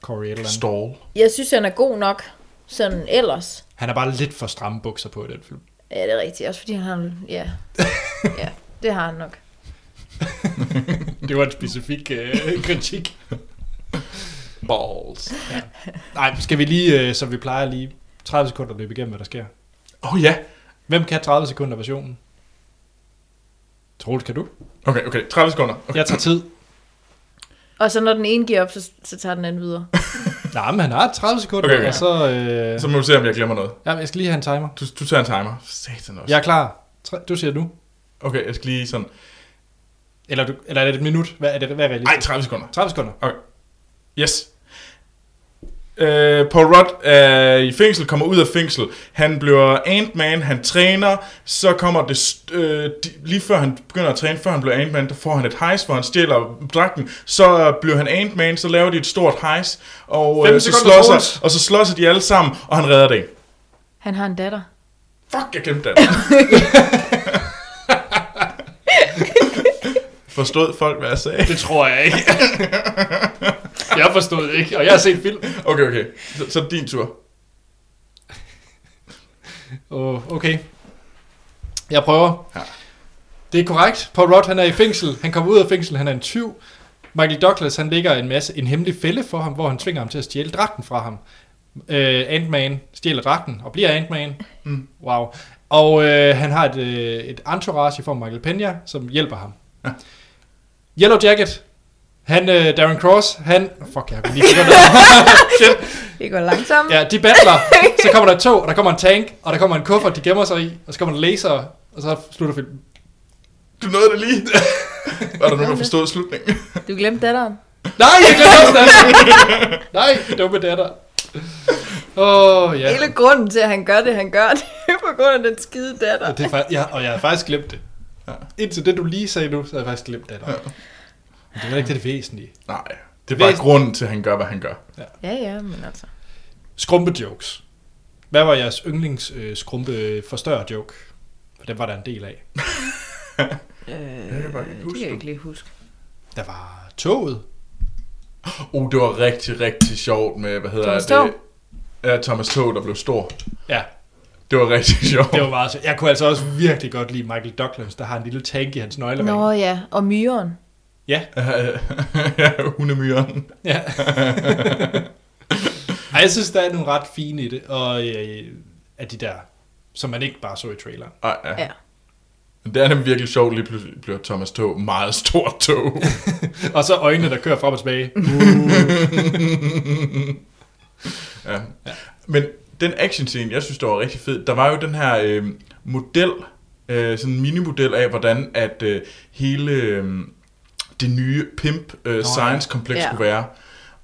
[SPEAKER 1] Corey et eller andet.
[SPEAKER 2] Stahl.
[SPEAKER 3] jeg synes, han er god nok, sådan ellers.
[SPEAKER 1] Han er bare lidt for stramme bukser på i den film.
[SPEAKER 3] Ja, det er rigtigt. Også fordi han har... Ja, ja det har han nok.
[SPEAKER 1] Det var en specifik øh, kritik.
[SPEAKER 2] Balls.
[SPEAKER 1] Nej, skal vi lige, øh, som vi plejer lige, 30 sekunder løbe igennem, hvad der sker.
[SPEAKER 2] Åh oh, ja.
[SPEAKER 1] Hvem kan 30 sekunder versionen? Troels, kan du?
[SPEAKER 2] Okay, okay. 30 sekunder. Okay.
[SPEAKER 1] Jeg tager tid.
[SPEAKER 3] Og så når den ene giver op, så, så tager den anden videre.
[SPEAKER 1] Nej, men han har 30 sekunder,
[SPEAKER 2] Okay,
[SPEAKER 1] okay,
[SPEAKER 2] okay.
[SPEAKER 1] okay. og så... Øh,
[SPEAKER 2] Så må vi se, om jeg glemmer noget.
[SPEAKER 1] ja, jeg skal lige have en timer.
[SPEAKER 2] Du, du tager en timer. Satan også.
[SPEAKER 1] Jeg er klar. Tre- Du siger nu.
[SPEAKER 2] Okay, jeg skal lige sådan...
[SPEAKER 1] Eller, du, eller er det et minut? Hvad er det? Hvad er realistisk?
[SPEAKER 2] Ej, 30 sekunder.
[SPEAKER 1] 30 sekunder.
[SPEAKER 2] Okay. Yes. Øh, Paul Rudd er i fængsel, kommer ud af fængsel. Han bliver Ant-Man, han træner. Så kommer det... st- Øh, de, lige før han begynder at træne, før han bliver Ant-Man, der får han et hejs, hvor han stjæler dragten. Så bliver han Ant-Man, så laver de et stort hejs. Og,
[SPEAKER 1] Fem
[SPEAKER 2] øh, så
[SPEAKER 1] sekunder,
[SPEAKER 2] slår
[SPEAKER 1] Troels.
[SPEAKER 2] sig, og så slår sig de alle sammen, og han redder det.
[SPEAKER 3] Han har en datter.
[SPEAKER 2] Fuck, jeg glemte det. Forstod folk, hvad jeg sagde?
[SPEAKER 1] Det tror jeg ikke. Jeg forstod ikke, og jeg har set film.
[SPEAKER 2] Okay, okay. Så, så er det din tur.
[SPEAKER 1] Oh, okay. Jeg prøver.
[SPEAKER 2] Ja.
[SPEAKER 1] Det er korrekt. Paul Rudd, han er i fængsel. Han kommer ud af fængsel, han er en tyv. Michael Douglas, han ligger en masse en hemmelig fælde for ham, hvor han tvinger ham til at stjæle dragten fra ham. Øh, Ant-Man stjæler dragten og bliver Ant-Man. Mm. Wow. Og øh, han har et, øh, et entourage i form af Michael Peña, som hjælper ham.
[SPEAKER 2] Ja.
[SPEAKER 1] Yellow Jacket. Han, øh, Darren Cross, han... Fuck, jeg kunne lige finde noget. Shit.
[SPEAKER 3] Det går langsomt.
[SPEAKER 1] Ja, de battler. Så kommer der et tog, og der kommer en tank, og der kommer en kuffert, de gemmer sig i, og så kommer en laser, og så slutter filmen.
[SPEAKER 2] Du nåede det lige. Var der nogen, der forstod slutningen?
[SPEAKER 3] Du glemte datteren.
[SPEAKER 1] Nej, jeg glemte også den. Nej, dumme datter. Åh, oh, ja.
[SPEAKER 3] Hele grunden til, at han gør det, han gør det, er på grund af den skide datter.
[SPEAKER 1] Og, det er fa- ja, og jeg har faktisk glemt det.
[SPEAKER 2] Ja.
[SPEAKER 1] Indtil det, du lige sagde nu, så har jeg faktisk glemt datter. Men det er vel ikke det, det væsentlige.
[SPEAKER 2] Nej. Det er bare
[SPEAKER 1] Væsentligt.
[SPEAKER 2] grunden til, at han gør, hvad han gør.
[SPEAKER 3] Ja, ja, men altså.
[SPEAKER 1] Skrumpe jokes. Hvad var jeres yndlings øh, skrumpe forstørre joke? For den var der en del af.
[SPEAKER 3] Øh,
[SPEAKER 2] Jeg kan bare ikke
[SPEAKER 3] det kan
[SPEAKER 2] huske
[SPEAKER 3] jeg
[SPEAKER 2] det.
[SPEAKER 3] ikke lige huske.
[SPEAKER 1] Der var toget.
[SPEAKER 2] Uh, det var rigtig, rigtig sjovt med, hvad hedder
[SPEAKER 3] Thomas
[SPEAKER 2] det?
[SPEAKER 3] Tog.
[SPEAKER 2] Ja, Thomas Tog, der blev stor.
[SPEAKER 1] Ja,
[SPEAKER 2] Det var rigtig sjovt.
[SPEAKER 1] det var meget sjovt. Jeg kunne altså også virkelig godt lide Michael Douglas, der har en lille tank i hans nøglering.
[SPEAKER 3] Nå ja, og myren.
[SPEAKER 1] Ja,
[SPEAKER 2] ja, hundemyren.
[SPEAKER 1] Ja. Ej, jeg synes, der er nogle ret fine i det, og øh, af de der, som man ikke bare så i traileren.
[SPEAKER 2] Ej, ja.
[SPEAKER 3] Ja.
[SPEAKER 2] Det er nemlig virkelig sjovt, lige pludselig bliver Thomas Tog meget stort tog.
[SPEAKER 1] Og så øjnene, der kører frem og tilbage.
[SPEAKER 2] ja. Men den action scene, jeg synes, der var rigtig fed. Der var jo den her øh, model, øh, sådan en minimodel af, hvordan at øh, hele øh, det nye Pimp øh, Science Kompleks
[SPEAKER 3] Ja.
[SPEAKER 2] skulle være.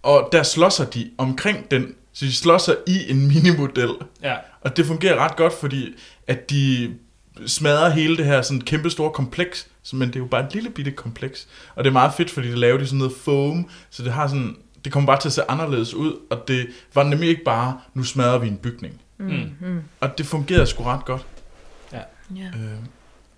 [SPEAKER 2] Og der slåsser de omkring den, så de slåsser i en minimodel.
[SPEAKER 1] Ja.
[SPEAKER 2] Og det fungerer ret godt, fordi at de smadrer hele det her sådan kæmpe store kompleks, så- men det er jo bare et lille bitte kompleks. Og det er meget fedt, fordi det laver de sådan noget foam, så det har sådan, det kommer bare til at se anderledes ud, og det var nemlig ikke bare, nu smadrer vi en bygning.
[SPEAKER 1] Mm.
[SPEAKER 2] Og det fungerede sgu ret godt.
[SPEAKER 3] ja.
[SPEAKER 2] Øh,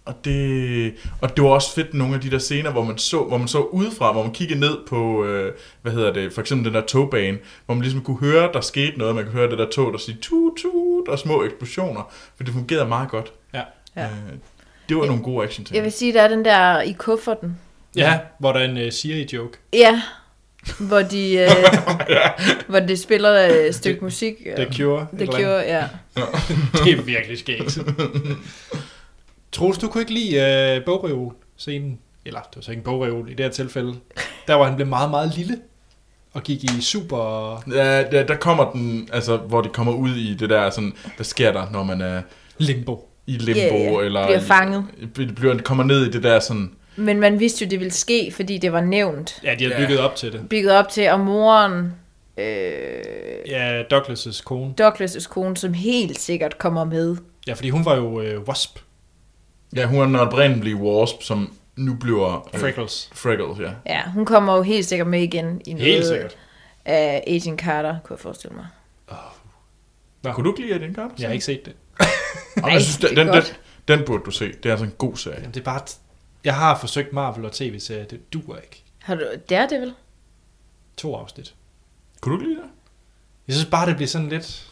[SPEAKER 2] og det, og det var også fedt nogle af de der scener, hvor man så, hvor man så udefra, hvor man kiggede ned på, øh, hvad hedder det, for eksempel den der togbane, hvor man ligesom kunne høre, der skete noget, man kunne høre det der tog, der sige tut tut, og små eksplosioner, for det fungerede meget godt.
[SPEAKER 1] Ja.
[SPEAKER 3] Ja.
[SPEAKER 2] Øh, det var nogle gode action ting.
[SPEAKER 3] Jeg vil sige, der er den der i kufferten.
[SPEAKER 1] ja, hvor der er en uh, Siri-joke.
[SPEAKER 3] Ja, hvor de, øh, hvor de spiller øh, et stykke musik. Øh,
[SPEAKER 1] The Cure.
[SPEAKER 3] The
[SPEAKER 1] eller hvad?
[SPEAKER 3] Cure, ja.
[SPEAKER 1] Det er virkelig skægt. Troels, du kunne ikke lide uh, bogreol-scenen. Eller, det var så ikke en bogreol i det her tilfælde. Der var han blev meget, meget lille. Og gik i super...
[SPEAKER 2] Ja, der, der kommer den, altså, hvor de kommer ud i det der, sådan, hvad sker der, når man er
[SPEAKER 1] Limbo.
[SPEAKER 2] i limbo,
[SPEAKER 3] Ja, ja.
[SPEAKER 2] eller
[SPEAKER 3] Bliver fanget.
[SPEAKER 2] I, bliver, kommer ned i det der sådan,
[SPEAKER 3] Men man vidste jo, det ville ske, fordi det var nævnt.
[SPEAKER 1] Ja, de har
[SPEAKER 2] Ja.
[SPEAKER 1] bygget op til det.
[SPEAKER 3] Bygget op til, og moren, øh,
[SPEAKER 1] Ja, Douglas' kone.
[SPEAKER 3] Douglas' kone, som helt sikkert kommer med.
[SPEAKER 1] Ja, fordi hun var jo uh, Wasp.
[SPEAKER 2] ja, hun er den oprindelige wasp, som nu bliver... øh,
[SPEAKER 1] Freckles.
[SPEAKER 2] Freckles, ja.
[SPEAKER 3] Ja, hun kommer jo helt sikkert med igen i noget
[SPEAKER 1] Helt sikkert.
[SPEAKER 3] af Agent Carter, kunne jeg forestille mig.
[SPEAKER 2] Kunne du ikke lide Agent Carter?
[SPEAKER 1] Jeg har ikke set det.
[SPEAKER 2] Nej, jeg synes,
[SPEAKER 3] det er
[SPEAKER 2] den, den, den,
[SPEAKER 3] godt.
[SPEAKER 2] den burde du se. Det er altså en god serie.
[SPEAKER 1] Jamen, det er bare... T- jeg har forsøgt Marvel og tv-serier, det duer ikke.
[SPEAKER 3] Har du, det er det vel?
[SPEAKER 1] To afsnit.
[SPEAKER 2] Kunne du ikke lide det?
[SPEAKER 1] Jeg synes bare, det bliver sådan lidt...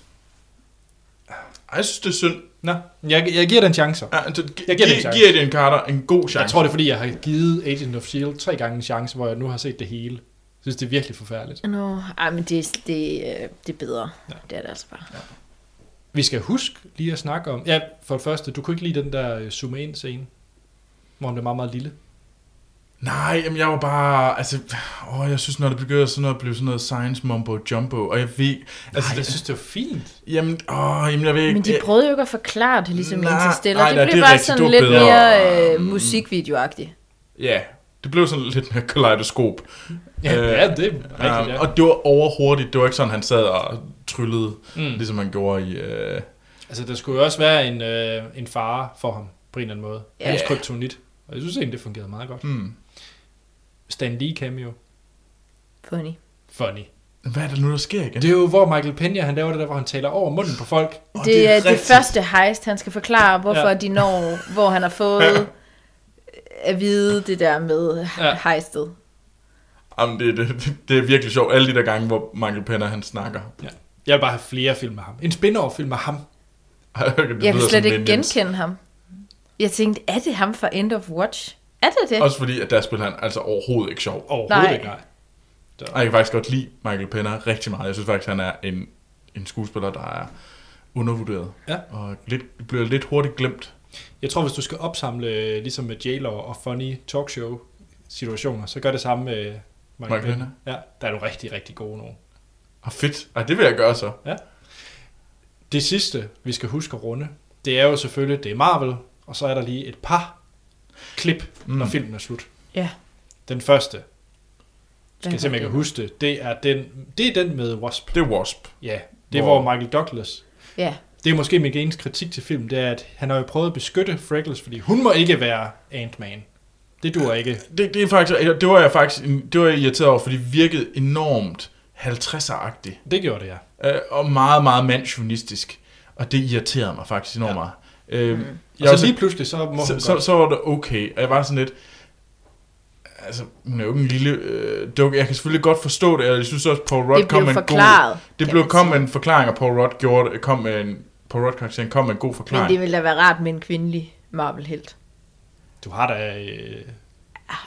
[SPEAKER 2] Ej, jeg synes, det er synd.
[SPEAKER 1] Nå, jeg, jeg giver den chancer.
[SPEAKER 2] Ja, altså, gi-
[SPEAKER 1] Jeg giver det en
[SPEAKER 2] gi-
[SPEAKER 1] chance.
[SPEAKER 2] giv Agent Carter en god chance.
[SPEAKER 1] Jeg tror, det er, fordi jeg har givet Agent of S.H.I.E.L.D. E tre gange en chance, hvor jeg nu har set det hele. Jeg synes, det er virkelig forfærdeligt.
[SPEAKER 3] Nå, ej, men det, er- det, er- øh, det er bedre. Ja. Det er det altså bare. Ja.
[SPEAKER 1] Vi skal huske lige at snakke om... Ja, for det første, du kunne ikke lide den der øh, zoome ind scene, hvor hun er meget, meget lille.
[SPEAKER 2] Nej, jamen, jeg var bare... Altså, åh, jeg synes, når det begynder sådan noget, at blive sådan noget science mumbo jumbo, og jeg ved... Altså,
[SPEAKER 1] Nej, jeg
[SPEAKER 2] det,
[SPEAKER 1] synes, det var fint.
[SPEAKER 2] jamen, åh, jamen, jeg ved ikke...
[SPEAKER 3] Men de
[SPEAKER 2] jeg-
[SPEAKER 3] prøvede jo ikke at forklare det, ligesom
[SPEAKER 2] Øh, Nej,
[SPEAKER 3] nej, Interstellar.
[SPEAKER 2] nej,
[SPEAKER 3] det
[SPEAKER 2] nej,
[SPEAKER 3] blev
[SPEAKER 2] det er
[SPEAKER 3] bare
[SPEAKER 2] rigtigt.
[SPEAKER 3] sådan
[SPEAKER 2] Det var
[SPEAKER 3] lidt
[SPEAKER 2] bedre.
[SPEAKER 3] mere øh,
[SPEAKER 2] Mm.
[SPEAKER 3] musikvideoagtigt.
[SPEAKER 2] Ja, det blev sådan lidt mere kaleidoskop.
[SPEAKER 1] Ja, ja
[SPEAKER 2] Øh,
[SPEAKER 1] det er rigtigt,
[SPEAKER 2] ja.
[SPEAKER 1] ja.
[SPEAKER 2] Og det var overhurtigt. Det var ikke sådan, han sad og tryllede, mm. ligesom han gjorde i... Øh,
[SPEAKER 1] Altså, der skulle jo også være en, øh, en fare for ham, på en eller anden måde.
[SPEAKER 3] Ja.
[SPEAKER 1] Ja. Hans kryptonit. Og jeg synes egentlig, det fungerede meget godt.
[SPEAKER 2] mm.
[SPEAKER 1] Stan Lee cameo.
[SPEAKER 3] Funny.
[SPEAKER 1] Funny.
[SPEAKER 2] Hvad er der nu, der sker igen?
[SPEAKER 1] Det er jo, hvor Michael Peña, han laver det der, hvor han taler over munden på folk.
[SPEAKER 2] Åh,
[SPEAKER 3] Det, det er det
[SPEAKER 2] rigtigt.
[SPEAKER 3] første heist, han skal forklare, hvorfor
[SPEAKER 1] Ja.
[SPEAKER 3] ja. de når, hvor han har fået at vide det der med
[SPEAKER 1] Ja.
[SPEAKER 3] ja. heistet.
[SPEAKER 2] Jamen, det, det, det er virkelig sjovt. Alle de der gange, hvor Michael Penner han snakker.
[SPEAKER 1] Ja. Jeg vil bare have flere film med ham. En spin-off film med ham.
[SPEAKER 2] det
[SPEAKER 3] Jeg kan
[SPEAKER 2] lyder
[SPEAKER 3] slet
[SPEAKER 2] som
[SPEAKER 3] ikke
[SPEAKER 2] Minions.
[SPEAKER 3] genkende ham. Jeg tænkte, er det ham fra End of Watch? Er det det?
[SPEAKER 2] Også fordi, at der spiller han altså overhovedet ikke sjov. Og
[SPEAKER 1] Overhovedet
[SPEAKER 3] Nej.
[SPEAKER 1] ikke, nej.
[SPEAKER 2] jeg kan faktisk godt lide Michael Penner rigtig meget. Jeg synes faktisk, han er en, en skuespiller, der er undervurderet.
[SPEAKER 1] Ja.
[SPEAKER 2] Og lidt, bliver lidt hurtigt glemt.
[SPEAKER 1] Jeg tror, hvis du skal opsamle, øh, ligesom med j og funny talkshow situationer, så gør det samme med Michael
[SPEAKER 2] Michael
[SPEAKER 1] Pena. Ja, der er du rigtig, rigtig gode nogen.
[SPEAKER 2] Og Ah, fedt. Ej, det vil jeg gøre så.
[SPEAKER 1] Det sidste, vi skal huske at runde, det er jo selvfølgelig, det er Marvel, og så er der lige et par klip, mm. når filmen er slut.
[SPEAKER 3] Ja.
[SPEAKER 1] Den første, skal
[SPEAKER 3] Hvad
[SPEAKER 1] jeg se, om jeg
[SPEAKER 3] var
[SPEAKER 1] kan
[SPEAKER 3] det?
[SPEAKER 1] huske det, det er den, det er den med Wasp.
[SPEAKER 2] Det er Wasp.
[SPEAKER 1] Ja, det er,
[SPEAKER 2] Hvor-
[SPEAKER 1] hvor Michael Douglas...
[SPEAKER 3] Ja,
[SPEAKER 1] Det er måske min eneste kritik til filmen, det er, at han har jo prøvet at beskytte Freckles, fordi hun må ikke være Ant-Man. Det duer ikke.
[SPEAKER 2] Det, det, er faktisk, det var jeg faktisk det var jeg irriteret over, for det virkede enormt 50'er-agtigt.
[SPEAKER 1] Det gjorde det, ja.
[SPEAKER 2] Øh, og meget, meget mandsjournalistisk. Og det irriterede mig faktisk enormt ja. meget. Øh, mm.
[SPEAKER 1] Og så lige pludselig, så må
[SPEAKER 2] så,
[SPEAKER 1] hun
[SPEAKER 2] så,
[SPEAKER 1] godt.
[SPEAKER 2] så var det okay. Og jeg var sådan lidt... Altså, hun er jo ikke en lille øh, dukke. Jeg kan selvfølgelig godt forstå det, og jeg synes også, Paul Rudd
[SPEAKER 3] Det
[SPEAKER 2] kom
[SPEAKER 3] blev
[SPEAKER 2] med en
[SPEAKER 3] forklaret,
[SPEAKER 2] god... Det
[SPEAKER 3] kan
[SPEAKER 2] blev
[SPEAKER 3] man
[SPEAKER 2] kom
[SPEAKER 3] sige.
[SPEAKER 2] med en forklaring, og Paul Rudd gjorde det, kom med en... Paul Rudd karakteren kom med en god
[SPEAKER 3] men
[SPEAKER 2] forklaring.
[SPEAKER 3] det ville da være rart med en kvindelig Marvel-helt.
[SPEAKER 1] Du har da... Øh,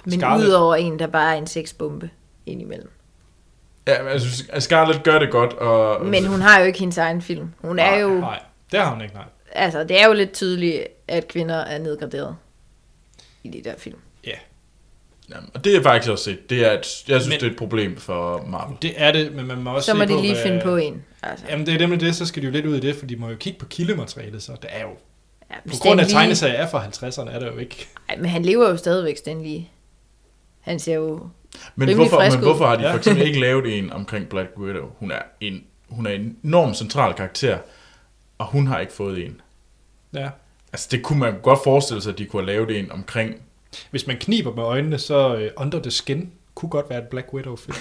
[SPEAKER 3] Men
[SPEAKER 1] Scarlet.
[SPEAKER 3] udover en, der bare er en sexbombe indimellem.
[SPEAKER 2] Ja, men jeg synes, at Scarlett gør det godt, og...
[SPEAKER 3] Men hun har jo ikke hendes egen film. Hun er jo,
[SPEAKER 1] Nej, det har hun ikke, nej.
[SPEAKER 3] altså det er jo lidt tydeligt, at kvinder er nedgraderet i de der film.
[SPEAKER 1] Ja,
[SPEAKER 2] Jamen, og det har jeg faktisk også set. Det er et, jeg synes,
[SPEAKER 1] Men-
[SPEAKER 2] men... det er et problem for Marvel.
[SPEAKER 1] det er det, men man må også
[SPEAKER 3] Så må
[SPEAKER 1] se på,
[SPEAKER 3] de lige
[SPEAKER 1] hvad-
[SPEAKER 3] finde på en. Altså,
[SPEAKER 1] Jamen, det er nemlig det, så skal de jo lidt ud i det, for de må jo kigge på kildematerialet, så det er jo...
[SPEAKER 3] ja,
[SPEAKER 1] På
[SPEAKER 3] Stan
[SPEAKER 1] grund af
[SPEAKER 3] Lee-
[SPEAKER 1] tegneserier er fra 50'erne, er der jo ikke...
[SPEAKER 3] Ej, men han lever jo stadigvæk, Stan Lee. Han ser jo...
[SPEAKER 2] Men
[SPEAKER 3] rimelig
[SPEAKER 2] hvorfor,
[SPEAKER 3] frisk
[SPEAKER 2] men
[SPEAKER 3] ud.
[SPEAKER 2] hvorfor har de
[SPEAKER 1] Ja.
[SPEAKER 2] for eksempel ikke lavet en omkring Black Widow? Hun er en, hun er en enorm central karakter, og hun har ikke fået en.
[SPEAKER 1] Ja.
[SPEAKER 2] Altså, det kunne man godt forestille sig, at de kunne have lavet en omkring.
[SPEAKER 1] Hvis man kniber med øjnene, så øh, Under the Skin kunne godt være et Black Widow-film.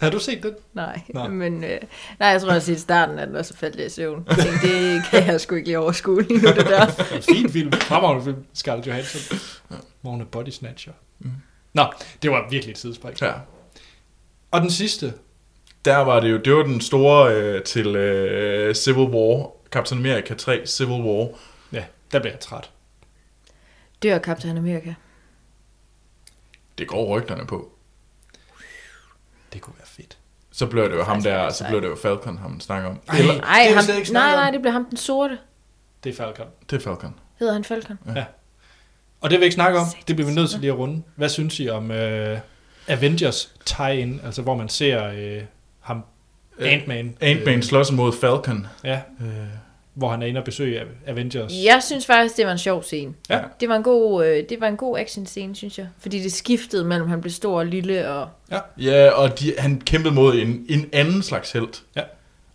[SPEAKER 1] har du set den?
[SPEAKER 3] Nej,
[SPEAKER 1] Nå.
[SPEAKER 3] nej. men øh, nej, jeg tror også i starten, at den også faldt lidt i søvn. Jeg tænkte, det kan jeg sgu ikke lige overskue lige nu, det der.
[SPEAKER 1] Fin film. Fremragende film. Scarlett Johansson. Hvor hun er body snatcher. Mm. Nå, det var virkelig et sidespring.
[SPEAKER 2] Ja.
[SPEAKER 1] Og den sidste,
[SPEAKER 2] Der var det jo, det var den store øh, til øh, Civil War, Captain America 3, Civil War.
[SPEAKER 1] ja, der blev jeg træt.
[SPEAKER 3] Dør Captain America.
[SPEAKER 2] Det går rygterne på.
[SPEAKER 1] Det kunne være fedt.
[SPEAKER 2] Så blev det jo ham
[SPEAKER 3] faktisk
[SPEAKER 2] der,
[SPEAKER 3] ret
[SPEAKER 2] så
[SPEAKER 3] sejt.
[SPEAKER 2] blev det jo Falcon, ham snakker om.
[SPEAKER 1] Ej.
[SPEAKER 2] Eller,
[SPEAKER 3] Ej,
[SPEAKER 1] Det vil
[SPEAKER 3] ham,
[SPEAKER 1] slet ikke snakke
[SPEAKER 3] nej,
[SPEAKER 1] om.
[SPEAKER 3] nej, det blev ham den sorte.
[SPEAKER 1] Det er Falcon.
[SPEAKER 2] det er Falcon.
[SPEAKER 3] Hedder han Falcon?
[SPEAKER 1] Og det vil jeg ikke snakke om. Det bliver vi nødt til lige at runde. Hvad synes I om øh, Avengers tie-in? Altså, hvor man ser øh, ham,
[SPEAKER 2] Øh,
[SPEAKER 1] Ant-Man.
[SPEAKER 2] Ant-Man slås mod Falcon.
[SPEAKER 1] Ja,
[SPEAKER 2] Øh,
[SPEAKER 1] hvor han er inde og besøge Av- Avengers.
[SPEAKER 3] Jeg synes faktisk, det var en sjov scene.
[SPEAKER 1] Ja.
[SPEAKER 3] Det var en god, øh, det var en god action scene, synes jeg. Fordi det skiftede mellem, han blev stor og lille, og
[SPEAKER 2] Ja, og de, han kæmpede mod en, en anden slags held.
[SPEAKER 1] Ja.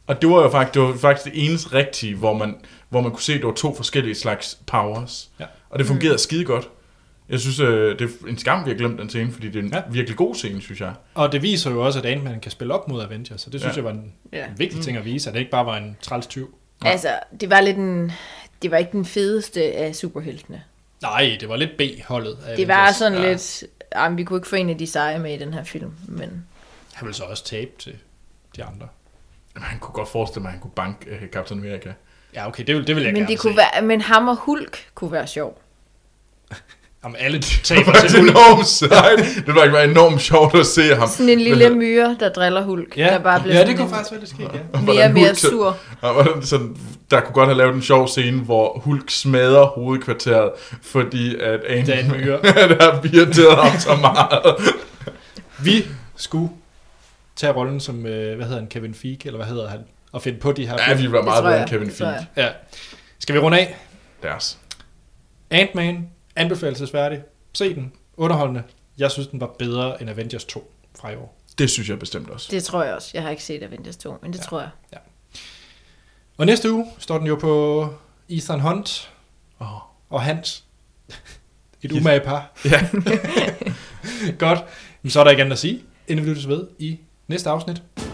[SPEAKER 2] Og det var jo faktisk det, var faktisk det eneste rigtige, hvor man, hvor man kunne se, at det var to forskellige slags powers.
[SPEAKER 1] Ja.
[SPEAKER 2] Og det fungerede mm. skide godt. Jeg synes, øh, det er en skam, vi har glemt den scene, fordi det er en
[SPEAKER 1] Ja.
[SPEAKER 2] ja. virkelig god scene, synes jeg.
[SPEAKER 1] Og det viser jo også, at Ant-Man kan spille op mod Avengers, så det synes ja.
[SPEAKER 2] Ja. Mm.
[SPEAKER 1] jeg var en
[SPEAKER 3] Ja.
[SPEAKER 1] vigtig ting at vise, at det ikke bare var en træls tyv.
[SPEAKER 3] ja. altså, det var lidt en, det var ikke den fedeste af superheltene.
[SPEAKER 1] Nej, det var lidt B-holdet af
[SPEAKER 3] Det var
[SPEAKER 1] Avengers.
[SPEAKER 3] sådan ja. lidt, jamen, vi kunne ikke få en af de seje med i den her film, men
[SPEAKER 1] Han ville så også tabe til de andre.
[SPEAKER 2] Man kunne godt forestille mig, at han kunne banke øh, Captain America.
[SPEAKER 1] Ja, okay, det vil, det vil jeg
[SPEAKER 3] men,
[SPEAKER 1] gerne
[SPEAKER 3] det kunne
[SPEAKER 1] se.
[SPEAKER 3] være, men ham og Hulk kunne være sjov.
[SPEAKER 1] Jamen, alle taber
[SPEAKER 2] Det
[SPEAKER 1] til
[SPEAKER 2] er enormt sejt. Det var ikke enormt sjovt at se ham.
[SPEAKER 3] Sådan en lille myre, der driller Hulk, der bare blev
[SPEAKER 1] ja,
[SPEAKER 3] sådan
[SPEAKER 1] det kunne
[SPEAKER 3] en
[SPEAKER 1] faktisk være lidt skidt, ja.
[SPEAKER 3] mere og
[SPEAKER 2] Hvordan
[SPEAKER 3] mere
[SPEAKER 2] Hulk så-
[SPEAKER 3] sur.
[SPEAKER 2] Og hvordan sådan, der kunne godt have lavet en sjov scene, hvor Hulk smadrer hovedkvarteret, fordi at Ant-
[SPEAKER 1] Det er en myre.
[SPEAKER 2] der har irriteret ham så meget.
[SPEAKER 1] Vi skulle tage rollen som, øh, hvad hedder han, Kevin Feige, eller hvad hedder han, og finde på de her
[SPEAKER 2] Ja, vi var
[SPEAKER 3] tror
[SPEAKER 2] meget bedre end
[SPEAKER 3] jeg.
[SPEAKER 2] Kevin
[SPEAKER 3] Det tror
[SPEAKER 2] Feige.
[SPEAKER 3] jeg.
[SPEAKER 1] ja. Skal vi runde af?
[SPEAKER 2] Deres.
[SPEAKER 1] Ant-Man, anbefalesværdig. Se den, underholdende. Jeg synes, den var bedre end Avengers 2 fra i år.
[SPEAKER 2] Det synes jeg bestemt også.
[SPEAKER 3] Det tror jeg også. Jeg har ikke set Avengers 2, men det ja. tror jeg.
[SPEAKER 1] Og næste uge står den jo på Ethan Hunt
[SPEAKER 2] Åh.
[SPEAKER 1] og Hans. Et umage par.
[SPEAKER 2] Ja.
[SPEAKER 1] Godt. Men så er der ikke andet at sige, inden vi lyttes ved i næste afsnit.